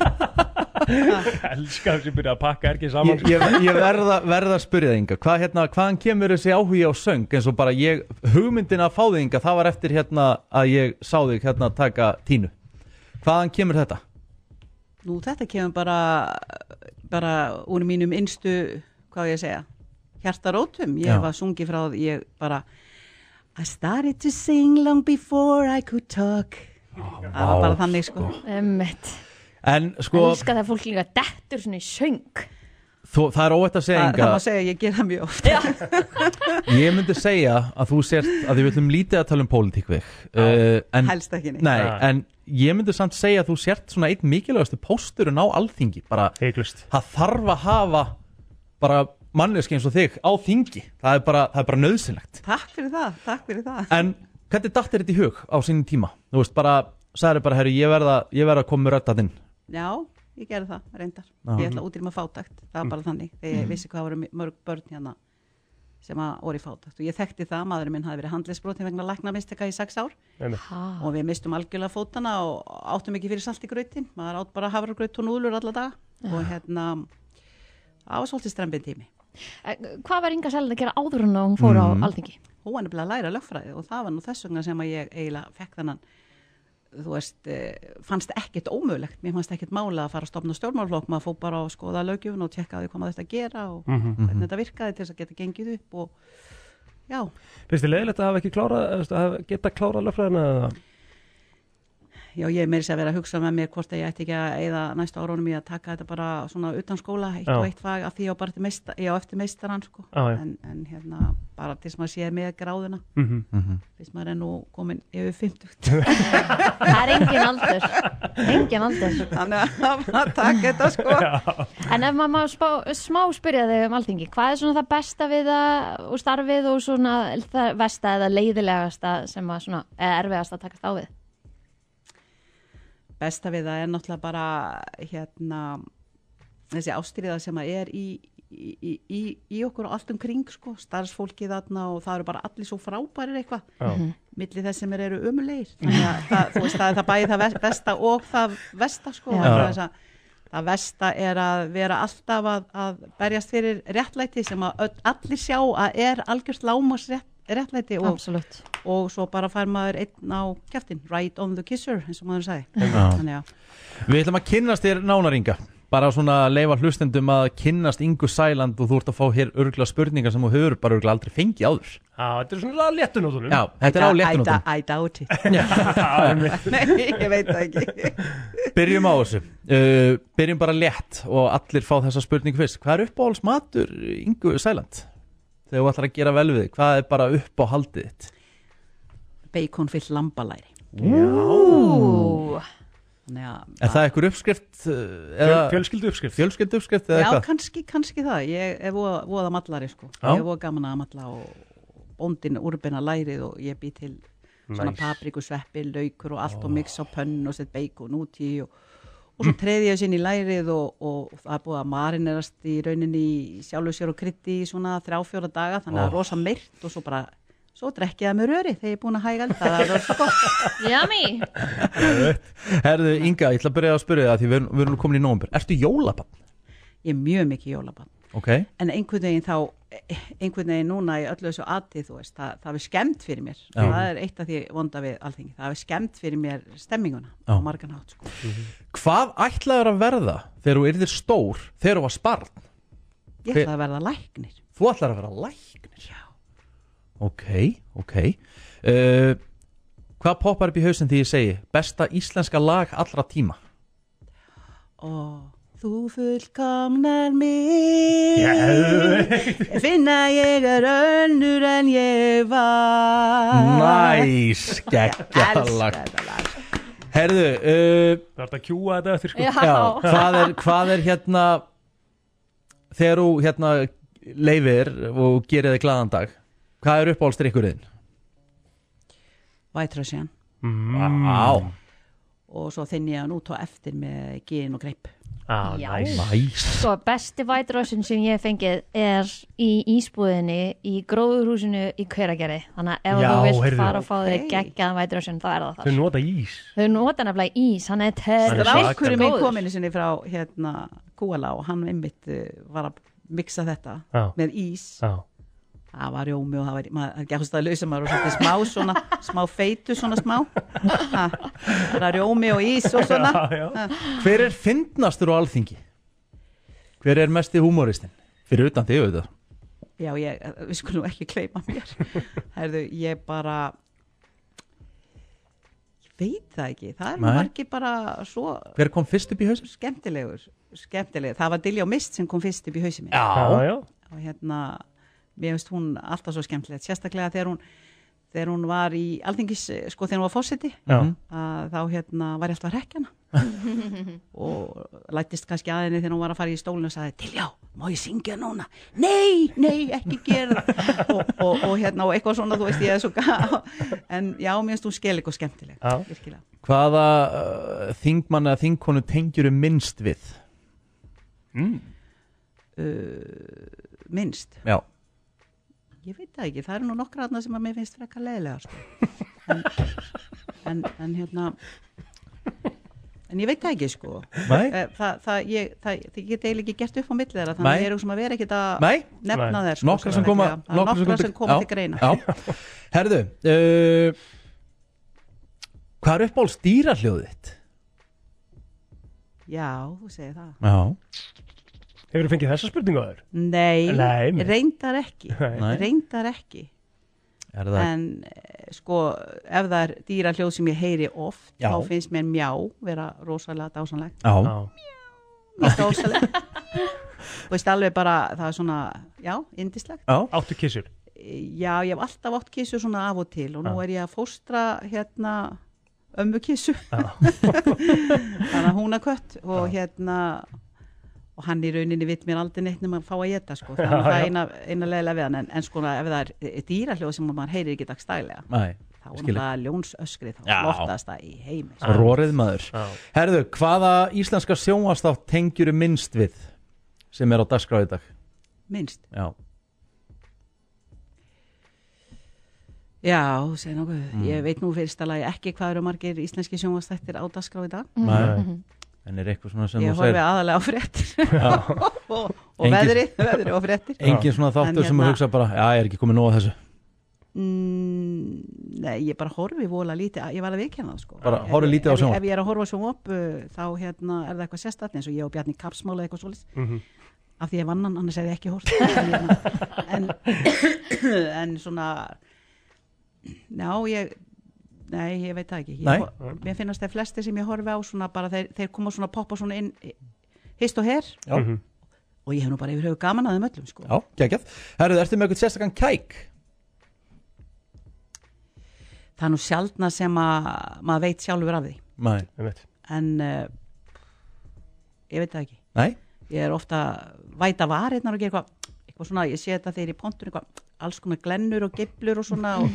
C: Elskar sem byrja að pakka erkið saman
A: Ég, ég, ég verða, verða að spyrja það Inga Hvað, hérna, Hvaðan kemur þessi áhugi á söng eins og bara ég, hugmyndin að fá þig Inga það var eftir hérna að ég sá þig hérna að taka tínu Hvaðan kemur þetta?
K: Nú, þetta kemur bara, bara úr mínum innstu, hvað á ég að segja, hjartarótum. Ég
A: Já.
K: hef að sungi frá því, ég bara, I started to sing long before I could talk. það var bara þannig, sko.
B: Emmitt
A: En sko,
B: Elskar það fólk líka dettur svona í söng
A: þú, það er óvægt að segja
K: Það,
A: Inga
K: það má segja, að ég ger það mjög oft.
A: Ég myndi segja að þú sért að því við ætlum lítið að tala um pólitík við uh, en,
K: Helst ekki neitt.
A: Nei,
C: Já.
A: en ég myndi samt segja að þú sért svona einn mikilvægastu pósturinn á alþingi bara,
C: Heiklust
A: það þarf að hafa bara manneski eins og þig á þingi, það er bara, það er bara nöðsynlegt
K: Takk fyrir það, takk fyrir það.
A: En hvernig dattir þetta í hug á sínum tíma? Þú veist, bara, sagði bara, herru, ég verða ég verða að koma með röddatinn
K: Já, ég gerði það, reyndar.
A: Já.
K: Ég ætla að útrýma fátækt, það var bara þannig. Þegar ég vissi hvað voru mi- mörg börn hérna sem að voru í fátækt. Og ég þekkti það, maðurinn minn hafi verið handlisbrotin vegna læknamistaka í sex ár.
B: Ha.
K: Og við mistum algjörlega fótana og áttum ekki fyrir salt í grautin. Maður átt bara hafragraut og núðlur alla daga. Og hérna, það var svolítið strembin tími.
B: Eh, Hvað var Inga Sæland að gera áður en hún fór
C: Mm.
B: á alþingi?
K: hún var nefnilega að læra lögfræði og það var nú þess vegna sem að ég eiginlega fekk þannan þú veist, eh, fannst ekkert ómögulegt mér fannst ekkert mála að fara að stopna stjórnmálflokk maður fór bara að skoða lögjöfun og tjekka á því hvað maður þetta að gera og
C: Mhm.
K: hvernig þetta virkaði til þess að geta gengið upp og já,
C: Finnst þið leiðilegt að hafa ekki klárað að hafa- Geta klárað lögfræðina eða?
K: já ég er meiri sér að vera að hugsa með mér hvort að ég ætti ekki að eða næstu árunum í að taka þetta bara svona utan skóla eitt
C: Já.
K: og eitt fag af því ég á bara eftir meista- ég á eftir meistaran sko.
C: Já, já.
K: en, en hérna bara til þess að maður sé með gráðuna
C: Mhm.
K: fyrst maður er nú komin yfir 50
B: Það er engin aldur Engin aldur
K: þannig að maður takk þetta sko
B: En ef maður má spá, smá spyrja þig um alþingi Hvað er svona það besta við það og starfið og svona það versta eða leiðilegasta sem að svona eða erfiðasta að takast á við?
K: besta við það er náttúrulega bara hérna þessi ástriða sem að er í, í, í- í, í okkur og allt um kring sko, starfsfólkið þarna og það eru bara allir svo frábærir eitthvað
C: Já.
K: milli þess sem er eru ömulegir þannig að það, þú veist það er það bæði það ve- besta og það vesta sko
B: Já.
K: Vegna þess að það vesta er að vera alltaf að, að berjast fyrir réttlæti sem að öll, allir sjá að er algjörst lámas rétt, réttlæti og,
B: Absolutt
K: og svo bara fær maður einn á kjæftin, right on the kisser eins og maður sagði
A: Já.
K: þannig að
A: Við ætlum að kynnast þér nánaringa bara svona leifa hlustendum að kynnast Ingu Sæland og þú ert að fá hér örgla spurningar sem þú hefur bara örgla aldrei fengið áður
C: Já, þetta er svona léttunóðunum
A: Já, þetta er á
K: I,
A: léttunóttum
K: I, I doubt it Nei, ég veit það ekki
A: Byrjum á þessu uh, Byrjum bara létt og allir fá þessa spurningu fyrst Hvað er uppáhalds matur Ingu Sæland? Þegar þú ætlar að gera vel við þig Hvað er bara upp á haldið þitt?
K: Baconfyllt lambalæri
B: Ú,
K: Þannig að
A: Er það einhver uppskrift uh, eða
C: Fjölskyldu uppskrift
A: fjölskyldu uppskrift eða
K: Já,
A: eitthvað?
K: kannski, kannski það, ég er voða, voða mallari sko,
A: Já.
K: ég er voða gaman að malla og bóndin úrbina lærið og ég bý til svona
C: Nice.
K: nice. paprikusveppi, laukur og allt og mix á pönn og sett bacon út í og, og svo treði ég sinn í lærið og, og það er búið að marinerast í rauninni í sjálfu sér og krytti í svona þrjá fjóra daga, þannig að oh. rosa myrt og svo bara, svo drekki ég það með röri þegar ég er búin að hæga elda, það er rosa gott
B: yummy
A: Herðu Inga, ég ætla að byrja að spyrja það því við erum, við erum komin í nómur Ertu jólabann?
K: ég er mjög mikið jólabann
A: Ok,
K: en einhvern veginn þá einhvern veginn núna í öllu þessu atið þú veist, það, það er skemmt fyrir mér
A: Já.
K: það er eitt af því vonda við alþingi það er skemmt fyrir mér stemminguna
A: Já.
K: á margan hátt sko.
A: Hvað ætlaður að verða þegar þú yrðir stór, þegar þú var sparn?
K: ég ætla að verða læknir
A: Þú ætlar að vera læknir? Já Ok, ok uh, Hvað poppar upp í hausinn því ég segi Besta íslenska lag allra tíma?
K: og þú fullkomnar mig
A: Geðveikt.
K: finna ég er önnur en ég var
A: Næs, geggjalag Herðu uh,
C: Það ert að kjúa þetta eftir sko
K: Já.
A: hvað, er, hvað er hérna Þegar þú hérna leifir og gerir þig glaðan dag Hvað er uppáhaldstrykkurinn?
K: Vætrösjan
C: Ah.
A: Mm. Vá.
K: og svo þinn ég hann út á eftir með gin og greip
C: ah,
B: Já. Sko, besti White Russian sem ég hef fengið er í ísbúðinni í gróðurhúsinu í Hveragerði. Þannig að ef
C: Já,
B: þú vilt
C: heyrðu.
B: fara og fá þig geggjaðan White Russian, þá er
C: Þau
B: það þar.
C: nota ís
B: Þau nota nefnilega ís, hann er
K: Strákurinn minn
B: terrorgóður.
K: kom einu sinni frá hérna Kúala og hann einmitt uh, var að miksa þetta
C: Já.
K: með ís
C: Já.
K: það var rjómi og það var, maður það er ekki að það lausa maður og svolítið smá svona, smá feitu svona smá Ha, bara rjómi og ís og svona
A: Já,
K: Ha.
A: Hver er fyndnastur á alþingi? Hver er mesti humoristinn? Fyrir utan þig auðvitað
K: já, ég, við skulum ekki kleima mér herðu, ég bara ég veit það ekki það er
A: Nei.
K: margir bara svo
A: Hver kom fyrst upp í hausinn?
K: skemmtilegur, skemmtilegur það var Dilljá Mist sem kom fyrst upp í hausin
A: Já. Já, já.
K: og hérna mér finnst hún alltaf svo skemmtilegt sérstaklega þegar hún, þegar hún var í alþingis, eh, sko þegar hún var fórseti
A: Já.
K: að þá hérna var ég alltaf að rekja hana og lættist kannski að henni þegar hún var að fara í stólinu og sagði Dilljá, má ég syngja núna? Nei, nei, ekki gera það." og, og, og hérna og eitthvað svona, þú veist ég er svo gá en já, mér finnst hún skeleg og skemmtileg
A: Já.
K: virkilega
A: Hvaða uh, þingmann eða þingkonu tengjur minnst við? Mm.
K: uh, minnst
A: Já.
K: ég veit það ekki, það eru nú nokkra aðna sem að mér finnst frekka leiðilega sko. en, en, en hérna en ég veit það ekki sko
A: Nei.
K: Eh, það, það, ég, það, ég get eiginlega ekki gert upp á milli þeirra
A: Nei.
K: þannig að ég er sem að vera ekkit að
A: Nei?
K: nefna þær sko,
A: Nokkra sem koma,
K: sérstaklega. Það er nokkra sem koma til greina
A: já. Herðu, uh, hvað er uppáhalds dýrahljóðið þitt?
K: sko. já, þú segir það
A: Já.
C: Hefur þú fengið þessa spurningu aður?
K: Nei,
C: Nei, nei.
K: reyndar ekki
C: Nei.
K: reyndar ekki
A: Er það-
K: en eh, sko ef það er dýra hljóð sem ég heyri oft
A: Já.
K: þá finnst mér mjá vera rosalega dásanleg
A: Já.
K: mjá, mjög dásanleg þú veist alveg bara það er svona, já, indislegt
A: Já.
C: Áttu kissur
K: já, ég hef alltaf átt kissu svona af og til og nú
C: Já.
K: er ég að fóstra hérna ömmu kissu þannig að hún er kött og hérna og hann í rauninni vitt mér aldrei neitt nema að fá að geta sko, þannig að
A: Já,
K: það
A: já.
K: er eina, eina leiðilega við hann en, en sko ef það er eh, dýrahljóð sem maður heyrir ekki dagstælega
A: Nei,
K: þá er
A: skil ég.
K: náttúrulega ljónsöskrið þá
A: Já.
K: loftast það í heimi sko.
A: Rórið maður. Herðu, hvaða íslenska sjónvastátt tengjur minnst við sem er á dagskráð í dag?
K: minnst,
A: Já.
K: já, þú segir nokkuð
A: Mm.
K: ég veit nú fyrst alveg ekki hvað eru margir íslenski sjónvastættir á dagskrá í dag
A: Nei. En er eitthvað svona sem
K: ég
A: þú
K: horfi
A: segir?
K: aðalega á fréttir
A: Já.
K: og, og
A: Engin-
K: veðrið, veðrið og fréttir
A: Engin svona
K: En hérna-
A: þáttur sem að hugsa bara, já, ég er ekki komið nóg að þessu.
K: mm, nei, ég bara horfi vola lítið, ég var að viðkjanna það sko
A: Bara
K: Ef-
A: horfi lítið á
K: ef-
A: sjónvarp.
K: ef ég er að horfa á sjónvarp uh, þá hérna, er það eitthvað sérstætt eins og ég og Bjarni Kapsmála eitthvað svolítið
A: Mhm.
K: af því ég vann hann, annars hefði ég ekki hort en, hérna, en, en svona já, ég nei, ég veit það ekki
A: Nei.
K: ég, hor- mér finnast þeir flesti sem ég horfi á svona bara þeir, þeir koma svona poppa svona inn hist og her
A: Já. Mhm.
K: og ég hef nú bara yfir höfu gaman að þeim öllum sko.
A: Já, geggjað. Herðu, ertu með eitthvað sérstakann kæk?
K: það er nú sjaldna sem að maður veit sjálfur af því
A: Nei.
K: en uh, ég veit það ekki
A: Nei.
K: ég er ofta væta varirnar og gera eitthvað eitthvað svona, ég sé þetta þegar ég er í pontur eitthvað, alls konar glennur og geiflur og svona og,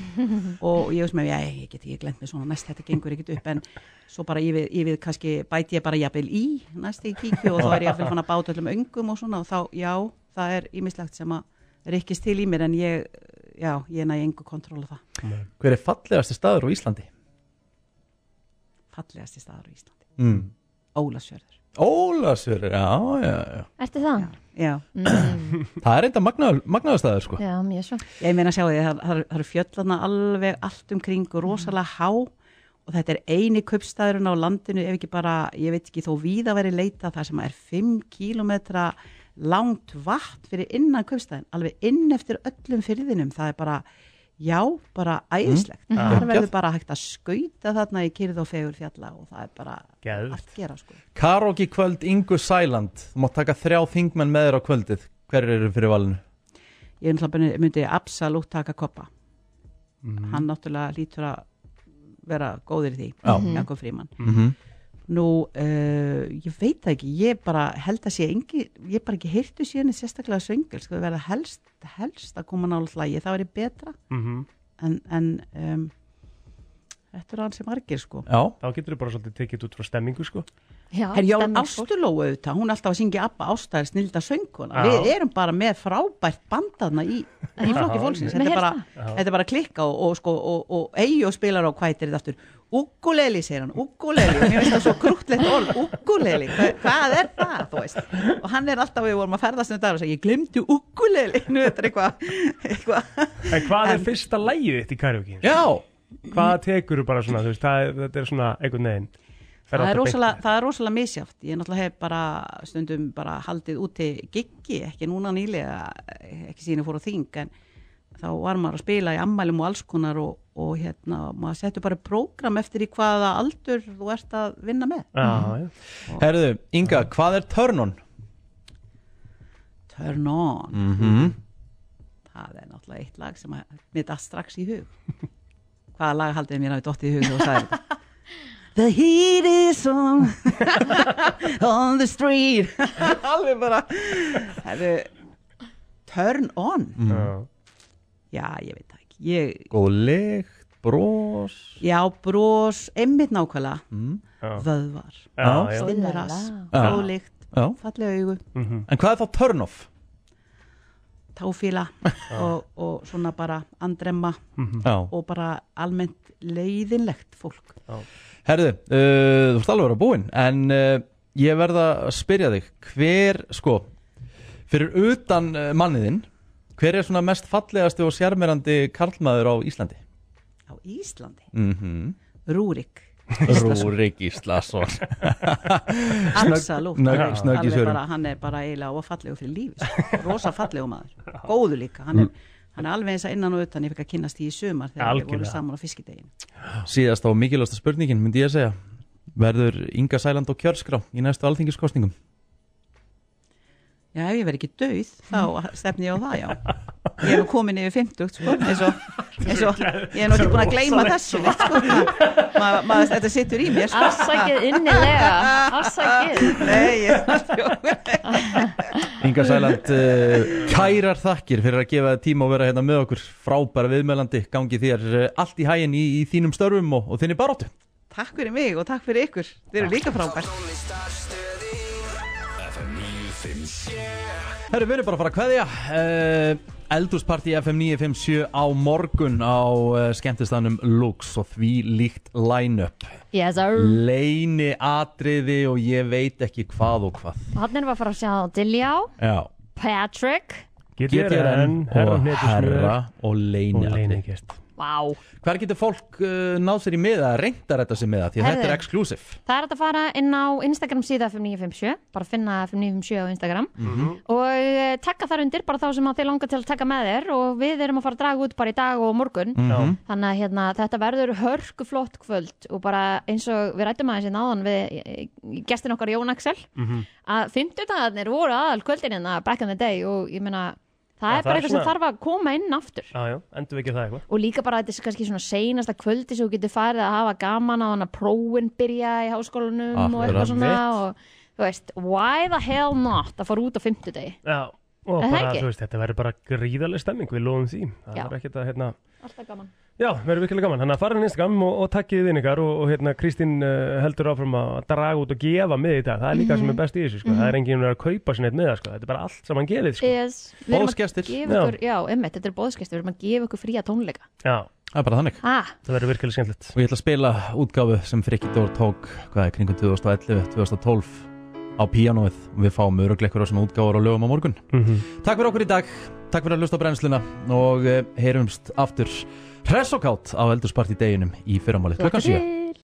K: og ég veist með, já, ég get ekki glend með svona næst þetta gengur ekkit upp en svo bara ég við, ég við kannski bæti ég bara jafnvel í næst þegar ég kíkju og þá er ég jafnvel fann að báta öllum öngum og svona og þá, já, það er ímislegt sem að rikkist til í mér en ég, já, ég næ engu kontróla það
A: Hver er fallegasti staður á Íslandi?
K: fallegasti staður á Íslandi
A: Mm.
K: Ólafsfjörður
A: Ólasur, já, já, já
B: Ertu það?
K: Já
B: Mm.
A: Það er enda magnaður magnaður staður sko
B: Já, mjög svo
K: Ég meina sjáu því, það, það, það eru fjöllana alveg allt um kring og rosalega há og þetta er eini kaupstæðurinn á landinu ef ekki bara, ég veit ekki þó víða væri leita það sem er 5 km langt vatn fyrir innan kaupstæðin, alveg inn eftir öllum fyrðinum, það er bara já, bara æðislegt,
C: Mhm.
K: þar
C: Já.
K: verður bara hægt að skauta þarna í kyrð og fegur fjalla og það er bara
C: Geðveikt.
K: allt gera sko.
A: Karogi kvöld Ingu Sæland Þú mátt taka þrjá þingmenn með þér á kvöldið Hver eru fyrir valinu?
K: Ég náttúrulega myndi absolutt taka koppa
A: Mhm.
K: hann náttúrulega lítur að vera góður í því,
A: Já.
K: Jakob Fríman
A: Mhm.
K: Nú, uh, ég veit það ekki, ég bara held að sé engi, ég bara ekki heyrtu síðan sérstaklega söngel, sko, það verða helst, helst að koma nála hlægi, það verði betra
C: Mhm.
K: en, en um, þetta eru hans sem margir sko
A: Já.
C: Þá getur þú bara svolítið tekið þetta út frá stemmingu sko
B: Já,
K: Herri, Jón
B: stemningsfólk.
K: Ástulóu auðvitað, hún er alltaf að syngja Abba Ásta er snilda sönguna,
C: Já.
K: við erum bara með frábært bandaðna í, í
C: Já.
K: flokki fólksins,
C: Mér
K: þetta
B: hérna-
K: er bara,
C: heyrst það. Já.
K: þetta er bara klikka og, og, sko, og, og eigi og spilar á hvað er þetta aftur, ukuleli segir hann, ukuleli, mér finnst það svo krútlegt orð, ukuleli, hvað, hvað er það þú veist, og hann er alltaf, við vorum að ferðast um dagar og segja, ég glemdi ukuleli nú þetta er eitthvað, eitthvað
C: En hvað er fyrsta lægið þitt í karaoke?
A: Já
C: Hvað tekur þú bara svona, þú veist, það, er- þetta er svona einhvern veginn Fer
K: það er,
C: alltaf beint.
K: rosalega, það er rosalega misjátt ég náttúrulega hef bara stundum bara haldið úti giggi, ekki núna nýlega ekki síðan ég fór á þing en þá var maður að spila í ammælum og alls konar og, og hérna maður settur bara prógram eftir í hvaða aldur þú ert að vinna með
C: Já,
A: Herðu, Inga, hvað er törnun?
K: Turn on
A: Mm
K: Mhm.
A: -hmm.
K: það er náttúrulega eitt lag sem að, mér dætt strax í hug hvaða lag haldið mér að við dottið í hug og sagði þetta The heat is on On the street Alveg bara Heru, Turn on
A: Mm.
K: Já, ég veit það ekki ég,
A: Góð lykt, brós
K: Já, bros, einmitt nákvæmlega
A: Mm. Já.
K: Vöðvar
A: Já, já.
K: Stinnur rass,
A: Já.
K: góðlíkt
A: Já.
K: Fallega augu,
A: En hvað er þá turn off?
K: táfíla
A: Ah.
K: og, og svona bara andremma
A: Mhm. Já.
K: og bara almennt leiðinlegt fólk
A: Herðu, uh, þú ert alveg að vera búinn En uh, ég verða að spyrja þig Hver, sko Fyrir utan uh, manniðinn Hver er svona mest fallegasti og sjarmerandi karlmaður á Íslandi?
K: á Íslandi
A: Mm -hmm.
K: Rúrik
A: Rúrik Íslason
K: Absolutt,
A: Snögg- snögg í
K: Alveg
A: svörum.
K: bara- hann er bara eiginlega og fallegu fyrir lífi sko. rosa fallegu maður, góðu líka hann
A: Mm.
K: er, hann er alveg eins að innan og utan ég fikk að kynast því í sumar þegar við vorum
A: Algjörlega.
K: saman á fiskidegin
A: Síðast á mikilvægsta spurningin myndi ég að segja Verður Inga Sæland á kjörskrá í næstu alþingiskostningum?
K: Já, ef ég verð ekki dauð, þá stefni ég á það, já. Ég er nú komin yfir 50, sko, eins og, eins og ég er nú ekki búin að gleyma þessu, neitt, sko. Ma, ma, þetta situr í mér, sko.
B: Afsakið innilega Afsakið
K: Nei, ég...
A: Inga Sæland uh, kærar þakkir fyrir að gefa þér tíma og vera hérna með okkur frábæra viðmælandi gangi þér uh, allt í hæginn í, í þínum störfum og, og þinni baróttu
K: Takk fyrir mig og takk fyrir ykkur. Þið eru líka frábært.
I: FM 957
A: Herru, við erum bara að fara að kveðja uh, Eldúsparti FM 957 á morgun á uh, skemmtistanum Lux og því líkt line-up
B: Yes, sir
A: Leini atriði og ég veit ekki hvað og hvað
B: Þannig erum við að fara að sjá Diljá
A: Já
B: Patrick
A: GTRN
C: Herra
A: og
C: Hnetusmjör
A: herra og leini
C: og
A: leinigest
B: Vá
A: Hvar getur fólk uh, náð sér í miða að reynda þetta sér miða því að
B: Herðu.
A: þetta er exklusif
B: Það er hægt að fara inn á Instagram síða 5957 bara finna 5957 á Instagram
A: Mhm.
B: og eh, taka þar undir bara þá sem að þið langar til að taka með þér og við erum að fara að draga út bara í dag og morgun
I: Já.
B: þannig að hérna, þetta verður hörkuflott kvöld og bara eins og við rættum aðeins í náðan við eh, gestin okkar Jón Axel að 50 dagarnir voru aðal kvöldin en að back in the day og ég meina það
C: Já,
B: er
C: það
B: bara
C: er
B: eitthvað
C: svona-
B: sem þarf að koma inn aftur
C: já, já, endur við ekki það eitthvað
B: og líka bara þetta er kannski svona seinasta kvöldi sem þú getur farið að hafa gaman á þannig að prófin byrja í háskólanum og
C: Akkurat.
B: eitthvað svona og þú veist, why the hell not að fara út á fimmtudegi
C: Já, og
B: Er það
C: bara,
B: ekki?
C: þú veist, þetta verður bara gríðarlega stemming, við lofum því Það
B: Já.
C: er ekkert að, hérna,
B: Alltaf gaman
C: Já, verður virkilega gaman. Þannig að fara inn í Instagram og, og takkið þinn ykkar og, og hérna Kristín uh, heldur áfram að draga út og gefa með í dag. Það er líka
B: Mhm.
C: sem er best í þessu, sko.
B: Mhm.
C: Það er enginn að kaupa sinni eitt með það, sko. Þetta er bara allt saman gefið, sko.
B: yes, við erum að
C: Boðsgestir.
B: gefa
C: Já.
B: ykkur, já, emmitt, þetta er bóðskestir við erum að gefa ykkur fría tónleika
C: Já.
A: Það er bara þannig.
B: ha,
C: Það verður virkilega skemmtilegt.
A: Og ég ætla að spila útgáfu sem Frikki Dór tók, hvað er kringum 2011, 2012 á píanóið og við fáum örugleikur á svona útgáður og lögum á morgun
C: Mhm.
A: Takk fyrir okkur í dag, takk fyrir að hlusta á brennsluna og eh, heyrumst aftur hress og kátt á eldursparti deginum í fyrramáli klukkan 7